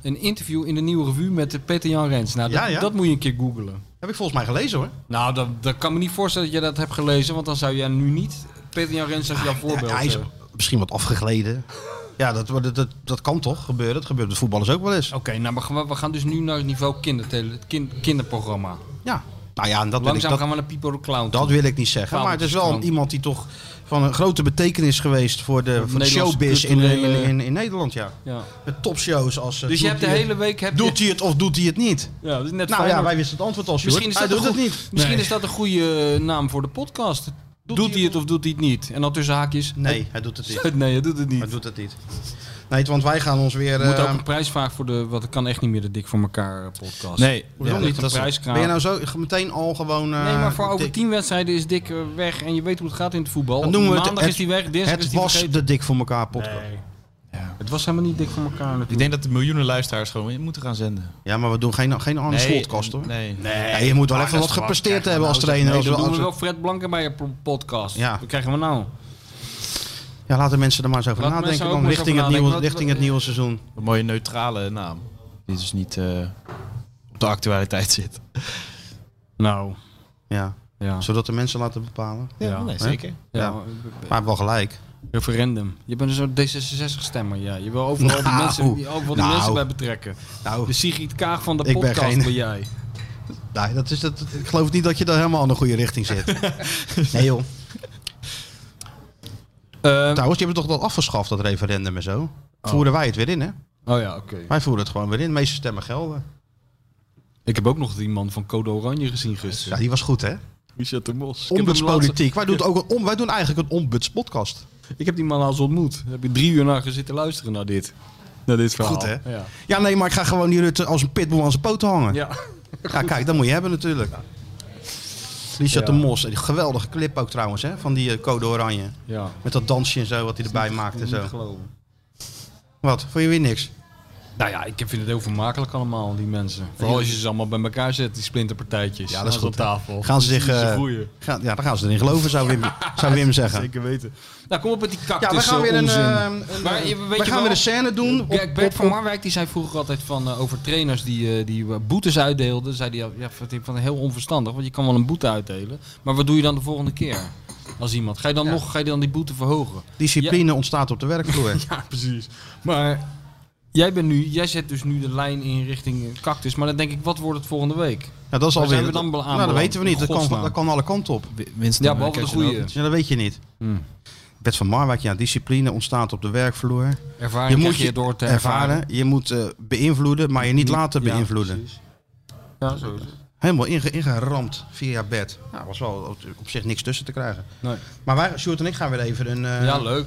S7: een interview in de Nieuwe Revue... met eh, Peter Jan Rens. Nou, dat,
S5: Ja, ja.
S7: dat moet je een keer googlen.
S5: Heb ik volgens mij gelezen, hoor.
S7: Nou, dat, dat kan me niet voorstellen dat je dat hebt gelezen... want dan zou jij nu niet Peter Jan Rens als jouw voorbeeld...
S5: Ah, Ja, hij is
S7: eh.
S5: misschien wat afgegleden. Ja, dat, dat, dat, dat kan toch gebeuren. Dat gebeurt met
S7: Oh.
S5: voetballers ook wel eens.
S7: Oké, nou, maar we- we gaan dus nu naar het niveau kindertele, kin- kinderprogramma.
S5: Ja. Nou ja, en dat wil ik,
S7: Langzaam
S5: dat,
S7: gaan we naar People Clown.
S5: dat wil ik niet zeggen.
S7: Gaan
S5: Maar
S7: we
S5: het is wel
S7: gaan.
S5: iemand die toch van een grote betekenis geweest voor de, voor de
S7: Nederlandse
S5: showbiz in, in,
S7: culturele-
S5: in, in Nederland. Ja.
S7: Ja.
S5: Met topshows als... eh,
S7: Dus je
S5: doet
S7: hebt de
S5: hij het-
S7: hele week... Heb
S5: Doet
S7: je,
S5: hij het of doet hij het niet?
S7: ja, dat is net
S5: Nou ja,
S7: Feyenoord.
S5: wij wisten het antwoord al, Sjoerd.
S7: Misschien is
S5: Hij
S7: dat
S5: doet
S7: een
S5: het
S7: goed-
S5: niet.
S7: Misschien
S5: Nee.
S7: is dat een goede eh, naam voor de podcast. Doet,
S5: Doet
S7: hij het of doet hij het niet? En dan tussen haakjes...
S5: Nee, hij doet het niet.
S7: het- Nee, hij doet het niet.
S5: Hij doet het niet. Nee, want wij gaan ons weer...
S7: We moeten
S5: eh,
S7: ook een prijs vragen voor de... Want ik kan echt niet meer de Dik voor elkaar eh, podcast.
S8: Nee,
S5: hoezo
S7: ja,
S5: niet?
S7: niet een
S5: Dat is-
S7: prijskraam.
S5: Ben je nou zo meteen al gewoon... eh,
S7: Nee, maar voor over
S5: dik-
S7: tien wedstrijden is Dick eh, weg. En je weet hoe het gaat in het voetbal.
S5: Dan noemen we het-
S7: Maandag
S5: het-
S7: is hij weg, dinsdag is
S5: Het
S7: hij
S5: was
S7: vergeten.
S5: de dik voor elkaar podcast.
S7: Het was helemaal niet Dik voor elkaar natuurlijk.
S8: Ik denk dat de miljoenen luisteraars gewoon in moeten gaan zenden.
S5: Ja, maar we doen geen, geen Arne Slotcast, hoor.
S8: Nee.
S5: Ja, je moet wel even wat gepresteerd hebben als trainer.
S7: Nee,
S5: als
S7: dan
S5: we-
S7: nou, doen
S5: als
S7: we
S5: we-
S7: wel Fred Blankenmeijer pro- podcast.
S5: Ja.
S7: Wat krijgen we nou?
S5: Ja, laten mensen er maar eens over
S7: Laten mensen
S5: nadenken
S7: ook
S5: dan
S7: maar eens
S5: richting,
S7: over
S5: het nieuwe,
S7: nadenken. Wat-
S5: richting het nieuwe seizoen.
S8: Een mooie neutrale naam. Die dus niet eh, op de actualiteit zit.
S7: Nou,
S5: Ja.
S7: ja.
S5: Zodat de mensen laten bepalen.
S8: Ja,
S7: Ja.
S8: nee, zeker.
S7: ja.
S5: Maar hij heeft wel gelijk.
S7: Referendum. Je bent een soort D66-stemmer, ja. Je wil overal de
S5: Nou,
S7: mensen, je- overal de
S5: nou.
S7: mensen bij betrekken. De
S5: Nou,
S7: Sigrid Kaag van de
S5: Ik ben
S7: podcast
S5: geen-
S7: ben jij.
S5: nee, dat is, dat, ik geloof niet dat je daar helemaal in de goede richting zit. nee joh.
S7: Eh,
S5: Trouwens, die hebben toch dat afgeschaft, dat referendum en zo? Voeren wij het weer in, hè?
S7: oh ja, oké.
S5: Wij voeren het gewoon weer in. De meeste stemmen gelden.
S7: Ik heb ook nog die man van Code Oranje gezien
S5: Ja,
S7: gisteren.
S5: die was goed, hè?
S7: Richard de Mos. Ik heb, hem laatst-
S5: Ombudspolitiek. Wij doen, ook een, om, wij doen eigenlijk een ombudspodcast.
S7: ik heb die man laatst ontmoet. Daar heb ik drie uur naar gezitten luisteren naar dit. Naar dit verhaal.
S5: Goed, hè?
S7: Ja.
S5: Ja, nee, maar ik ga gewoon die Rutte als een pitbull aan zijn poten hangen. Ja,
S7: ja.
S5: kijk, dat moet je hebben natuurlijk. Richard de Mos, die geweldige clip ook trouwens, hè? Van die eh, Code Oranje.
S7: ja.
S5: Met dat dansje en zo, wat hij erbij maakt en
S7: Niet
S5: zo.
S7: geloven.
S5: Wat, vond je weer niks?
S7: Nou ja, ik vind het heel vermakelijk allemaal, die mensen. Vooral als je ze allemaal bij elkaar zet, die splinterpartijtjes.
S5: Ja, dat is
S7: Aan zo'n
S5: goed, hè.
S7: tafel.
S5: Gaan ze zich...
S7: Ze
S5: eh,
S7: groeien.
S5: gaan, ja, dan gaan ze erin geloven, zou Wim, zou Wim zeggen.
S7: Zeker weten. Nou, kom op met die
S5: Ja,
S7: cactus.
S5: we gaan weer een...
S7: onzin.
S5: eh, een-
S7: Maar, eh, weet
S5: we
S7: je
S5: gaan
S7: wel-
S5: weer een scène doen. op-
S7: Kijk, Bert
S5: op-
S7: van Marwijk die zei vroeger altijd van, eh, over trainers die, eh, die eh, boetes uitdeelden. Zei die, al- ja, vind ik van heel onverstandig, want je kan wel een boete uitdelen. Maar wat doe je dan de volgende keer als iemand? Ga je dan nog ga je dan die boete verhogen?
S5: Discipline ontstaat op de werkvloer.
S7: Ja, precies. Maar jij, bent nu, jij zet dus nu de lijn in richting eh, cactus. Maar dan denk ik, wat wordt het volgende week?
S5: Ja, dat is
S7: Waar
S5: alweer.
S7: zijn we dan bela-
S5: nou, dat
S7: aanbeland?
S5: weten we niet. Dat
S7: In
S5: kan,
S7: godsnaam.
S5: dat kan alle kanten op.
S8: Winston,
S7: Ja, behalve de goede
S5: Ja, dat weet je niet.
S7: Hmm.
S5: Bert van Marwijk, ja, discipline ontstaat op de werkvloer.
S7: ervaring
S5: je moet
S7: krijg je, door te
S5: ervaren.
S7: ervaren.
S5: Je moet eh, beïnvloeden, maar je niet laten
S7: ja,
S5: beïnvloeden.
S7: precies. Ja, zo is het.
S5: Helemaal inge- ingeramd via bed. Nou, was wel op, op zich niks tussen te krijgen.
S7: Nee.
S5: Maar wij, Sjoerd en ik, gaan weer even een, eh,
S7: Ja, leuk.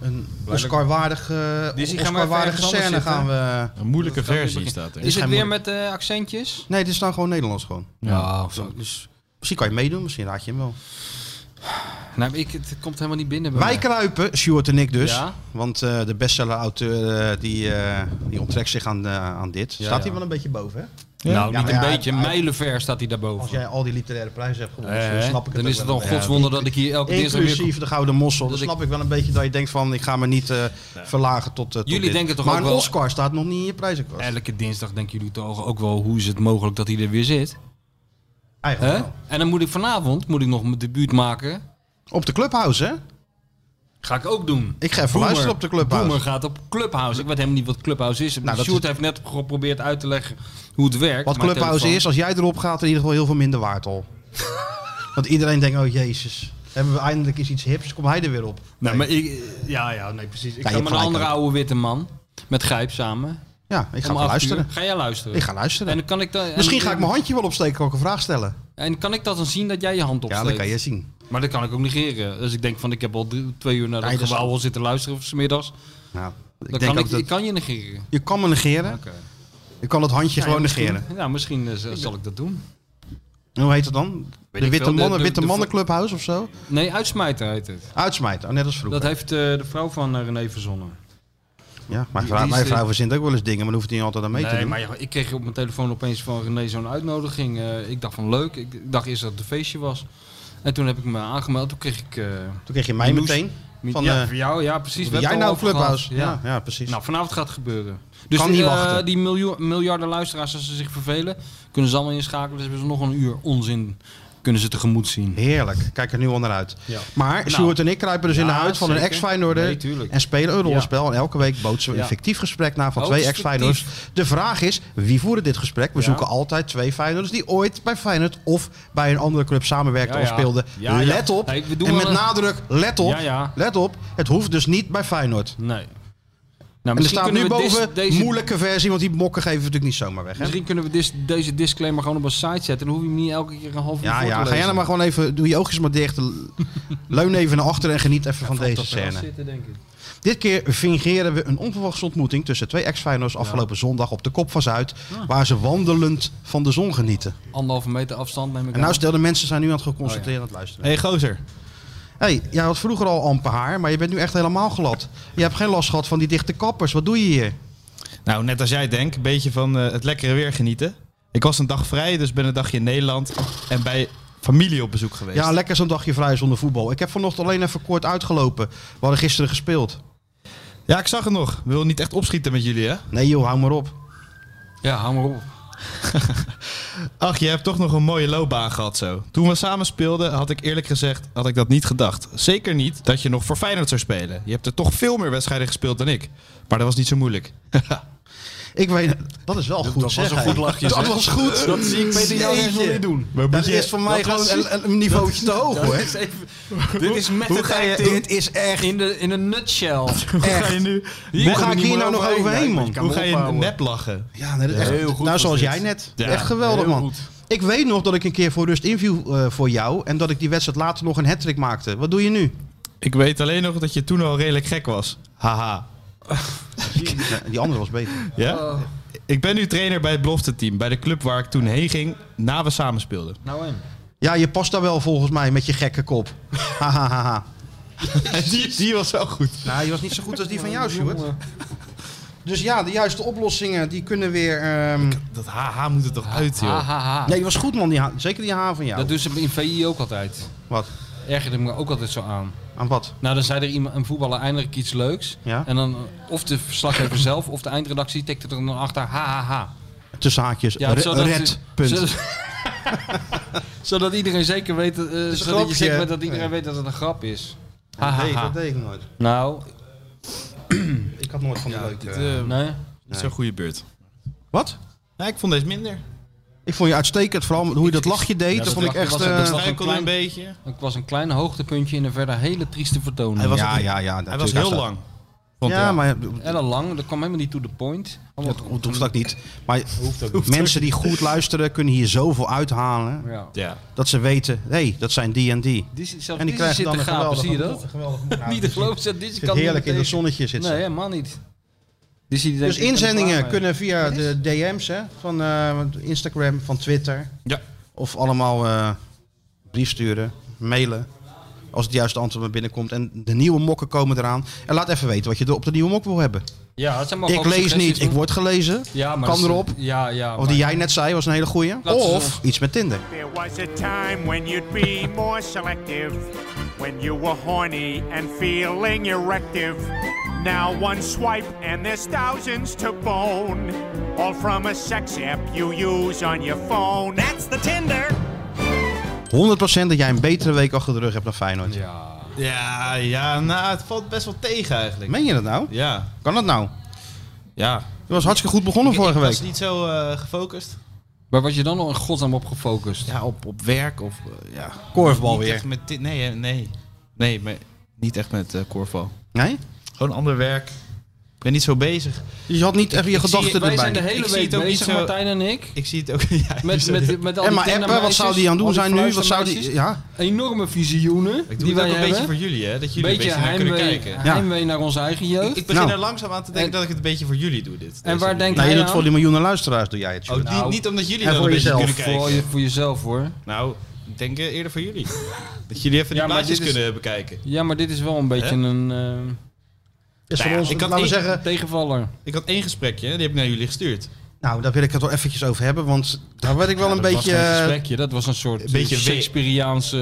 S5: een Oscar-waardige
S7: Dus die gaan we even
S5: Oscar
S7: ergens anders
S5: scène
S7: zitten.
S5: gaan we...
S8: Een moeilijke
S7: Dat kan
S8: versie
S7: niet
S8: staat er.
S7: Is het
S5: geen
S7: weer met eh, accentjes?
S5: Nee, dit is dan gewoon Nederlands gewoon.
S7: Ja, of zo. Dus,
S5: Misschien kan je meedoen, misschien raad je hem wel.
S7: nou, ik, het komt helemaal niet binnen bij
S5: Wij
S7: mij.
S5: kruipen, Sjoerd en ik dus.
S7: Ja.
S5: Want eh, de bestseller-auteur eh, die, eh, die onttrekt zich aan, eh, aan dit.
S7: Ja,
S5: Staat
S7: ja.
S5: hij wel een beetje boven, hè?
S7: Nou,
S5: Ja,
S7: niet
S5: maar
S7: een
S5: ja,
S7: beetje.
S5: hij-
S7: Mijlenver staat hij
S5: Als
S7: daarboven.
S5: jij al die literaire prijzen hebt gewonnen,
S7: Eh,
S5: dan snap ik het
S7: dan
S5: ook
S7: is het
S5: wel
S7: dan
S5: een beetje.
S7: godswonder dat ik hier elke dinsdag weer...
S5: Inclusief de Gouden Mossel. Dan
S7: Dat ik-
S5: snap ik wel een beetje dat je denkt van, ik ga me niet eh, verlagen tot, eh, tot
S7: Jullie
S5: dit.
S7: denken toch
S5: maar
S7: ook
S5: een
S7: wel-
S5: Oscar staat nog niet in je prijzenkast.
S7: Elke dinsdag denken jullie toch ook wel hoe is het mogelijk dat hij er weer zit?
S5: Eigenlijk
S7: Hè?
S5: wel.
S7: En dan moet ik vanavond moet ik nog mijn debuut maken.
S5: Op de Clubhouse, hè?
S7: Ga ik ook doen.
S5: Ik ga even luisteren op de Clubhouse.
S7: Boomer gaat op Clubhouse. Ik weet helemaal niet wat Clubhouse is. Nou,
S5: dat
S7: Sjoerd
S5: is-
S7: heeft net geprobeerd uit te leggen hoe het werkt.
S5: Wat
S7: maar
S5: Clubhouse
S7: telefoon-
S5: is, als jij erop gaat, in ieder geval heel veel minder waard al. Want iedereen denkt, oh jezus, hebben we eindelijk eens iets hips, komt hij er weer op.
S7: Nou, maar ik, ja, ja, nee, precies. Ik
S5: Ja, je
S7: ga
S5: hebt
S7: met een
S5: gelijk
S7: andere
S5: ook.
S7: oude witte man. Met Grijp samen.
S5: Ja, ik ga
S7: Om
S5: wel
S7: acht
S5: luisteren.
S7: uur. Ga jij luisteren?
S5: Ik ga luisteren.
S7: En dan kan ik dan, en- eh,
S5: Misschien ga ik mijn handje wel opsteken, ook een vraag stellen.
S7: En kan ik dat dan zien dat jij je hand opsteekt?
S5: Ja, dat kan je zien.
S7: Maar dat kan ik ook negeren. Dus ik denk van, ik heb al drie- twee uur naar dat
S5: Nee, dat is-
S7: gebouw al zitten luisteren of 's middags.
S5: Nou, ik
S7: Dan
S5: denk
S7: kan
S5: ook
S7: ik,
S5: dat...
S7: ik kan je negeren.
S5: Je kan me negeren.
S7: Oké.
S5: Je kan het handje gewoon
S7: misschien,
S5: negeren.
S7: Ja, misschien eh, z- zal ik dat doen.
S5: En hoe heet dat dan?
S7: Weet
S5: de
S7: ik
S5: Witte,
S7: veel, de-
S5: mannen,
S7: de-
S5: witte
S7: de-
S5: Mannenclubhuis of zo?
S7: Nee, uitsmijter heet het.
S5: Uitsmijten, oh, net als vroeger.
S7: Dat heeft eh, de vrouw van eh, René verzonnen.
S5: ja,
S7: die-
S5: mijn vrouw,
S7: die is
S5: mijn
S7: de-
S5: vrouw verzint ook wel eens dingen, maar dan hoeft hij niet altijd aan mee te
S7: Nee,
S5: doen.
S7: maar ja, ik kreeg op mijn telefoon opeens van René zo'n uitnodiging. Eh, ik dacht van leuk. Ik ik dacht eerst dat het een feestje was. En toen heb ik me aangemeld. Toen kreeg ik... eh,
S5: Toen kreeg je mij
S7: Nieuws.
S5: meteen. Van,
S7: ja,
S5: eh,
S7: voor jou, ja, precies. We hebben
S5: Wil jij
S7: het
S5: nou
S7: al over
S5: Clubhouse?
S7: gehad.
S5: Ja, ja, precies.
S7: Nou, vanavond gaat het gebeuren. Dus
S5: Kan niet
S7: eh,
S5: wachten.
S7: die miljoen, miljarden luisteraars, als ze zich vervelen, kunnen ze allemaal inschakelen. Dus hebben ze nog een uur onzin kunnen ze tegemoet zien.
S5: Heerlijk, kijk er nu al naar uit.
S7: Ja.
S5: Maar
S7: Nou.
S5: Sjoerd en ik kruipen dus in de
S7: Ja,
S5: huid van een
S7: zeker.
S5: ex-Feyenoorder
S7: Nee, tuurlijk.
S5: en spelen een
S7: Ja.
S5: rollenspel. En elke week bootsen we een
S7: Ja.
S5: fictief gesprek na van
S7: Oh,
S5: twee
S7: het is
S5: ex-Feyenoorders. De vraag is, wie voeren dit gesprek? We
S7: Ja.
S5: zoeken altijd twee Feyenoorders die ooit bij Feyenoord of bij een andere club samenwerkten
S7: Ja,
S5: of
S7: ja.
S5: speelden.
S7: Ja, ja.
S5: let op,
S7: Nee, we doen
S5: en
S7: wel
S5: met
S7: een-
S5: nadruk, let op,
S7: Ja, ja.
S5: let op. Het hoeft dus niet bij Feyenoord.
S7: Nee. Nou,
S5: en er staat nu boven
S7: deze,
S5: moeilijke versie, want die mokken geven we natuurlijk niet zomaar weg. Hè?
S7: Misschien kunnen we dis- deze disclaimer gewoon op een site zetten. Dan hoef je hem niet elke keer een half uur
S5: Ja,
S7: voor te
S5: ja.
S7: lezen.
S5: Ga jij nou maar gewoon even, doe je oogjes maar dicht. Leun even naar achteren en geniet even van
S7: Valt
S5: deze
S7: dat wel
S5: scène.
S7: zitten, denk ik.
S5: Dit keer fingeren we een onverwachte ontmoeting tussen twee ex-Feyenoorders afgelopen zondag op de Kop van Zuid, waar ze wandelend van de zon genieten.
S7: Anderhalve meter afstand neem ik
S5: En nou
S7: aan.
S5: stel, de mensen zijn nu aan het geconcentreerd aan het luisteren.
S8: hey, gozer.
S5: hey, jij had vroeger al amper haar, maar je bent nu echt helemaal glad. Je hebt geen last gehad van die dichte kappers. Wat doe je hier?
S8: Nou, net als jij denkt, een beetje van eh, het lekkere weer genieten. Ik was een dag vrij, dus ben een dagje in Nederland en bij familie op bezoek geweest.
S5: Ja, lekker zo'n dagje vrij zonder voetbal. Ik heb vanochtend alleen even kort uitgelopen. We hadden gisteren gespeeld.
S8: Ja, ik zag het nog. Wil niet echt opschieten met jullie, hè?
S5: Nee joh, hou maar op.
S7: Ja, hou maar op.
S8: Ach, je hebt toch nog een mooie loopbaan gehad zo. Toen we samen speelden, had ik eerlijk gezegd had ik dat niet gedacht. Zeker niet dat je nog voor Feyenoord zou spelen. Je hebt er toch veel meer wedstrijden gespeeld dan ik. Maar dat was niet zo moeilijk.
S5: Ik weet, dat is wel goed zeg, hè? Dat was goed.
S7: Dat zie ik
S5: Peter Jan echt nog niet
S7: doen.
S5: Dat is voor mij gewoon een, een- een niveautje te hoog hoor.
S7: dit is met
S5: Hoe
S7: het
S5: ga je-
S7: acting
S5: dit is echt-
S7: In, de, in een nutshell.
S8: Hoe ga je nu?
S5: Hoe ga ik hier nou nog overheen, man?
S8: Hoe ga je nep lachen?
S5: Ja, nee, dat is echt,
S7: Heel goed
S5: nou
S7: was
S5: zoals
S7: dit.
S5: jij net.
S8: Ja,
S5: echt geweldig,
S7: heel
S5: man.
S7: goed.
S5: Ik weet nog dat ik een keer voor rust inviel eh, voor jou. En dat ik die wedstrijd later nog een hat maakte. Wat doe je nu?
S8: Ik weet alleen nog dat je toen al redelijk gek was. Haha.
S5: Nee, die andere was beter.
S8: Ja? Ik ben nu trainer bij het belofte team. Bij de club waar ik toen heen ging, na we samen speelden.
S7: Nou en?
S5: Ja, je past daar wel volgens mij met je gekke kop. Hahaha.
S8: die, die was wel goed.
S5: nou, die was niet zo goed als die van jou, Stuart. Dus ja, de juiste oplossingen die kunnen weer. ehm,
S8: Dat haha moet er toch uit, joh.
S7: Ha, ha, ha.
S5: Nee, die was goed, man. Die ha- Zeker die haar van jou.
S7: ah. Dat doen ze in VI ook altijd.
S5: Wat?
S7: Ergerde me ook altijd zo aan.
S5: Aan wat?
S7: Nou, dan zei er iemand, een voetballer eindelijk iets leuks.
S5: Ja.
S7: En dan eh, of de verslaggever zelf of de eindredactie tikte er dan achter ha ha ha.
S5: Tussen haakjes.
S7: Ja,
S5: Re-
S7: zodat-
S5: red. Punt.
S7: Zodat, zodat iedereen zeker weet, eh, zodat je
S5: grapje,
S7: zeker
S5: hè?
S7: weet dat iedereen
S5: Nee.
S7: weet dat het een grap is. Ha,
S5: Dat
S7: ha,
S5: deed-
S7: ha.
S5: dat deed ik nooit.
S7: Nou,
S5: Ik had nooit van de leuke.
S7: nee.
S8: Dat is een goede beurt.
S5: Wat?
S8: Ja, ik vond deze minder.
S5: Ik vond je uitstekend, vooral hoe je dat lachje deed.
S7: Ja,
S5: dat
S7: dat
S5: vond ik
S7: lachje
S5: echt.
S7: was- dat
S5: eh,
S7: was-
S8: Struikelde
S7: klein-
S8: een beetje.
S7: Het was een klein hoogtepuntje in een verder hele trieste vertoning.
S8: was
S5: ja,
S8: ook-
S5: ja, ja.
S8: Hij was
S5: natuurlijk.
S8: heel
S5: staat-
S8: lang. vond
S5: Ja,
S8: ik.
S5: maar
S7: En dan lang, dat kwam helemaal niet to the point. Allemaal-
S5: dat hoeft hoeft ook niet. Maar mensen die goed luisteren kunnen hier zoveel uithalen.
S7: ja.
S8: Ja.
S5: Dat ze weten, hé, hey, dat zijn die en die.
S7: Die, zit- zelfs
S5: En die
S7: die
S5: krijgen
S7: zit
S5: dan
S7: te
S5: een
S7: gapen,
S5: geweldige
S7: zie je dat? Niet te geloven, zit Dizzy
S5: Nou, Zit
S7: kan
S5: heerlijk in
S7: niet tegen.
S5: het zonnetje zit ze.
S7: Nee, helemaal niet. Dizzy die denkt,
S5: Dus
S7: ik ben er klaar
S5: inzendingen
S7: mee.
S5: kunnen via de DM's hè, van eh, Instagram, van Twitter.
S8: Ja.
S5: Of allemaal eh, brief sturen, mailen. Als het juiste antwoord maar binnenkomt. En de nieuwe mokken komen eraan. En laat even weten wat je er op de nieuwe mok wil hebben.
S7: Ja, dat zijn maar
S5: Ik
S7: gewoon
S5: lees
S7: suggesties,
S5: niet, ik
S7: hoor.
S5: word gelezen.
S7: Ja, maar
S5: kan
S7: dat is-
S5: erop.
S7: Ja, ja.
S5: Of die jij net zei, was een hele goeie.
S7: Laten we-
S5: Of iets met Tinder.
S11: There was a time when you'd be more selective, when you were horny and feeling erective. Now one swipe and there's thousands to bone, all from a sex app you use on your phone. That's the Tinder.
S5: 100% dat jij een betere week achter de rug hebt dan Feyenoord.
S7: Ja.
S8: Ja, ja, nou, het valt best wel tegen eigenlijk.
S5: Meen je dat nou?
S8: Ja.
S5: Kan dat nou?
S8: Ja.
S5: Je was hartstikke goed begonnen vorige
S8: ik
S5: week.
S8: was niet zo eh, gefocust.
S7: Waar was je dan nog in godsnaam op gefocust?
S8: Ja, op, op werk of... eh, ja.
S5: Korfbal
S8: Niet
S5: weer.
S8: echt met dit, nee, hè, nee. Nee, maar niet echt met eh korfbal.
S5: Nee?
S8: Gewoon ander werk. Ik ben niet zo bezig.
S5: Je had niet even je
S8: Ik zie-
S5: gedachten
S7: Wij zijn de
S5: erbij.
S7: hele
S8: Ik zie
S7: week
S8: het ook niet
S7: bezig,
S8: zo-
S7: Martijn en ik.
S8: Ik zie het ook... Ja,
S7: Met,
S8: dus,
S7: met,
S8: eh,
S7: met, al die
S5: En maar appen, wat
S7: kindermeisjes,
S5: zou die aan
S7: al
S5: doen zijn nu? Wat zou die...
S7: fluistermeisjes.
S5: Ja,
S7: Enorme visioenen
S8: ik doe
S7: die
S8: het
S7: wij
S8: ook een
S7: hebben.
S8: beetje voor jullie, hè. Dat jullie
S7: beetje
S8: een beetje naar kunnen
S7: heimwee,
S8: kijken.
S7: heimwee naar onze eigen jeugd.
S8: Ik, ik begin
S5: Nou.
S8: er langzaam aan te denken
S7: En-
S8: dat ik het een beetje voor jullie doe, dit.
S7: en waar denk
S5: nou, je
S7: jij
S5: doet het
S7: aan?
S5: voor die miljoenen luisteraars, doe jij het.
S8: Oh,
S5: Sjoerd.
S8: niet-
S7: Nou,
S8: niet omdat jullie
S5: en
S8: dan
S5: voor
S8: een beetje
S5: jezelf.
S8: kunnen kijken.
S7: voor, je, voor jezelf hoor.
S8: Nou, ik denk eh, eerder voor jullie. Dat jullie even die
S7: Ja, maar
S8: plaatjes
S7: dit is-
S8: kunnen bekijken.
S7: Ja, maar dit is wel een beetje
S8: Hè?
S7: een eh,
S5: Is voor
S7: nou,
S8: ja,
S5: ons,
S8: ik had
S5: laten we
S8: één-
S5: zeggen...
S7: tegenvaller.
S8: Ik had één gesprekje, die heb ik naar jullie gestuurd.
S5: Nou, daar wil ik het wel eventjes over hebben, want daar werd ik wel een
S7: dat was
S5: beetje...
S7: geen
S5: eh,
S7: gesprekje, dat was een soort
S8: een beetje
S7: eh,
S8: we-
S7: Shakespeareaanse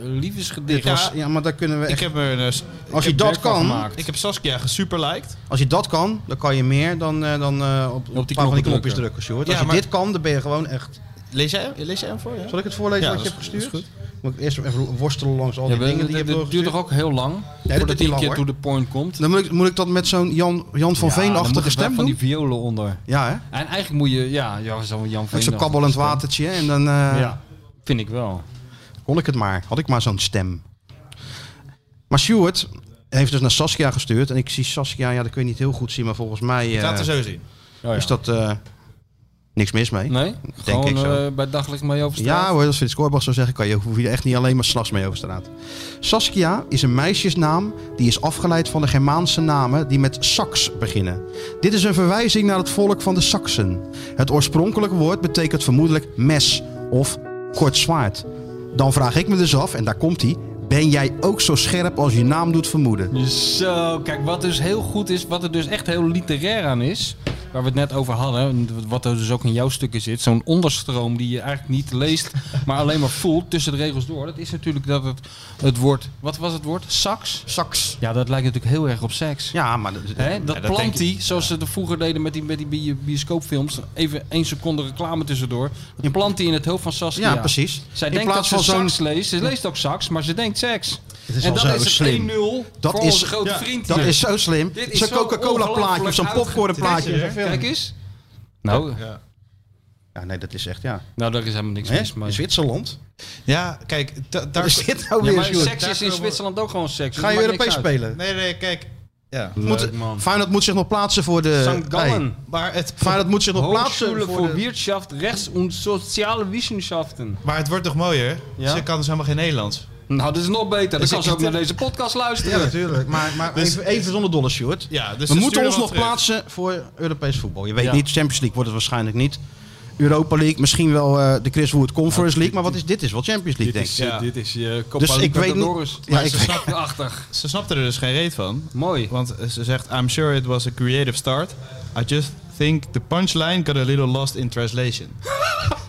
S7: eh, liefdesgedicht.
S8: Ja,
S5: Ja, maar daar kunnen we
S8: Ik
S5: echt...
S8: heb, er, eh, s-
S5: Als je
S7: heb
S5: dat
S7: werk van
S5: kan,
S7: gemaakt.
S8: ik heb Saskia gesuperliked.
S5: Als je dat kan, dan kan je meer dan, eh, dan eh, op, op,
S7: die
S5: een paar van die
S7: knoppen
S5: knopjes
S7: drukken.
S5: drukken, Sjoerd.
S8: Ja,
S5: Als je
S8: maar-
S5: dit kan, dan ben je gewoon echt...
S8: Lees jij, lees jij hem voor? Ja?
S5: Zal ik het voorlezen
S8: Ja,
S5: wat je
S8: dat
S5: hebt
S8: is-
S5: gestuurd?
S8: dat is
S5: Moet ik eerst even worstelen langs al
S7: Ja,
S5: die
S7: maar
S5: dingen
S7: het-
S5: die je hebt
S7: het duurt
S5: doorgestuurd?
S7: toch ook heel lang?
S5: duurt
S7: voordat
S5: niet
S7: die een
S5: lang,
S7: keer
S5: hoor.
S7: to the point komt.
S5: Dan moet ik, moet ik dat met zo'n Jan, Jan van
S7: dan moet
S5: Veen-achtige
S7: er wel
S5: stem
S7: van
S5: doen?
S7: die violen onder.
S5: Ja, hè?
S7: En eigenlijk moet je, ja, ja zo'n Jan Veen.
S5: Met zo'n kabbelend watertje en dan... eh,
S7: Ja, vind ik wel.
S5: Kon ik het maar. Had ik maar zo'n stem. Maar Stuart heeft dus naar Saskia gestuurd. En ik zie Saskia, ja, dat kun je niet heel goed zien, maar volgens mij... eh,
S8: Laten we zo zien.
S7: Oh, ja.
S5: Is dat eh, niks mis mee?
S7: Nee?
S5: Denk
S7: Gewoon
S5: ik zo.
S7: eh, bij daglicht mee over straat?
S5: Ja hoor, als Frits Korbach zou zeggen, kan je, hoef je er echt niet alleen maar s'nachts mee over straat. Saskia is een meisjesnaam die is afgeleid van de Germaanse namen die met Sax beginnen. Dit is een verwijzing naar het volk van de Saksen. Het oorspronkelijke woord betekent vermoedelijk mes of kort zwaard. Dan vraag ik me dus af, en daar komt hij, ben jij ook zo scherp als je naam doet vermoeden?
S7: Zo, kijk, wat dus heel goed is, wat er dus echt heel literair aan is, waar we het net over hadden, en wat er dus ook in jouw stukken zit, zo'n onderstroom die je eigenlijk niet leest, maar alleen maar voelt tussen de regels door, dat is natuurlijk dat het, het woord, wat was het woord? Sax?
S5: Sax.
S7: Ja, dat lijkt natuurlijk heel erg op seks.
S5: Ja, maar dat,
S7: Hè, dat
S5: ja, dat denk
S7: plant hij, zoals ze dat vroeger deden met die, met die bi- bioscoopfilms, even één seconde reclame tussendoor, dat plant hij in het hoofd van Saskia.
S5: Ja, precies.
S7: Zij
S5: In
S7: denkt dat
S5: plaats
S7: ze
S5: van zo'n-
S7: sax leest, ze leest ook sax, maar ze denkt seks.
S5: Het is
S7: en
S5: al
S7: dat
S5: zo
S7: is het 1-0
S5: slim.
S7: voor
S5: Dat is,
S7: onze grote
S5: ja,
S7: vriend
S5: dat
S7: hier.
S5: is zo slim.
S7: Dit is
S5: Zo'n
S7: zo
S5: Coca-Cola plaatje of
S7: ongelooflijk
S5: zo'n popcorn plaatje.
S7: uitgetikt. Kijk eens. Nou,
S5: Ja, nee, dat is echt, ja.
S7: nou daar is helemaal niks
S5: Hè?
S7: mis mee.
S5: In Zwitserland.
S8: Ja, kijk, da- daar
S5: Daar zit nou
S7: Ja,
S5: weer,
S7: maar
S5: Sjoerd?
S7: seks is in Zwitserland ook gewoon seks.
S5: Ga je
S7: Dat maakt niks
S5: Europees
S7: uit.
S5: spelen?
S8: Nee, nee, kijk. Ja.
S5: Moet, Feyenoord moet zich nog plaatsen voor de...
S7: St. Gallen.
S8: Maar het,
S5: Feyenoord moet zich nog plaatsen
S7: Hochschule
S5: voor
S7: voor
S5: de...
S7: Wirtschaft, Rechts- en Soziale Wissenschaften.
S8: maar het wordt toch mooier?
S7: Ja?
S8: Ze kan dus helemaal geen Nederlands.
S7: Nou, dat is nog beter. Dan
S8: Dus
S7: kan
S8: ik-
S7: ze ook naar deze podcast luisteren.
S5: Ja, natuurlijk. Maar, maar
S8: Dus
S5: even, even zonder dolle, Sjoerd.
S8: Ja, dus ze
S5: We moeten
S8: sturen
S5: ons
S8: wel
S5: nog
S8: terug.
S5: plaatsen voor Europees voetbal. Je weet
S7: Ja.
S5: niet, Champions League wordt het waarschijnlijk niet. Europa League, misschien wel eh, de Chris Wood Conference League. Maar wat is dit? Is wel Champions League, denk ik.
S8: Ja.
S7: Dit is je Copa
S5: Dus ik weet
S7: Libertadores.
S5: niet... Ja, ik weet-
S7: Achtig.
S8: Ze snapte er dus geen reet van.
S7: Mooi.
S8: Want eh, ze zegt, I'm sure it was a creative start. I just think the punchline got a little lost in translation.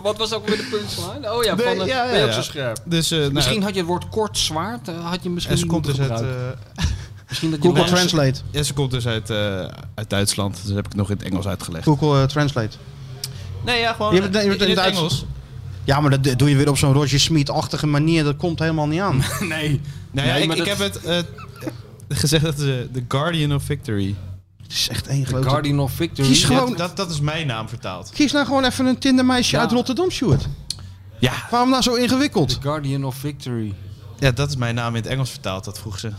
S7: Wat was ook weer de punchline? Oh ja,
S8: Nee,
S7: van de,
S8: ja, ja,
S7: ben je ook
S8: ja.
S7: zo scherp.
S8: Dus eh, nou,
S7: Misschien had je het woord kort zwaard, eh, had je misschien
S8: en ze komt
S7: moeten
S8: dus uit,
S7: gebruiken.
S8: eh,
S7: Misschien dat je
S5: Google
S7: langs-
S5: Translate.
S8: ja, ze komt dus uit, eh, uit Duitsland. Dus heb ik het nog in het Engels uitgelegd.
S5: Google eh, Translate.
S8: Nee, ja, gewoon
S5: Je hebt het- je hebt het
S8: in
S5: in
S8: het
S5: het
S8: Engels.
S5: Ja, maar dat doe je weer op zo'n Roger Smit-achtige manier. Dat komt helemaal niet aan.
S7: Nee.
S8: Nou ja,
S7: Nee,
S8: ik,
S7: maar
S8: ik
S7: dat-
S8: heb het eh, gezegd dat ze The Guardian of Victory.
S5: Het is echt één
S7: The
S5: grote...
S7: Guardian of Victory.
S5: Kies gewoon-
S8: Ja, dat, dat is mijn naam vertaald.
S5: Kies nou gewoon even een Tindermeisje
S7: Ja.
S5: uit Rotterdam, Sjoerd.
S8: Ja.
S5: Waarom nou zo ingewikkeld?
S7: The Guardian of Victory.
S8: ja, dat is mijn naam in het Engels vertaald, dat vroeg ze.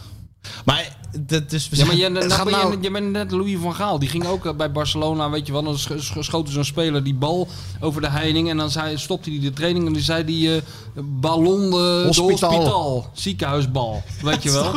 S8: Maar dat dus
S7: Ja, maar je,
S5: Het
S7: nou
S5: gaat
S7: ben je-
S5: nou-
S7: je bent net Louis van Gaal. Die ging ook eh, bij Barcelona, weet je wel. Dan scho- scho- schoten zo'n speler die bal over de heining. En dan zei, stopte hij de training en die zei die eh ballon eh
S5: Hospitaal.
S7: de hospitaal. Ziekenhuisbal, weet je wel.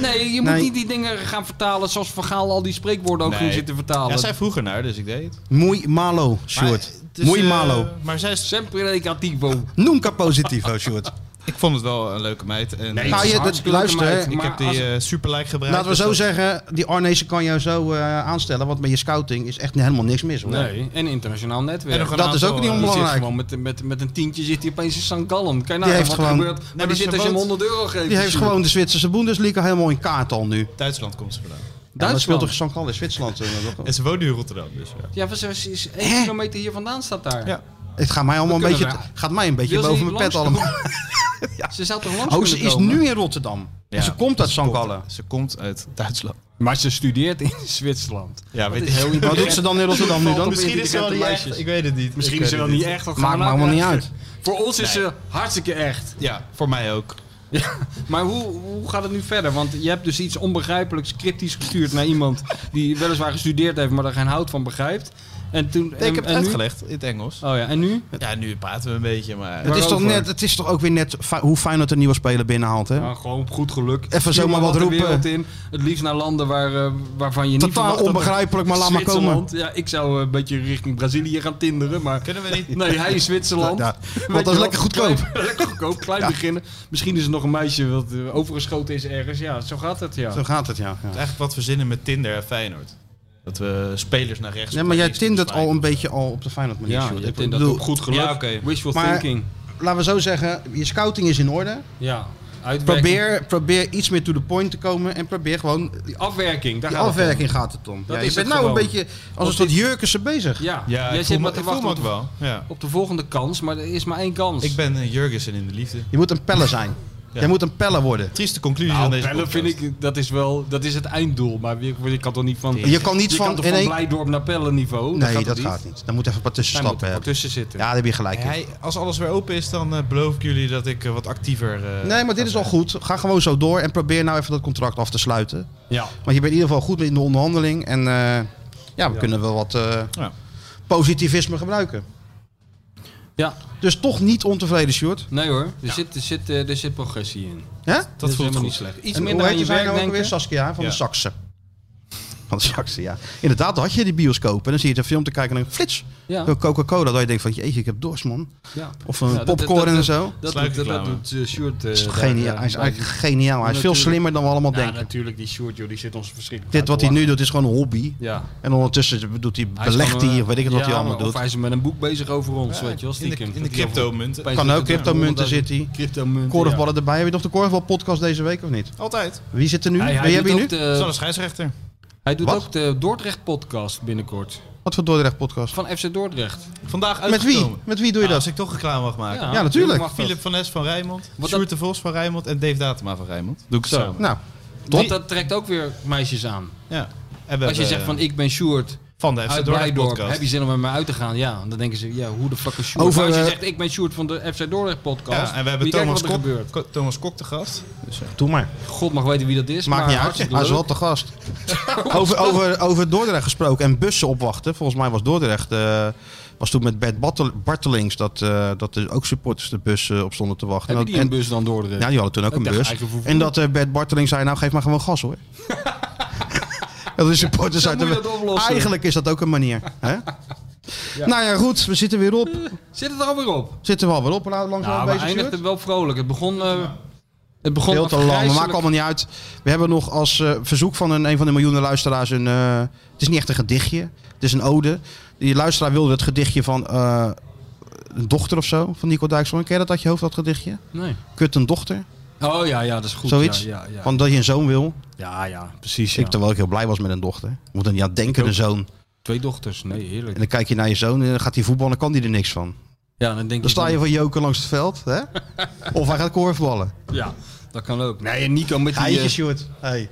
S7: Nee, je moet
S5: Nee.
S7: niet die dingen gaan vertalen zoals van Gaal al die spreekwoorden ook
S8: Nee.
S7: ging zitten vertalen.
S8: Ja, zij vroeger naar, dus ik deed het.
S5: Muy malo, Sjoerd. Muy
S8: eh,
S5: malo.
S8: Maar zij is,
S7: Sempre negativo.
S5: Nunca positivo, Sjoerd.
S8: ik vond het wel een leuke meid. En
S7: Nee,
S8: ik-
S5: Nou,
S7: het is
S5: je-
S7: een
S5: dat-
S7: hartstikke leuke
S5: luister,
S7: meid,
S5: hè,
S8: ik
S7: maar
S8: heb die
S7: als-
S8: eh, superlike gebruikt.
S5: Laten we zo
S8: dus dat-
S5: zeggen, die Arnezen kan jou zo eh, aanstellen. Want met je scouting is echt helemaal niks mis. Hoor.
S7: Nee, en internationaal netwerk.
S8: En nog een
S5: Dat is
S8: aantal,
S5: ook niet
S8: eh,
S7: Die zit
S5: Belangrijk.
S7: gewoon met, met, met een tientje zit hij opeens in St. Gallen. Kan je
S5: Die
S7: nagaan
S5: heeft
S7: Nou, wat
S5: gewoon-
S7: er gebeurt. Maar,
S8: maar
S7: die
S8: ze
S7: zit als je hem
S8: woont-
S7: 100 euro geeft. dus-
S5: Die heeft gewoon de Zwitserse Bundesliga helemaal in kaart al nu. Ja,
S8: Duitsland komt ze vandaan.
S5: maar dat
S7: Duitsland.
S5: speelt toch St. Gallen in Zwitserland? eh, dat
S8: En
S5: ook-
S8: ze woont nu in Rotterdam, dus ja.
S7: Ja, was is, is één kilometer hier vandaan staat daar.
S8: Ja.
S5: Het gaat mij allemaal een
S7: We kunnen
S5: beetje,
S7: wel.
S5: gaat mij een beetje
S7: Wil ze
S5: boven
S7: niet
S5: mijn pet
S7: langskomen?
S5: allemaal.
S7: Ze zou toch langs
S5: Oh, ze
S7: kunnen
S5: is
S7: komen?
S5: nu in Rotterdam. En ze komt uit St. Gallen.
S8: Ze komt uit Duitsland.
S7: Maar ze studeert in Zwitserland.
S8: Ja, weet
S7: is heel
S5: Wat doet ze dan in Rotterdam nu dan?
S8: Misschien is ze wel niet
S7: meisjes.
S8: echt. Ik weet het niet.
S7: Misschien
S8: Ik
S7: is ze
S8: weet
S7: wel
S8: het
S7: niet echt. dat gaan
S5: Maakt
S7: we
S5: me
S7: nou
S5: allemaal niet
S7: uitleggen.
S5: uit.
S7: Voor ons is ze hartstikke echt.
S8: Ja, voor mij ook.
S7: Maar hoe, hoe gaat het nu verder? Want je hebt dus iets onbegrijpelijks cryptisch gestuurd naar iemand die weliswaar gestudeerd heeft, maar daar geen hout van begrijpt. En toen, en,
S8: ik heb
S7: en
S8: het
S7: nu?
S8: uitgelegd in het Engels.
S7: Oh ja, en nu?
S8: Ja, nu praten we een beetje, maar...
S5: Het is, toch
S7: Waarover?
S5: net, het is toch ook weer net fi- hoe Feyenoord een nieuwe speler binnenhaalt, hè?
S7: Nou, gewoon op goed geluk.
S5: Even zomaar
S7: Iemand
S5: wat
S7: de
S5: roepen.
S7: wereld in. Het liefst naar landen waar, eh, waarvan je niet
S5: Totaal
S7: verwacht dat-
S5: onbegrijpelijk, maar laat maar komen.
S7: Zwitserland. Ja, ik zou eh, een beetje richting Brazilië gaan tinderen, maar...
S8: Kunnen we niet...
S7: Nee, hij in Zwitserland.
S5: Ja,
S7: Weet
S5: want dat
S7: je
S5: is
S7: wel,
S5: lekker goedkoop.
S7: klein- lekker goedkoop, klein beginnen. Misschien is er nog een meisje wat eh, overgeschoten is ergens. Ja, zo gaat het, ja.
S5: Zo gaat het, ja. ja.
S8: Eigenlijk wat verzinnen met Tinder en Feyenoord. Dat we spelers naar rechts...
S5: Nee, maar jij
S8: links doen
S5: tindert al
S8: spijken.
S5: een beetje al op de Feyenoord manier.
S7: Ja,
S5: Sjoerd.
S7: je
S5: Ik
S7: hebt inderdaad
S5: bedoel,
S7: op goed geluk.
S8: Ja, oké.
S7: Wishful
S5: Maar-
S7: thinking.
S5: Laten we zo zeggen, je scouting is in orde.
S7: Ja. Uitwerking.
S5: Probeer, probeer iets meer to the point te komen en probeer gewoon
S7: Die afwerking, daar
S5: die
S7: gaat het om.
S5: afwerking gaat het om.
S7: Dat
S5: Ja,
S7: is
S5: je bent
S7: het
S5: nou een
S7: gewoon.
S5: beetje
S7: Of
S5: als een soort
S7: dit-
S5: jurkussen bezig.
S7: Ja,
S8: Ja, ik
S7: jij
S8: voel
S7: zit
S8: me-
S7: maar te
S8: ik voel
S7: wachten
S8: me ook
S7: op,
S8: wel, ja.
S7: op de volgende kans, maar er is maar één kans.
S8: Ik ben eh, Jurgensen in de liefde.
S5: Je moet een pelle zijn. Jij moet een pelle worden.
S8: Trieste conclusie
S7: Nou,
S8: van deze
S7: pellen
S8: podcast.
S7: vind ik, dat is wel, dat is het einddoel. Maar je, je kan toch niet van,
S5: Je kan niet van
S7: toch
S5: in
S7: van
S5: één-
S7: Blijdorp naar pellen niveau?
S5: Nee,
S7: toch
S5: dat gaat niet. Dan moet
S7: Daar
S5: even wat
S7: moet
S5: tussenstappen
S7: er wat
S5: hebben.
S7: tussen zitten.
S5: Ja, daar heb je gelijk in.
S8: Hij, als alles weer open is, dan eh, beloof ik jullie dat ik eh, wat actiever... eh,
S5: Nee, maar dit is al goed. Ga gewoon zo door en probeer nou even dat contract af te sluiten.
S7: Ja.
S5: Want je bent in ieder geval goed in de onderhandeling. En eh, ja, we kunnen wel wat eh, positivisme gebruiken.
S7: Ja.
S5: Dus toch niet ontevreden, Sjoerd.
S7: Nee hoor, er, zit, er, zit, eh, er zit progressie in.
S5: Hè?
S7: Dat, is
S8: voelt
S7: helemaal
S8: goed.
S7: niet slecht. Iets
S5: En
S7: minder aan
S5: hoe heet
S7: je
S5: zijn
S7: werk
S5: nou ook
S7: denken.
S5: weer? Saskia van
S8: Ja.
S5: de Saxe. Van de Saxe, ja. Inderdaad, dan had je die bioscoop. En dan zie je de film te kijken en dan flits.
S7: Ja.
S5: Zo'n Coca-Cola. Dat je denkt van, jeetje, ik heb dorst, man.
S7: Ja.
S5: Of een
S7: Ja, dat- dat-
S5: popcorn
S7: dat-
S5: en zo.
S7: Dat,
S8: Sluit
S7: doet, dat, dat
S8: reclame.
S7: doet eh, Sjoerd. eh,
S5: Is
S7: daar,
S5: geniaal.
S7: eh,
S5: Hij is
S7: bij.
S5: eigenlijk geniaal. Hij is veel
S7: Natuurlijk.
S5: slimmer dan we allemaal
S7: Ja,
S5: denken.
S7: natuurlijk, die Sjoerd, joh, die zit ons verschrikkelijk
S5: Dit
S7: uit
S5: wat
S7: te
S5: hij nu
S7: lachen.
S5: doet is gewoon een hobby.
S7: Ja.
S5: En ondertussen doet hij,
S7: Hij is
S5: belegt
S7: gewoon,
S5: hij,
S7: eh,
S5: of weet ik het wat hij
S7: ja,
S5: allemaal
S7: maar
S5: doet.
S7: Of hij is met een boek bezig over ons, weet je wel,
S8: in de,
S7: stiekem.
S8: in de
S7: Dat hij
S8: cryptomunten.
S7: over-
S5: Kan ook cryptomunten zit hij.
S7: Cryptomunten,
S5: Korfballen erbij. Heb je nog de korfbalpodcast deze week of niet?
S8: Altijd.
S5: Wie zit er nu?
S7: ja. Hij,
S5: Wie
S7: hij,
S5: hebben
S7: doet
S5: je nu?
S7: ook
S8: Zal een
S7: de,
S8: scheidsrechter.
S7: hij doet
S5: Wat?
S7: ook de Dordrecht-podcast binnenkort.
S5: Wat voor Dordrecht podcast?
S7: Van FC Dordrecht.
S8: Vandaag
S5: Met wie?
S8: uitgekomen.
S5: Met wie doe je
S8: Ah, Als
S5: dat?
S8: ik toch reclame mag maken.
S5: Ja, natuurlijk.
S7: mag dat.
S8: Philip van Es van Rijmond,
S7: Wat
S8: Sjoerd
S7: dat-
S8: de Vos van Rijmond en Dave Datema van Rijmond. Doe ik het
S7: Zo.
S8: samen.
S5: Nou,
S7: Want dat trekt ook weer meisjes aan.
S8: Ja. En we
S7: Als je
S8: hebben,
S7: zegt van
S8: eh,
S7: ik ben Sjoerd
S8: van de FC
S7: uit
S8: Dordrecht
S7: Blijdorp,
S8: podcast.
S7: heb je zin om met mij uit te gaan? Ja, dan denken ze, ja, hoe de fuck is Sjoerd?
S5: Over,
S7: Maar als je
S5: eh,
S7: zegt ik ben Sjoerd van de FC Dordrecht podcast,
S8: Ja, en we hebben
S7: moet je kijken
S8: Thomas
S7: wat er gebeurt.
S8: Kok, Ko- Thomas Kok te gast. Dus, eh,
S5: doe maar.
S7: God mag weten wie dat is,
S5: Maakt
S7: maar
S5: niet uit.
S7: hartstikke
S5: Hij is
S7: leuk.
S5: wel te gast. over, over, over Dordrecht gesproken en bussen opwachten. Volgens mij was Dordrecht. eh, was toen met Bert Bartel- Bartelings dat, eh, dat er ook supporters de bus eh, op stonden te wachten.
S7: Hebben
S5: En-
S7: die een
S5: en-
S7: bus dan Dordrecht?
S5: Ja, die hadden toen ook
S7: Ik
S5: een
S7: dacht
S5: bus.
S7: eigenlijk vervoer.
S5: En dat eh, Bert Barteling zei, nou geef maar gewoon gas hoor. dat is supporters uit de-
S7: moet je dat oplossen.
S5: Eigenlijk is dat ook een manier. Hè? Nou ja, goed, we zitten weer op.
S7: Zit het er alweer op?
S5: Zitten we alweer op. Laten we langzaam
S7: Nou, we
S5: bezig
S7: eindigden
S5: Stuart.
S7: wel vrolijk. Het begon... eh, het begon
S5: Heel te lang, maar maakt
S7: afgrijzelijk.
S5: allemaal niet uit. We hebben nog als eh, verzoek van een, een van de miljoenen luisteraars een... eh, het is niet echt een gedichtje, het is een ode. Die luisteraar wilde het gedichtje van eh, een dochter of zo, van Nico Dijkshoorn. Ken je dat uit je hoofd, dat gedichtje?
S7: Nee.
S5: Kut een dochter,
S7: Oh ja, ja, dat is goed.
S5: zoiets.
S7: Ja, ja, ja.
S5: Van dat je een zoon wil.
S7: ja, ja precies.
S5: Ik
S7: Ja.
S5: terwijl ik heel blij was met een dochter. Ik Moet dan niet aan denken, de zoon.
S7: Twee dochters. Nee, heerlijk.
S5: En dan kijk je naar je zoon en dan gaat hij voetballen, dan kan hij er niks van.
S7: Ja, dan denk
S5: Dan
S7: ik
S5: sta je
S7: van-
S5: van joker langs het veld, hè? Of hij gaat korfballen.
S7: Ja, dat kan ook. Nee, en Nico met die... eh,
S5: Eitje, Sjoerd. Hey.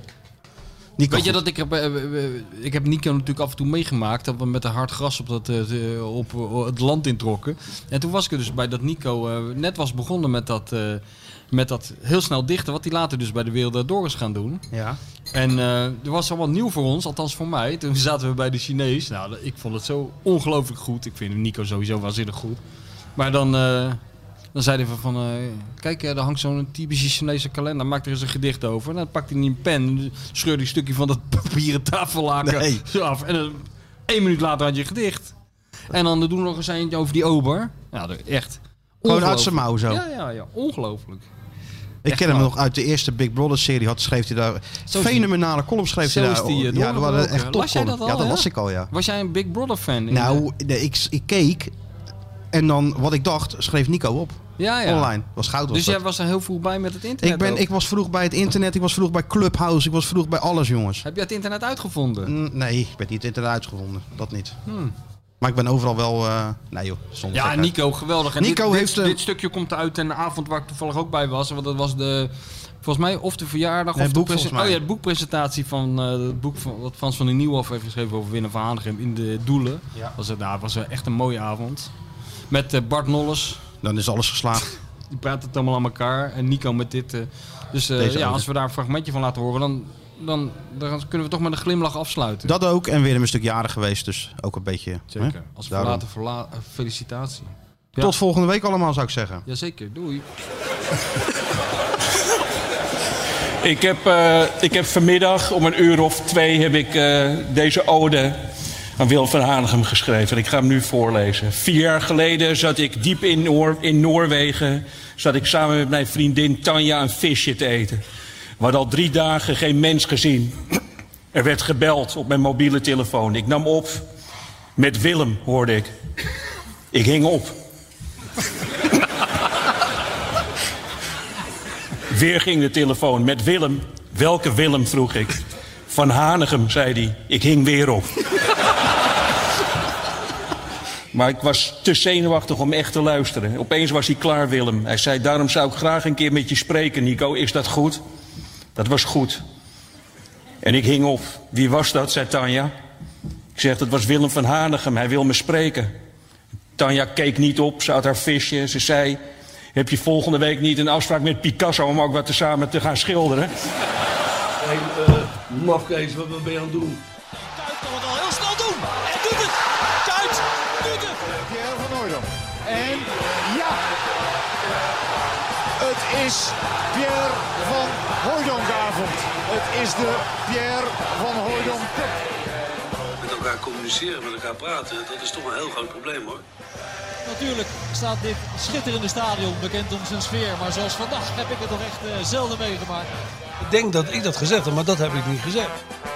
S5: Nico,
S7: Weet je
S5: goed.
S7: dat ik heb, eh, eh, eh, ik heb Nico natuurlijk af en toe meegemaakt dat we met een hard gras op, dat, eh, eh, op eh, het land introkken. En toen was ik er dus bij dat Nico eh, net was begonnen met dat, eh, met dat heel snel dichten, wat hij later dus bij de Wereld Daardoor is gaan doen.
S5: Ja.
S7: En eh er was allemaal nieuw voor ons, althans voor mij. Toen zaten we bij de Chinees. Nou, ik vond het zo ongelooflijk goed. Ik vind Nico sowieso waanzinnig goed. Maar dan, eh, dan zeiden we van... eh, kijk, eh, daar hangt zo'n typische Chinese kalender. Maak er eens een gedicht over. En dan pakte hij een pen. en Scheurde hij een stukje van dat papieren tafellaken
S5: Nee.
S7: zo af. En dan, één minuut later had je een gedicht. En dan doen we nog eens eentje over die ober. Ja, dat- echt.
S5: Gewoon uit
S7: ongelooflijk.
S5: zijn mouw zo.
S7: Ja, ja, ja. Ongelooflijk.
S5: ik ken hem
S7: wel.
S5: nog uit de eerste Big Brother serie. Had, schreef hij daar
S7: Zo is die-
S5: fenomenale column schreef
S7: zo
S5: hij
S7: is
S5: daar.
S7: die, eh,
S5: ja, dat waren
S7: doorgebroken.
S5: echt top
S7: Las jij dat
S5: column. Ja,
S7: al,
S5: dat
S7: ja?
S5: las ik al, ja.
S7: Was jij een Big Brother fan? in de-
S5: Nou, nee, ik, ik keek en dan wat ik dacht, schreef Nico op.
S7: Ah, ja, ja.
S5: Online. Was goud was
S7: Dus
S5: dat.
S7: jij was er heel vroeg bij met het internet.
S5: Ik, ben,
S7: ook.
S5: ik was vroeg bij het internet, ik was vroeg bij Clubhouse, ik was vroeg bij alles, jongens.
S7: Heb jij het internet uitgevonden?
S5: Mm, Nee, ik ben niet internet uitgevonden. Dat niet. Maar ik ben overal wel... eh, nee joh, zonder
S7: Hmm. Ja,
S5: gekheid.
S7: Nico, geweldig. En
S5: Nico
S7: dit, dit-
S5: heeft,
S7: dit,
S5: eh,
S7: stukje komt uit in de avond waar ik toevallig ook bij was. Want dat was de, volgens mij, of de verjaardag
S5: Nee,
S7: of
S5: boek
S7: de presen-
S5: volgens mij.
S7: Oh ja, de boekpresentatie van eh, het boek van, wat Frans van den Nieuwhof heeft geschreven over Winnen van Hanegem in de Doelen.
S5: Ja.
S7: Was het, nou, het was eh, echt een mooie avond. Met eh, Bart Nolles,
S5: Dan is alles geslaagd.
S7: die praat het allemaal aan elkaar. En Nico met dit. eh, dus eh,
S5: Deze
S7: ja,
S5: ook.
S7: als we daar een fragmentje van laten horen, dan, dan, dan kunnen we toch met een glimlach afsluiten.
S5: Dat ook. En weer een stuk jarig geweest, dus ook een beetje... hè?
S7: Zeker. Als
S5: Daarom.
S7: verlaten, verla eh, felicitatie. Ja.
S5: Tot volgende week allemaal, zou ik zeggen.
S7: Jazeker, doei.
S12: Ik heb, eh, ik heb vanmiddag om een uur of twee heb ik, eh, deze ode aan Wil van Hanegem geschreven. Ik ga hem nu voorlezen. Vier jaar geleden zat ik diep in, Noor- in Noorwegen. Zat ik samen met mijn vriendin Tanja een visje te eten. We hadden al drie dagen geen mens gezien. Er werd gebeld op mijn mobiele telefoon. Ik nam op. Met Willem hoorde ik. Ik hing op. Weer ging de telefoon met Willem. Welke Willem, vroeg ik. Van Hanegem, zei hij. Ik hing weer op. Maar ik was te zenuwachtig om echt te luisteren. Opeens was hij klaar, Willem. Hij zei, daarom zou ik graag een keer met je spreken, Nico. Is dat goed? Dat was goed. En ik hing op. Wie was dat, zei Tanja. Ik zeg, dat was Willem van Hanegem. Hij wil me spreken. Tanja keek niet op. Ze had haar visje. Ze zei, heb je volgende week niet een afspraak met Picasso... om ook wat te samen te gaan schilderen?
S13: Hey, eh, mafkees, wat wat ben je aan het doen?
S14: Heel snel doen. En doet het. Kuit doet het.
S8: Pierre van Hooydonk. En ja, het is Pierre van Hooydonkavond. Het is de Pierre van Hooydonk Cup.
S15: Met elkaar communiceren, met elkaar praten, dat is toch een heel groot probleem hoor.
S14: Natuurlijk staat dit schitterende stadion bekend om zijn sfeer. Maar zoals vandaag heb ik het toch echt eh, zelden meegemaakt.
S13: Ik denk dat ik dat gezegd heb, maar dat heb ik niet gezegd.